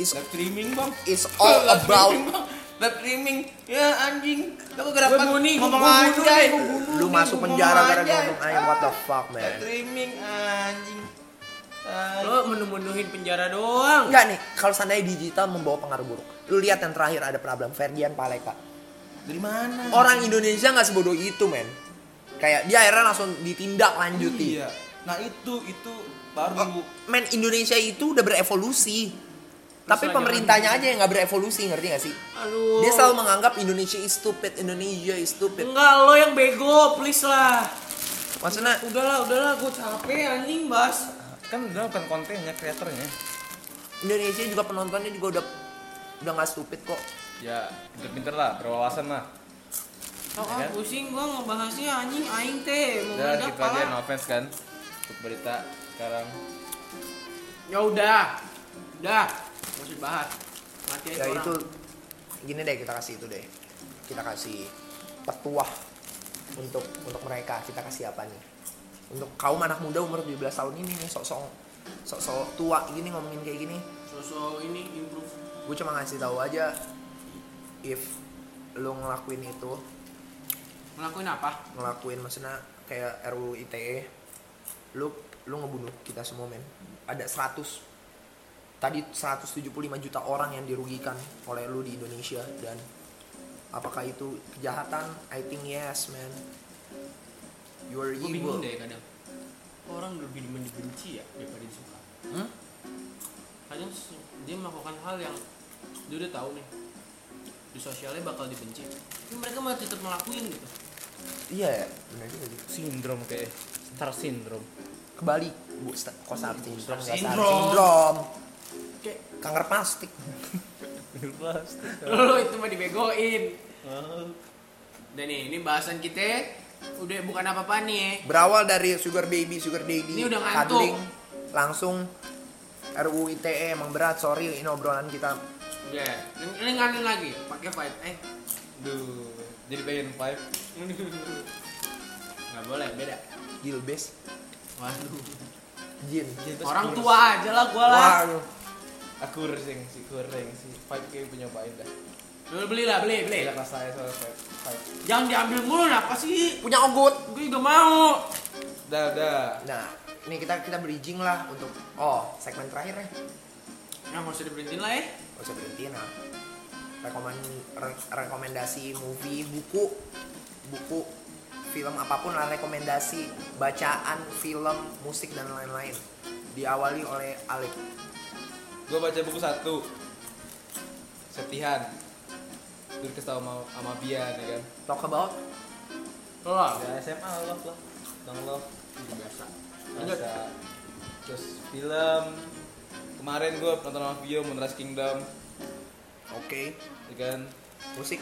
Speaker 2: is
Speaker 4: Live streaming bang
Speaker 2: is all Oh,
Speaker 4: Live
Speaker 2: about
Speaker 4: streaming, Bang. Live streaming Ya anjing Aku
Speaker 3: Gue
Speaker 4: kenapa
Speaker 3: bunuh nih, gue
Speaker 4: ngomong
Speaker 3: bunuh
Speaker 4: aja
Speaker 3: nih, gue bunuh
Speaker 2: lu masuk penjara gara-gara ngomong
Speaker 4: aja.
Speaker 2: ayam what the fuck
Speaker 4: Live
Speaker 2: man
Speaker 4: streaming anjing Tai.
Speaker 3: Lo menemunuhin penjara doang.
Speaker 2: enggak nih kalau seandainya digital membawa pengaruh buruk lu lihat yang terakhir ada problem Ferdian Paleka
Speaker 4: Dari mana?
Speaker 2: orang Indonesia nggak sebodoh itu men kayak dia akhirnya langsung ditindak lanjuti Oh,
Speaker 4: Iya Oh. Nah itu, itu baru
Speaker 2: men Indonesia itu udah berevolusi tapi
Speaker 3: aja
Speaker 2: pemerintahnya aja yang nggak berevolusi ngerti gak sih
Speaker 3: Aduh.
Speaker 2: dia selalu menganggap Indonesia is stupid Indonesia is stupid
Speaker 3: Enggak, lo yang bego, please lah.
Speaker 2: maksudnya
Speaker 3: Udahlah, udahlah, gue capek anjing, Bas.
Speaker 4: Kan udah bukan kontennya, kreatornya
Speaker 2: Indonesia juga penontonnya juga udah udah nggak stupid kok
Speaker 4: Ya pinter-pinter lah, berwawasan lah
Speaker 3: Tau
Speaker 2: Iya.
Speaker 3: ah,
Speaker 4: Kan?
Speaker 3: pusing gue ngebahasnya anjing aing teh, mau
Speaker 2: gitu
Speaker 4: Dan
Speaker 3: meledak
Speaker 4: kita aja no
Speaker 3: pala.
Speaker 4: offense kan Untuk berita sekarang
Speaker 3: Ya udah. Udah, gak usah bahas. Mati aja
Speaker 2: ya
Speaker 3: orang.
Speaker 2: itu gini deh kita kasih itu deh kita kasih petuah untuk untuk mereka kita kasih apa nih untuk kaum anak muda umur 17 tahun ini nih sok-sok sok-sok tua gini ngomongin kayak gini
Speaker 3: Sosok ini improve.
Speaker 2: gue cuma ngasih tahu aja if lu ngelakuin itu
Speaker 3: Ngelakuin apa?
Speaker 2: ngelakuin maksudnya kayak RUU ITE E, lu lu ngebunuh kita semua men ada 100 tadi 175 juta orang yang dirugikan oleh lu di Indonesia dan apakah itu kejahatan I think yes man you are
Speaker 3: Gue
Speaker 2: evil
Speaker 3: bingung deh kadang. Iya. Orang lebih dibenci ya daripada disuka.
Speaker 2: Hmm?
Speaker 3: kadang se- dia melakukan hal yang dia udah tahu nih di sosialnya bakal dibenci tapi mereka malah tetap ngelakuin gitu
Speaker 2: iya ya benar juga gitu.
Speaker 4: Sindrom kayak Star Syndrome
Speaker 2: kebalik bu sta- kok star syndrome nggak star
Speaker 3: Syndrome.
Speaker 2: syndrome
Speaker 3: kayak
Speaker 2: kanker plastik
Speaker 3: lo itu mah dibegoin dan nih ini bahasan kita udah bukan apa-apa nih
Speaker 2: berawal dari sugar baby sugar daddy
Speaker 3: Ini udah ngantuk.
Speaker 2: cuddling, langsung RUU ITE E, emang berat sorry ini obrolan kita
Speaker 3: ya Ini- ini ngangin lagi pakai fight eh
Speaker 4: Duh Jadi pengen five
Speaker 3: nggak boleh beda
Speaker 2: Gilbes
Speaker 3: waduh
Speaker 2: Jin
Speaker 3: orang tua aja lah gua lah
Speaker 2: Wah,
Speaker 4: Aku reng sih, kurang sih Five kayak punya baik dah
Speaker 3: lo beli lah beli beli
Speaker 4: Gila kelas saya soal five Five
Speaker 3: jangan diambil mulu apa sih
Speaker 2: punya ogut
Speaker 3: gue juga mau
Speaker 4: Udah, udah
Speaker 2: nah ini kita kita bridging lah untuk oh segmen terakhir ya
Speaker 3: yang harus diberhentiin lah ya
Speaker 2: nggak usah berhenti nah rekomen re- rekomendasi movie buku buku film apapun lah rekomendasi bacaan film musik dan lain-lain diawali oleh Alek
Speaker 4: Gue baca buku satu Setihan Dulkes tau sama, sama Bian ya kan
Speaker 2: talk about
Speaker 3: lo lah
Speaker 4: Ya SMA love lah Tentang love
Speaker 3: Udah biasa Lanjut.
Speaker 4: Masa Terus film Kemarin gue nonton sama Vio Moonrise Kingdom
Speaker 2: oke
Speaker 4: ya kan
Speaker 2: musik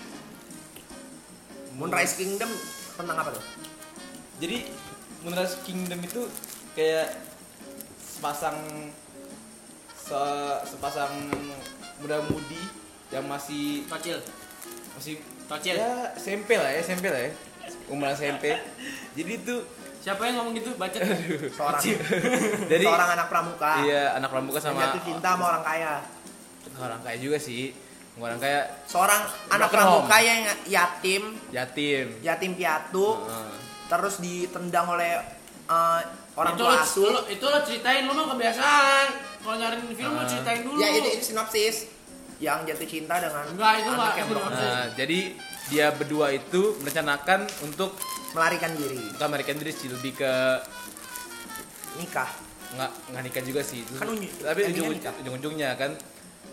Speaker 2: Moonrise Kingdom tentang apa tuh?
Speaker 4: Jadi Moonrise Kingdom itu kayak sepasang se- sepasang muda-mudi yang masih
Speaker 3: Tocil,
Speaker 4: masih
Speaker 3: tocil.
Speaker 4: ya SMP lah ya SMP lah ya umuran SMP jadi tuh
Speaker 3: Siapa yang ngomong gitu? Baca. Aduh.
Speaker 2: Seorang
Speaker 4: dari
Speaker 2: seorang anak pramuka
Speaker 4: iya anak pramuka
Speaker 2: yang
Speaker 4: sama
Speaker 2: jatuh cinta sama orang kaya.
Speaker 4: orang kaya juga sih orang kaya
Speaker 2: Seorang anak
Speaker 4: Broken home.
Speaker 2: pramuka yang yatim,
Speaker 4: yatim
Speaker 2: yatim piatu,
Speaker 4: Heeh.
Speaker 2: terus ditendang oleh eh, orang
Speaker 3: itu
Speaker 2: tua
Speaker 3: lo,
Speaker 2: asuh.
Speaker 3: lo- itu lo ceritain lo mah kebiasaan. Kalau nyariin film lo
Speaker 4: Ah.
Speaker 3: ceritain dulu.
Speaker 2: Ya itu, itu sinopsis yang jatuh cinta dengan
Speaker 3: Enggak, itu
Speaker 2: anak
Speaker 3: nggak
Speaker 2: yang broken.
Speaker 3: sinopsis.
Speaker 4: nah jadi dia berdua itu merencanakan untuk
Speaker 2: melarikan diri
Speaker 4: bukan American Dream sih lebih ke
Speaker 2: nikah.
Speaker 4: nggak nggak nikah juga sih Terus-
Speaker 2: Kan unyu-
Speaker 4: tapi
Speaker 2: endingnya
Speaker 4: ujung,
Speaker 2: nikah.
Speaker 4: ujung ujungnya kan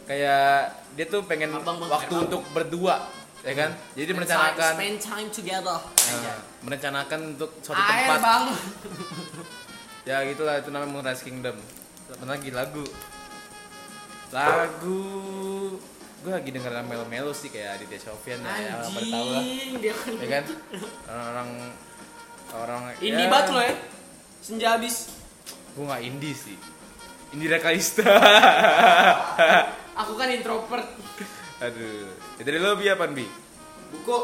Speaker 4: kayak dia tuh pengen
Speaker 3: Abang bang-
Speaker 4: waktu untuk berdua ya kan
Speaker 2: Hmm.
Speaker 4: jadi
Speaker 3: Spend
Speaker 4: merencanakan
Speaker 3: time- Spend time together.
Speaker 4: nah, merencanakan untuk suatu
Speaker 3: Air
Speaker 4: tempat
Speaker 3: bang.
Speaker 4: ya gitulah itu namanya Moonrise Kingdom Apaan lagi lagu lagu gue lagi denger melo melo sih kayak Aditya Sofian ya yang orang pada tahu lah
Speaker 3: Anjing dia kan.
Speaker 4: ya kan orang orang
Speaker 3: Indie banget lo ya. Senja habis.
Speaker 4: gue nggak indie sih Indira Kalista
Speaker 3: Aku kan introvert.
Speaker 4: aduh ya, dari lo bi apa bi
Speaker 3: Buku.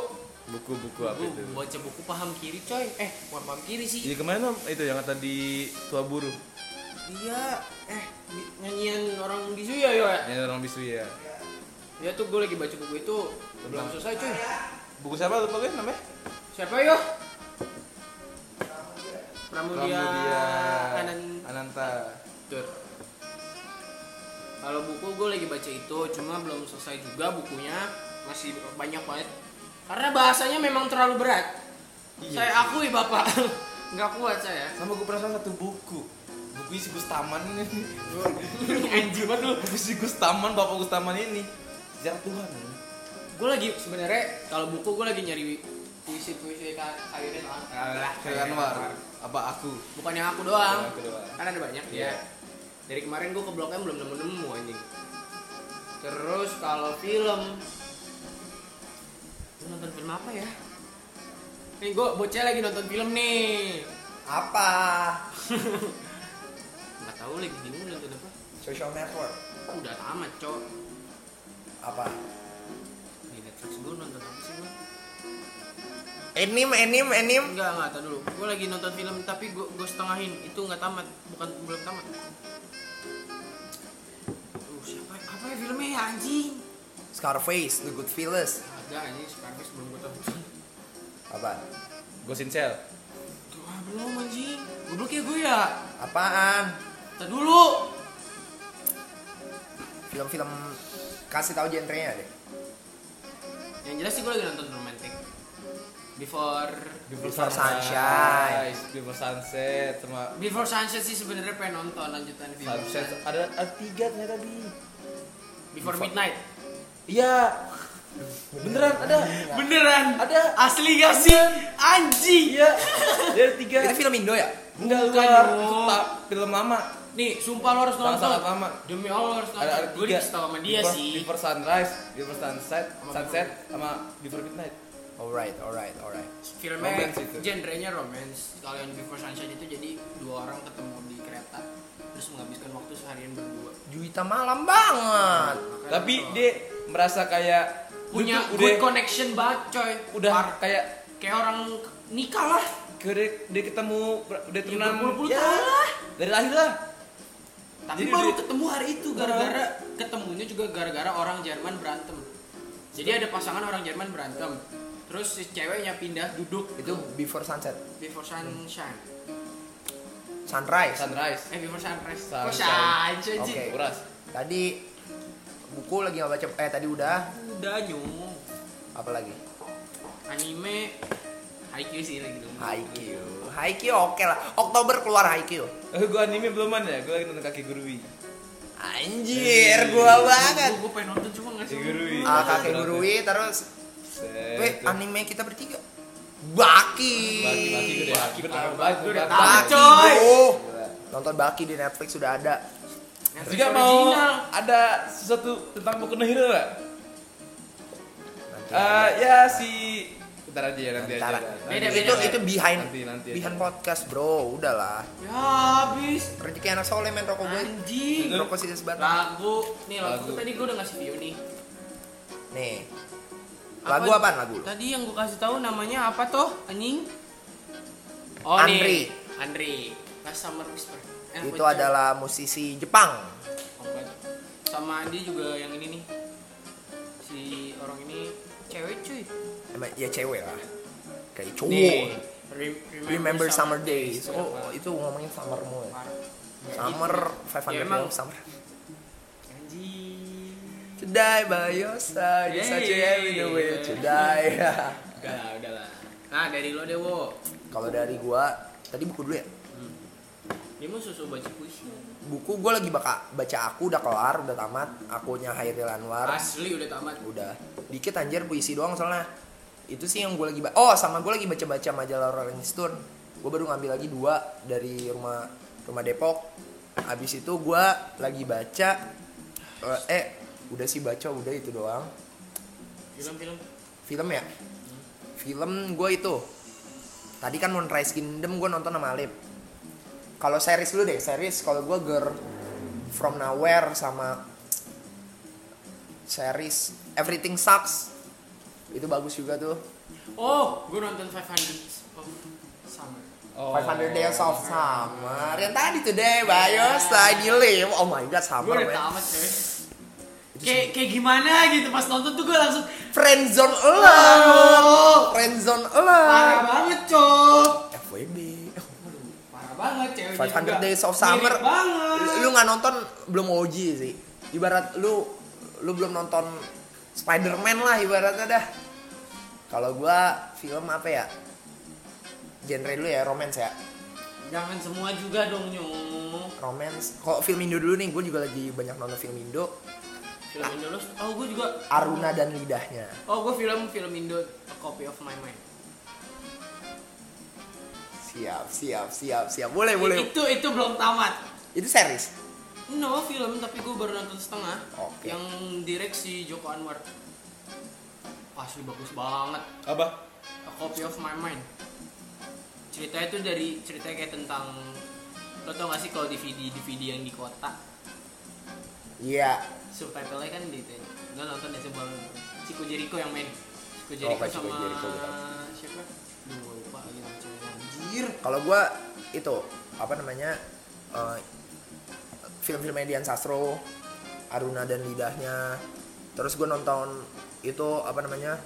Speaker 4: buku-buku apa
Speaker 3: Gue
Speaker 4: itu
Speaker 3: baca buku paham kiri coy. Eh, bukan paham kiri sih.
Speaker 4: jadi kemarin lo itu yang tadi tua buruh
Speaker 3: Iya, eh ny- nyanyian orang bisu ya yo ya.
Speaker 4: Ini orang bisu ya.
Speaker 3: Ya tuh gue lagi baca buku itu belum selesai cuy.
Speaker 4: Buku siapa lupa gue namanya?
Speaker 3: Siapa yo? Pramudia, Anantur.
Speaker 4: Ananta.
Speaker 3: Kalau buku gue lagi baca itu, cuma belum selesai juga bukunya, masih banyak banget. Karena bahasanya memang terlalu berat. saya akui bapak, nggak kuat saya.
Speaker 4: Sama gue pernah salah satu buku. Buku si Gustaman ini.
Speaker 3: Anjir banget lu.
Speaker 4: Buku si Gustaman, Bapak Gustaman ini. Sejarah Tuhan. ini.
Speaker 3: Gue lagi sebenarnya kalau buku gue lagi nyari puisi puisi kairin lah.
Speaker 4: Ah, Kayak Anwar. Apa aku?
Speaker 3: Bukan yang gitu. aku doang.
Speaker 4: Yang aku doang.
Speaker 3: Kan ada banyak
Speaker 4: Iya.
Speaker 3: ya. Dari kemarin gue ke Blok M belum nemu-nemu anjing. Terus kalau film Gua nonton film apa ya? Nih gue bocah lagi nonton film nih.
Speaker 2: Apa?
Speaker 3: Nggak tahu lagi bingung nonton apa.
Speaker 2: Social network.
Speaker 3: Udah lama, Cok.
Speaker 2: Apa?
Speaker 3: Di Netflix gue nonton apa sih gue?
Speaker 2: Enim, enim, enim.
Speaker 3: Enggak, enggak, tahu dulu. Gue lagi nonton film tapi gue gue setengahin. Itu nggak tamat, bukan belum tamat. Aduh, siapa? Apa ya filmnya ya, anjing?
Speaker 2: Scarface, The Good Fellas.
Speaker 3: Ada anjing, Scarface belum gue tonton.
Speaker 2: Apa?
Speaker 4: Gosin Cell.
Speaker 3: Wah, ah, belum anjing. Goblok ya gue ya.
Speaker 2: Apaan?
Speaker 3: Ntar dulu.
Speaker 2: Film-film kasih tahu genrenya deh.
Speaker 3: Yang jelas sih gue lagi nonton romantic. Before
Speaker 2: Before Sunshine.
Speaker 4: Before Sunset sama
Speaker 3: Before Sunset sih sebenarnya pengen nonton lanjutan film.
Speaker 4: Sunset. Ada, ada tiga ternyata di.
Speaker 3: Before Midnight.
Speaker 4: Iya. Beneran ada.
Speaker 3: Beneran.
Speaker 4: Ada.
Speaker 3: Asli gak sih? Anjing.
Speaker 4: Iya. Dia ada tiga.
Speaker 2: Itu film Indo ya?
Speaker 4: Enggak
Speaker 3: Bukan,
Speaker 4: luar.
Speaker 3: Bro.
Speaker 4: Itu tak film lama.
Speaker 3: Nih, sumpah lo harus
Speaker 4: Sangat
Speaker 3: nonton.
Speaker 4: sangat lama.
Speaker 3: Demi Allah lo harus
Speaker 4: Ada ada
Speaker 3: nonton. Gue
Speaker 4: tiga.
Speaker 3: dikasih tau sama dia
Speaker 4: Before-
Speaker 3: sih.
Speaker 4: Before sunrise, before sunset,
Speaker 3: Sama
Speaker 4: sunset sama before midnight.
Speaker 2: Alright, alright, alright.
Speaker 3: Filmnya
Speaker 4: romance itu.
Speaker 3: genrenya romance. Kalau yang Before Sunset itu jadi dua orang ketemu di kereta terus menghabiskan waktu seharian berdua.
Speaker 2: Juwita malam banget.
Speaker 3: Makanya
Speaker 4: Tapi
Speaker 3: kalau-
Speaker 4: dia merasa kayak
Speaker 3: punya
Speaker 4: dia tuh
Speaker 3: good
Speaker 4: udah
Speaker 3: connection banget coy
Speaker 4: udah
Speaker 3: Par-
Speaker 4: kayak
Speaker 3: kayak orang nikah lah
Speaker 4: udah, udah ketemu
Speaker 3: Ya,
Speaker 4: udah temenan Ya,
Speaker 3: berpuluh-puluh tahun lah.
Speaker 4: dari lahir lah
Speaker 3: tapi
Speaker 4: Jadi
Speaker 3: baru
Speaker 4: udah-
Speaker 3: ketemu hari itu gara-gara ketemunya juga gara-gara orang Jerman berantem jadi ada pasangan orang Jerman berantem terus si ceweknya pindah duduk
Speaker 2: Itu Before Sunset.
Speaker 3: before sunshine
Speaker 2: Sunrise.
Speaker 4: sunrise
Speaker 3: eh before sunrise
Speaker 4: Sunshine.
Speaker 3: kok sunshine sih
Speaker 2: Oke.
Speaker 4: uras
Speaker 2: Tadi buku lagi nggak baca. Eh tadi udah.
Speaker 3: udah nyung
Speaker 2: Apa lagi?
Speaker 3: anime Haikyuu sih lagi dong
Speaker 2: Haikyuu. Haikyuu oke lah. Oktober keluar Haikyuu.
Speaker 4: eh, gua anime beluman ya gua lagi nonton kaki gurui
Speaker 2: Anjir, gua banget.
Speaker 3: gue pengen nonton cuma nggak sih
Speaker 4: Digurui.
Speaker 2: Ah, kakek gurui terus
Speaker 4: Set,
Speaker 2: Weh,
Speaker 4: tuh.
Speaker 2: anime kita bertiga. Baki.
Speaker 4: Eh, Baki, baki gede. Baki, parah banget,
Speaker 3: Gua udah
Speaker 4: baki.
Speaker 3: tahu,
Speaker 2: Baki,
Speaker 3: coy.
Speaker 2: bro. Nonton Baki di Netflix sudah ada.
Speaker 3: Netflix
Speaker 4: juga mau
Speaker 3: original. Ya,
Speaker 4: ada sesuatu tentang Boku no Hero nggak?
Speaker 2: Nanti.
Speaker 4: Eh, ya si Ntar aja ya nanti
Speaker 2: Ntar.
Speaker 4: aja.
Speaker 3: Beda,
Speaker 4: Nanti.
Speaker 2: itu
Speaker 3: beda.
Speaker 2: itu behind
Speaker 4: Nanti, nanti aja.
Speaker 2: behind podcast, Bro. Udahlah.
Speaker 3: ya habis
Speaker 2: Rezeki anak soleh men rokok gue.
Speaker 3: anjing
Speaker 2: Rokok sisa sebatang.
Speaker 3: lagu nih lagu,
Speaker 4: Lagu.
Speaker 3: tadi gue udah ngasih video nih
Speaker 2: Nih. Lagu apaan lagu lu?
Speaker 3: tadi yang gue kasih tahu namanya apa toh anjing oh
Speaker 2: Andri.
Speaker 3: nih Andri Last Summer Whisper Eh,
Speaker 2: Itu
Speaker 3: apa
Speaker 2: adalah musisi Jepang.
Speaker 3: Oh, enggak. sama dia juga yang ini nih si orang ini cewek cuy
Speaker 2: Emang ya cewek lah. Kayak
Speaker 3: nih
Speaker 2: cowok.
Speaker 3: Rem-
Speaker 2: Remember Summer Days.
Speaker 3: Itu
Speaker 2: Oh,
Speaker 3: apa?
Speaker 2: itu ngomongin summer mulu. ya.
Speaker 3: Parah.
Speaker 2: Summer
Speaker 3: Iya, Ya,
Speaker 2: 500
Speaker 3: emang.
Speaker 2: days of summer.
Speaker 3: anjing
Speaker 2: To die by your side is such a heavy
Speaker 3: Yeay.
Speaker 2: way to die.
Speaker 3: udah lah udah lah nah dari lo dewo
Speaker 2: Kalau dari gua tadi buku dulu ya.
Speaker 3: dia mau susu baca puisi
Speaker 2: Buku gua lagi baca baca aku udah kelar, udah tamat. Akunya Hairil Anwar
Speaker 3: asli udah tamat
Speaker 2: udah dikit anjir puisi doang soalnya. Itu sih yang gua lagi ba- Oh, sama gua lagi baca-baca majalah Rolling Stone. Gua baru ngambil lagi dua dari rumah rumah Depok. Habis itu gua lagi baca eh, eh udah sih baca udah itu doang.
Speaker 3: film-film
Speaker 2: film ya film gue itu tadi kan Moonrise Kingdom gue nonton sama Alip kalau series dulu deh series kalau gue Girl From Nowhere sama series Everything Sucks itu bagus juga tuh
Speaker 3: Oh, gue nonton 500 oh,
Speaker 5: summer.
Speaker 4: Oh.
Speaker 2: 500 Days of Summer yang tadi tuh deh Bayos tadi live oh my god
Speaker 3: Gue
Speaker 2: summer
Speaker 3: udah
Speaker 2: man
Speaker 3: tamat coy. Kayak kayak gimana gitu pas nonton tuh gue langsung
Speaker 2: friendzone lo friendzone lo
Speaker 3: parah banget coy.
Speaker 2: FWB
Speaker 3: Parah banget cewek.
Speaker 2: 500 Days of Summer
Speaker 3: banget.
Speaker 2: lu nggak nonton belum OG sih ibarat lu lu belum nonton Spider-Man lah ibaratnya dah kalau gua film apa ya genre lu ya romance ya
Speaker 3: Jangan semua juga dong nyong.
Speaker 2: romance kok film Indo dulu nih gue juga lagi banyak nonton film Indo
Speaker 3: Film Indo lu- Oh gue juga.
Speaker 2: Aruna dan lidahnya
Speaker 3: Oh gue film film Indo A Copy of My Mind.
Speaker 2: siap siap siap siap boleh boleh
Speaker 3: Itu itu belum tamat.
Speaker 2: itu series
Speaker 3: No film tapi gue baru nonton setengah
Speaker 2: Oke.
Speaker 3: yang direct si Joko Anwar. Asli bagus banget.
Speaker 4: Apa?
Speaker 3: A Copy of My Mind. Ceritanya itu dari ceritanya kayak tentang lo tau gak sih kalau DVD DVD yang di kota
Speaker 2: iya
Speaker 3: subtitlenya kan di itu lo nonton dari sebelum Chico Jericho yang main Chico
Speaker 2: Oh,
Speaker 3: Jericho
Speaker 2: Pak Chico
Speaker 3: sama
Speaker 2: Jericho, bukan.
Speaker 3: siapa? Duh gua lupa lagi nama ceweknya. anjir.
Speaker 2: kalau gua itu apa namanya eh, film-film Dian Sastro Aruna dan lidahnya terus gua nonton itu apa namanya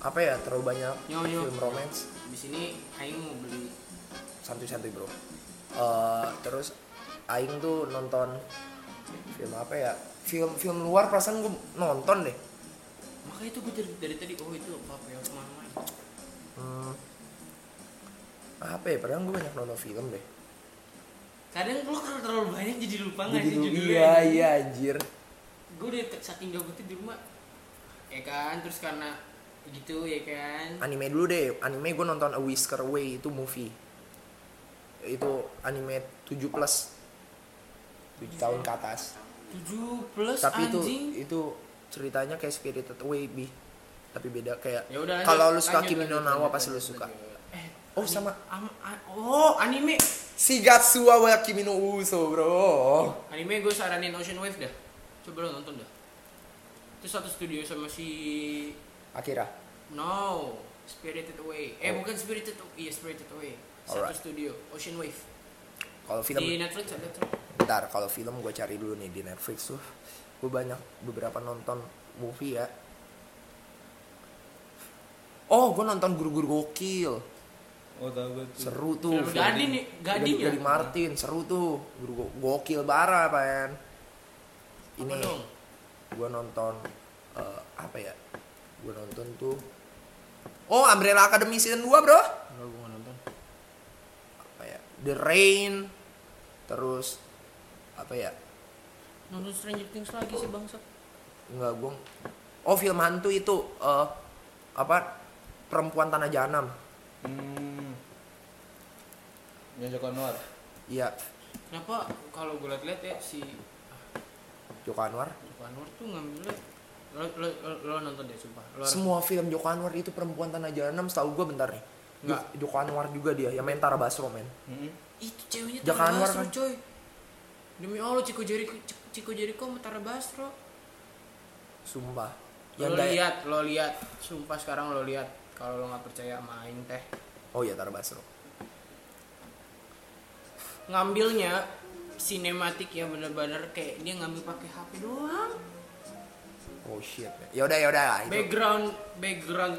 Speaker 2: apa ya terlalu banyak
Speaker 3: Yo, yo.
Speaker 2: film romance
Speaker 3: Di sini Aing mau beli
Speaker 2: santuy-santuy bro Eh, terus Aing tuh nonton film apa ya film film luar perasaan gue nonton deh
Speaker 3: makanya itu gue dari, dari tadi oh itu apa apa ya kemana main
Speaker 2: Hmm. apa ya padahal gue banyak nonton film deh
Speaker 3: kadang lo kalau terlalu banyak jadi lupa nggak
Speaker 2: Jadi
Speaker 3: sih
Speaker 2: lu-
Speaker 3: judulnya
Speaker 2: iya iya anjir
Speaker 3: gue udah te- saking gabutnya di rumah ya kan terus karena gitu ya kan
Speaker 2: anime dulu deh anime gue nonton A Whisker Away itu movie itu anime 7 plus 7 tahun ke atas
Speaker 3: 7 plus
Speaker 2: tapi itu
Speaker 3: anjing
Speaker 2: itu ceritanya kayak Spirited Away bi tapi beda kayak
Speaker 3: ya udah lanjut,
Speaker 2: kalau lu suka
Speaker 3: lanjut,
Speaker 2: Kimi no
Speaker 3: lanjut,
Speaker 2: Na wa
Speaker 3: lanjut,
Speaker 2: pasti lu
Speaker 3: lanjut,
Speaker 2: suka
Speaker 3: lanjut. eh
Speaker 2: oh sama
Speaker 3: am- an- oh anime
Speaker 2: Shigatsuwa wa Kimi no Uso bro
Speaker 3: anime gue saranin Ocean Wave dah coba lo nonton dah itu satu studio sama si
Speaker 2: Akira
Speaker 3: no Spirited Away eh
Speaker 2: Oh.
Speaker 3: bukan Spirited iya Spirited Away satu
Speaker 2: Alright.
Speaker 3: studio Ocean Wave
Speaker 2: kalau film
Speaker 3: di Netflix ada tuh
Speaker 2: Bentar, kalau film gue cari dulu nih di Netflix tuh. Gue banyak beberapa nonton movie ya. Oh, gue nonton guru-guru gokil.
Speaker 4: Oh tahu gue tuh.
Speaker 2: Seru tuh.
Speaker 3: Film Gadin nih, Gadin ya?
Speaker 2: Gadin Martin, seru tuh. Guru Go- gokil bara, Pan.
Speaker 3: apa
Speaker 2: Ini
Speaker 3: dong
Speaker 2: gue nonton eh, apa ya? Gue nonton tuh Oh, Umbrella Academy season 2, Bro.
Speaker 3: Enggak, gue gak nonton.
Speaker 2: Apa ya? The Rain. Terus apa ya?
Speaker 3: Nonton Stranger Things lagi sih bangsat.
Speaker 2: Enggak, gue Oh, film hantu itu eh, apa? Perempuan Tanah Jahanam.
Speaker 4: Hmm. Yang Joko Anwar.
Speaker 2: Iya,
Speaker 3: Kenapa kalau gue liat-liat ya si
Speaker 2: Joko Anwar.
Speaker 3: Joko Anwar tuh ngambilnya lo, lo, lo, lo nonton deh sumpah. Lo harus-
Speaker 2: Semua film Joko Anwar itu Perempuan Tanah Jahanam setahu gue bentar nih. Jo-
Speaker 3: Enggak.
Speaker 2: Joko Anwar juga dia yang main Tara Basro, men.
Speaker 4: Hmm.
Speaker 3: itu ceweknya
Speaker 2: Joko
Speaker 3: Tara
Speaker 2: Anwar
Speaker 3: Basro
Speaker 2: kan?
Speaker 3: coy. Demi Allah Ciko Jericho Cik- Ciko Jericho sama Tara Basro.
Speaker 2: Sumpah.
Speaker 3: lo
Speaker 2: gaya-
Speaker 3: lihat, lo lihat. Sumpah sekarang lo lihat kalau lo nggak percaya main teh.
Speaker 2: Oh iya Tara Basro.
Speaker 3: Ngambilnya sinematik ya bener-bener kayak dia ngambil pakai HP doang.
Speaker 2: Oh shit. Ya udah ya udah lah, itu.
Speaker 3: background background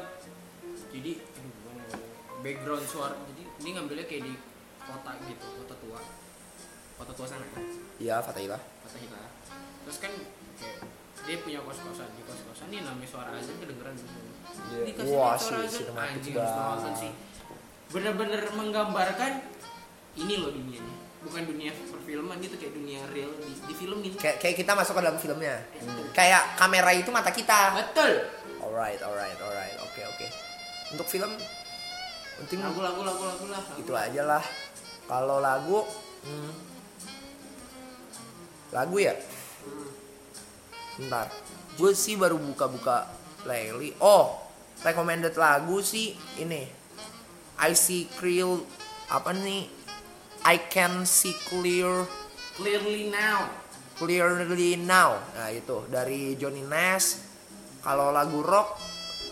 Speaker 3: jadi aduh, gimana ya? background suara jadi ini ngambilnya kayak di kota gitu kota tua kota tua sana
Speaker 2: Iya, Fatailah.
Speaker 3: kota kita terus kan kayak dia punya kos kosan di kos kosan nih namanya suara azan kedengeran di sini
Speaker 4: Iya.
Speaker 3: dikasih
Speaker 2: Wah, sih,
Speaker 3: suara azan
Speaker 2: sinematik
Speaker 3: anjing harus
Speaker 2: banget.
Speaker 3: nonton sih bener-bener menggambarkan ini loh dunianya bukan dunia perfilman gitu kayak dunia real di, di film gitu
Speaker 2: Kayak kayak kita masuk ke dalam filmnya. Kayak kamera itu mata kita.
Speaker 3: betul
Speaker 2: Alright, alright, alright. Oke, oke. Untuk film penting
Speaker 3: lagu lagu lagu lagu lah lagu.
Speaker 2: itu aja lah kalau lagu hmm, lagu ya bentar gue sih baru buka-buka playlist oh recommended lagu sih ini I see clear apa nih I can see clear
Speaker 3: clearly now
Speaker 2: clearly now nah itu dari Johnny Nash kalau lagu rock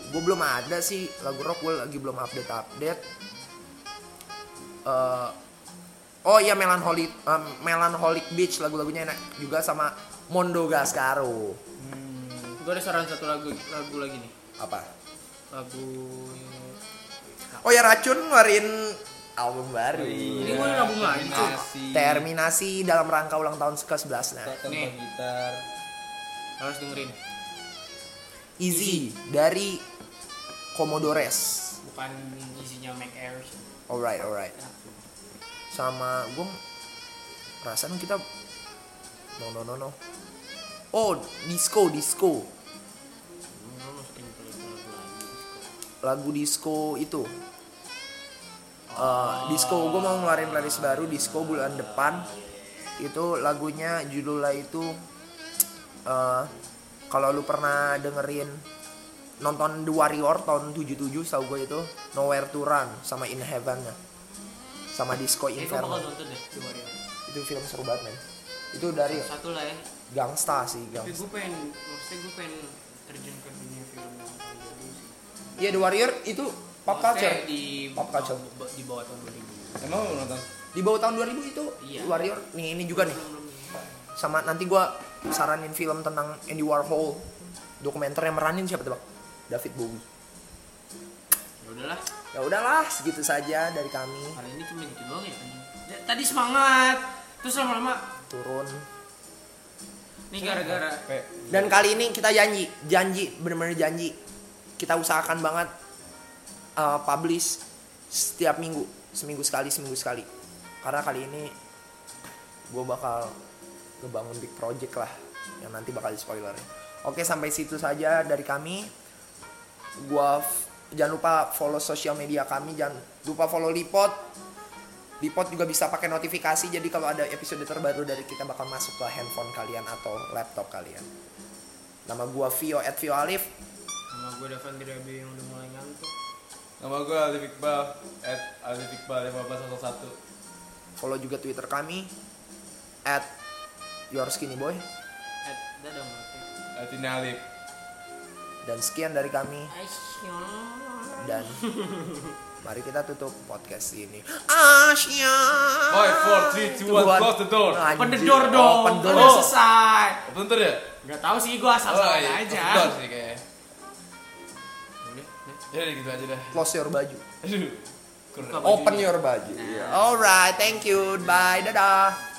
Speaker 2: gue belum ada sih lagu rock gue lagi belum update update eh, oh iya melancholic eh, melancholic beach lagu-lagunya enak juga sama Mondo Gascaro
Speaker 3: Gue ada saran satu lagu lagu lagi nih.
Speaker 2: apa
Speaker 3: Lagu
Speaker 2: oh ya racun ngeluarin album
Speaker 4: Iya.
Speaker 2: baru
Speaker 3: Ini gua nabung lagi, cuy.
Speaker 4: Terminasi.
Speaker 2: terminasi dalam rangka ulang tahun ke 11 nah
Speaker 4: Tanpa
Speaker 3: Nih.
Speaker 4: gitar.
Speaker 3: harus dengerin.
Speaker 2: easy dari Commodores
Speaker 3: Bukan isinya Mac Air.
Speaker 2: alright alright sama gue perasaan kita no no no no oh disco disco
Speaker 3: Lu masukin ke lagu lagi.
Speaker 2: lagu disco itu Eh, disco gue mau ngeluarin playlist baru disco bulan depan itu lagunya judulnya itu eh kalau lu pernah dengerin nonton The Warrior tahun 77 tau gue itu Nowhere to Run sama In Heaven sama Disco
Speaker 3: Eh, gua bakal
Speaker 2: Inferno
Speaker 3: nonton deh di Warrior.
Speaker 2: itu film seru banget men itu dari
Speaker 3: Satu lah ya.
Speaker 2: gangsta sih
Speaker 3: Tapi
Speaker 2: gangsta
Speaker 3: gue pengen, maksudnya gue pengen terjun ke dunia film yang tahun dulu sih.
Speaker 2: iya The Warrior itu pop
Speaker 3: Maksudnya
Speaker 2: culture
Speaker 3: Di,
Speaker 2: Pop culture.
Speaker 3: Di bawah tahun 2000.
Speaker 4: Emang lu nonton?
Speaker 2: di bawah tahun 2000 itu
Speaker 3: Iya.
Speaker 2: The Warrior nih ini juga nih sama nanti gua saranin film tentang Andy Warhol dokumenter yang meranin siapa tebak David Bowie
Speaker 3: Ya udahlah,
Speaker 2: ya udahlah segitu saja dari kami
Speaker 3: kali ini cuma gitu doang ya. anjing. Ya, Tadi semangat, terus lama-lama
Speaker 2: turun
Speaker 3: nih gara-gara
Speaker 4: Pe.
Speaker 2: dan kali ini kita janji janji bener-bener janji kita usahakan banget uh, publish setiap minggu seminggu sekali seminggu sekali karena kali ini gue bakal ngebangun big project lah yang nanti bakal di spoilerin oke sampai situ saja dari kami gua f- jangan lupa follow sosial media kami jangan lupa follow Lipot Lipot juga bisa pakai notifikasi jadi kalau ada episode terbaru dari kita bakal masuk ke handphone kalian atau laptop kalian nama gua Vio at Vio Alif
Speaker 3: sama gue Davan Dirabi yang udah mulai ngantuk.
Speaker 4: Nama gue Alif Iqbal At Alif Iqbal 1501
Speaker 2: follow juga Twitter kami at Your Skinny Boy
Speaker 3: Eh, dadah mati.
Speaker 4: At ini Alif
Speaker 2: dan sekian dari kami
Speaker 3: Aisyah.
Speaker 2: dan mari kita tutup podcast ini Asia
Speaker 3: Ah,
Speaker 4: 5, 4, 3, 2, 1 Close the door Oh.
Speaker 3: Pendedor dong,
Speaker 2: open
Speaker 3: kan
Speaker 2: door.
Speaker 3: udah selesai.
Speaker 4: Open door ya?
Speaker 3: Gak tau sih, gue asal
Speaker 4: Oh,
Speaker 3: salah
Speaker 4: iya,
Speaker 3: aja.
Speaker 4: Open door sih kayaknya
Speaker 3: Udah, udah.
Speaker 4: Ya udah gitu aja dah
Speaker 2: close your baju
Speaker 4: Aduh Kurang
Speaker 3: Buka bajunya.
Speaker 2: open your baju alright thank you bye dadah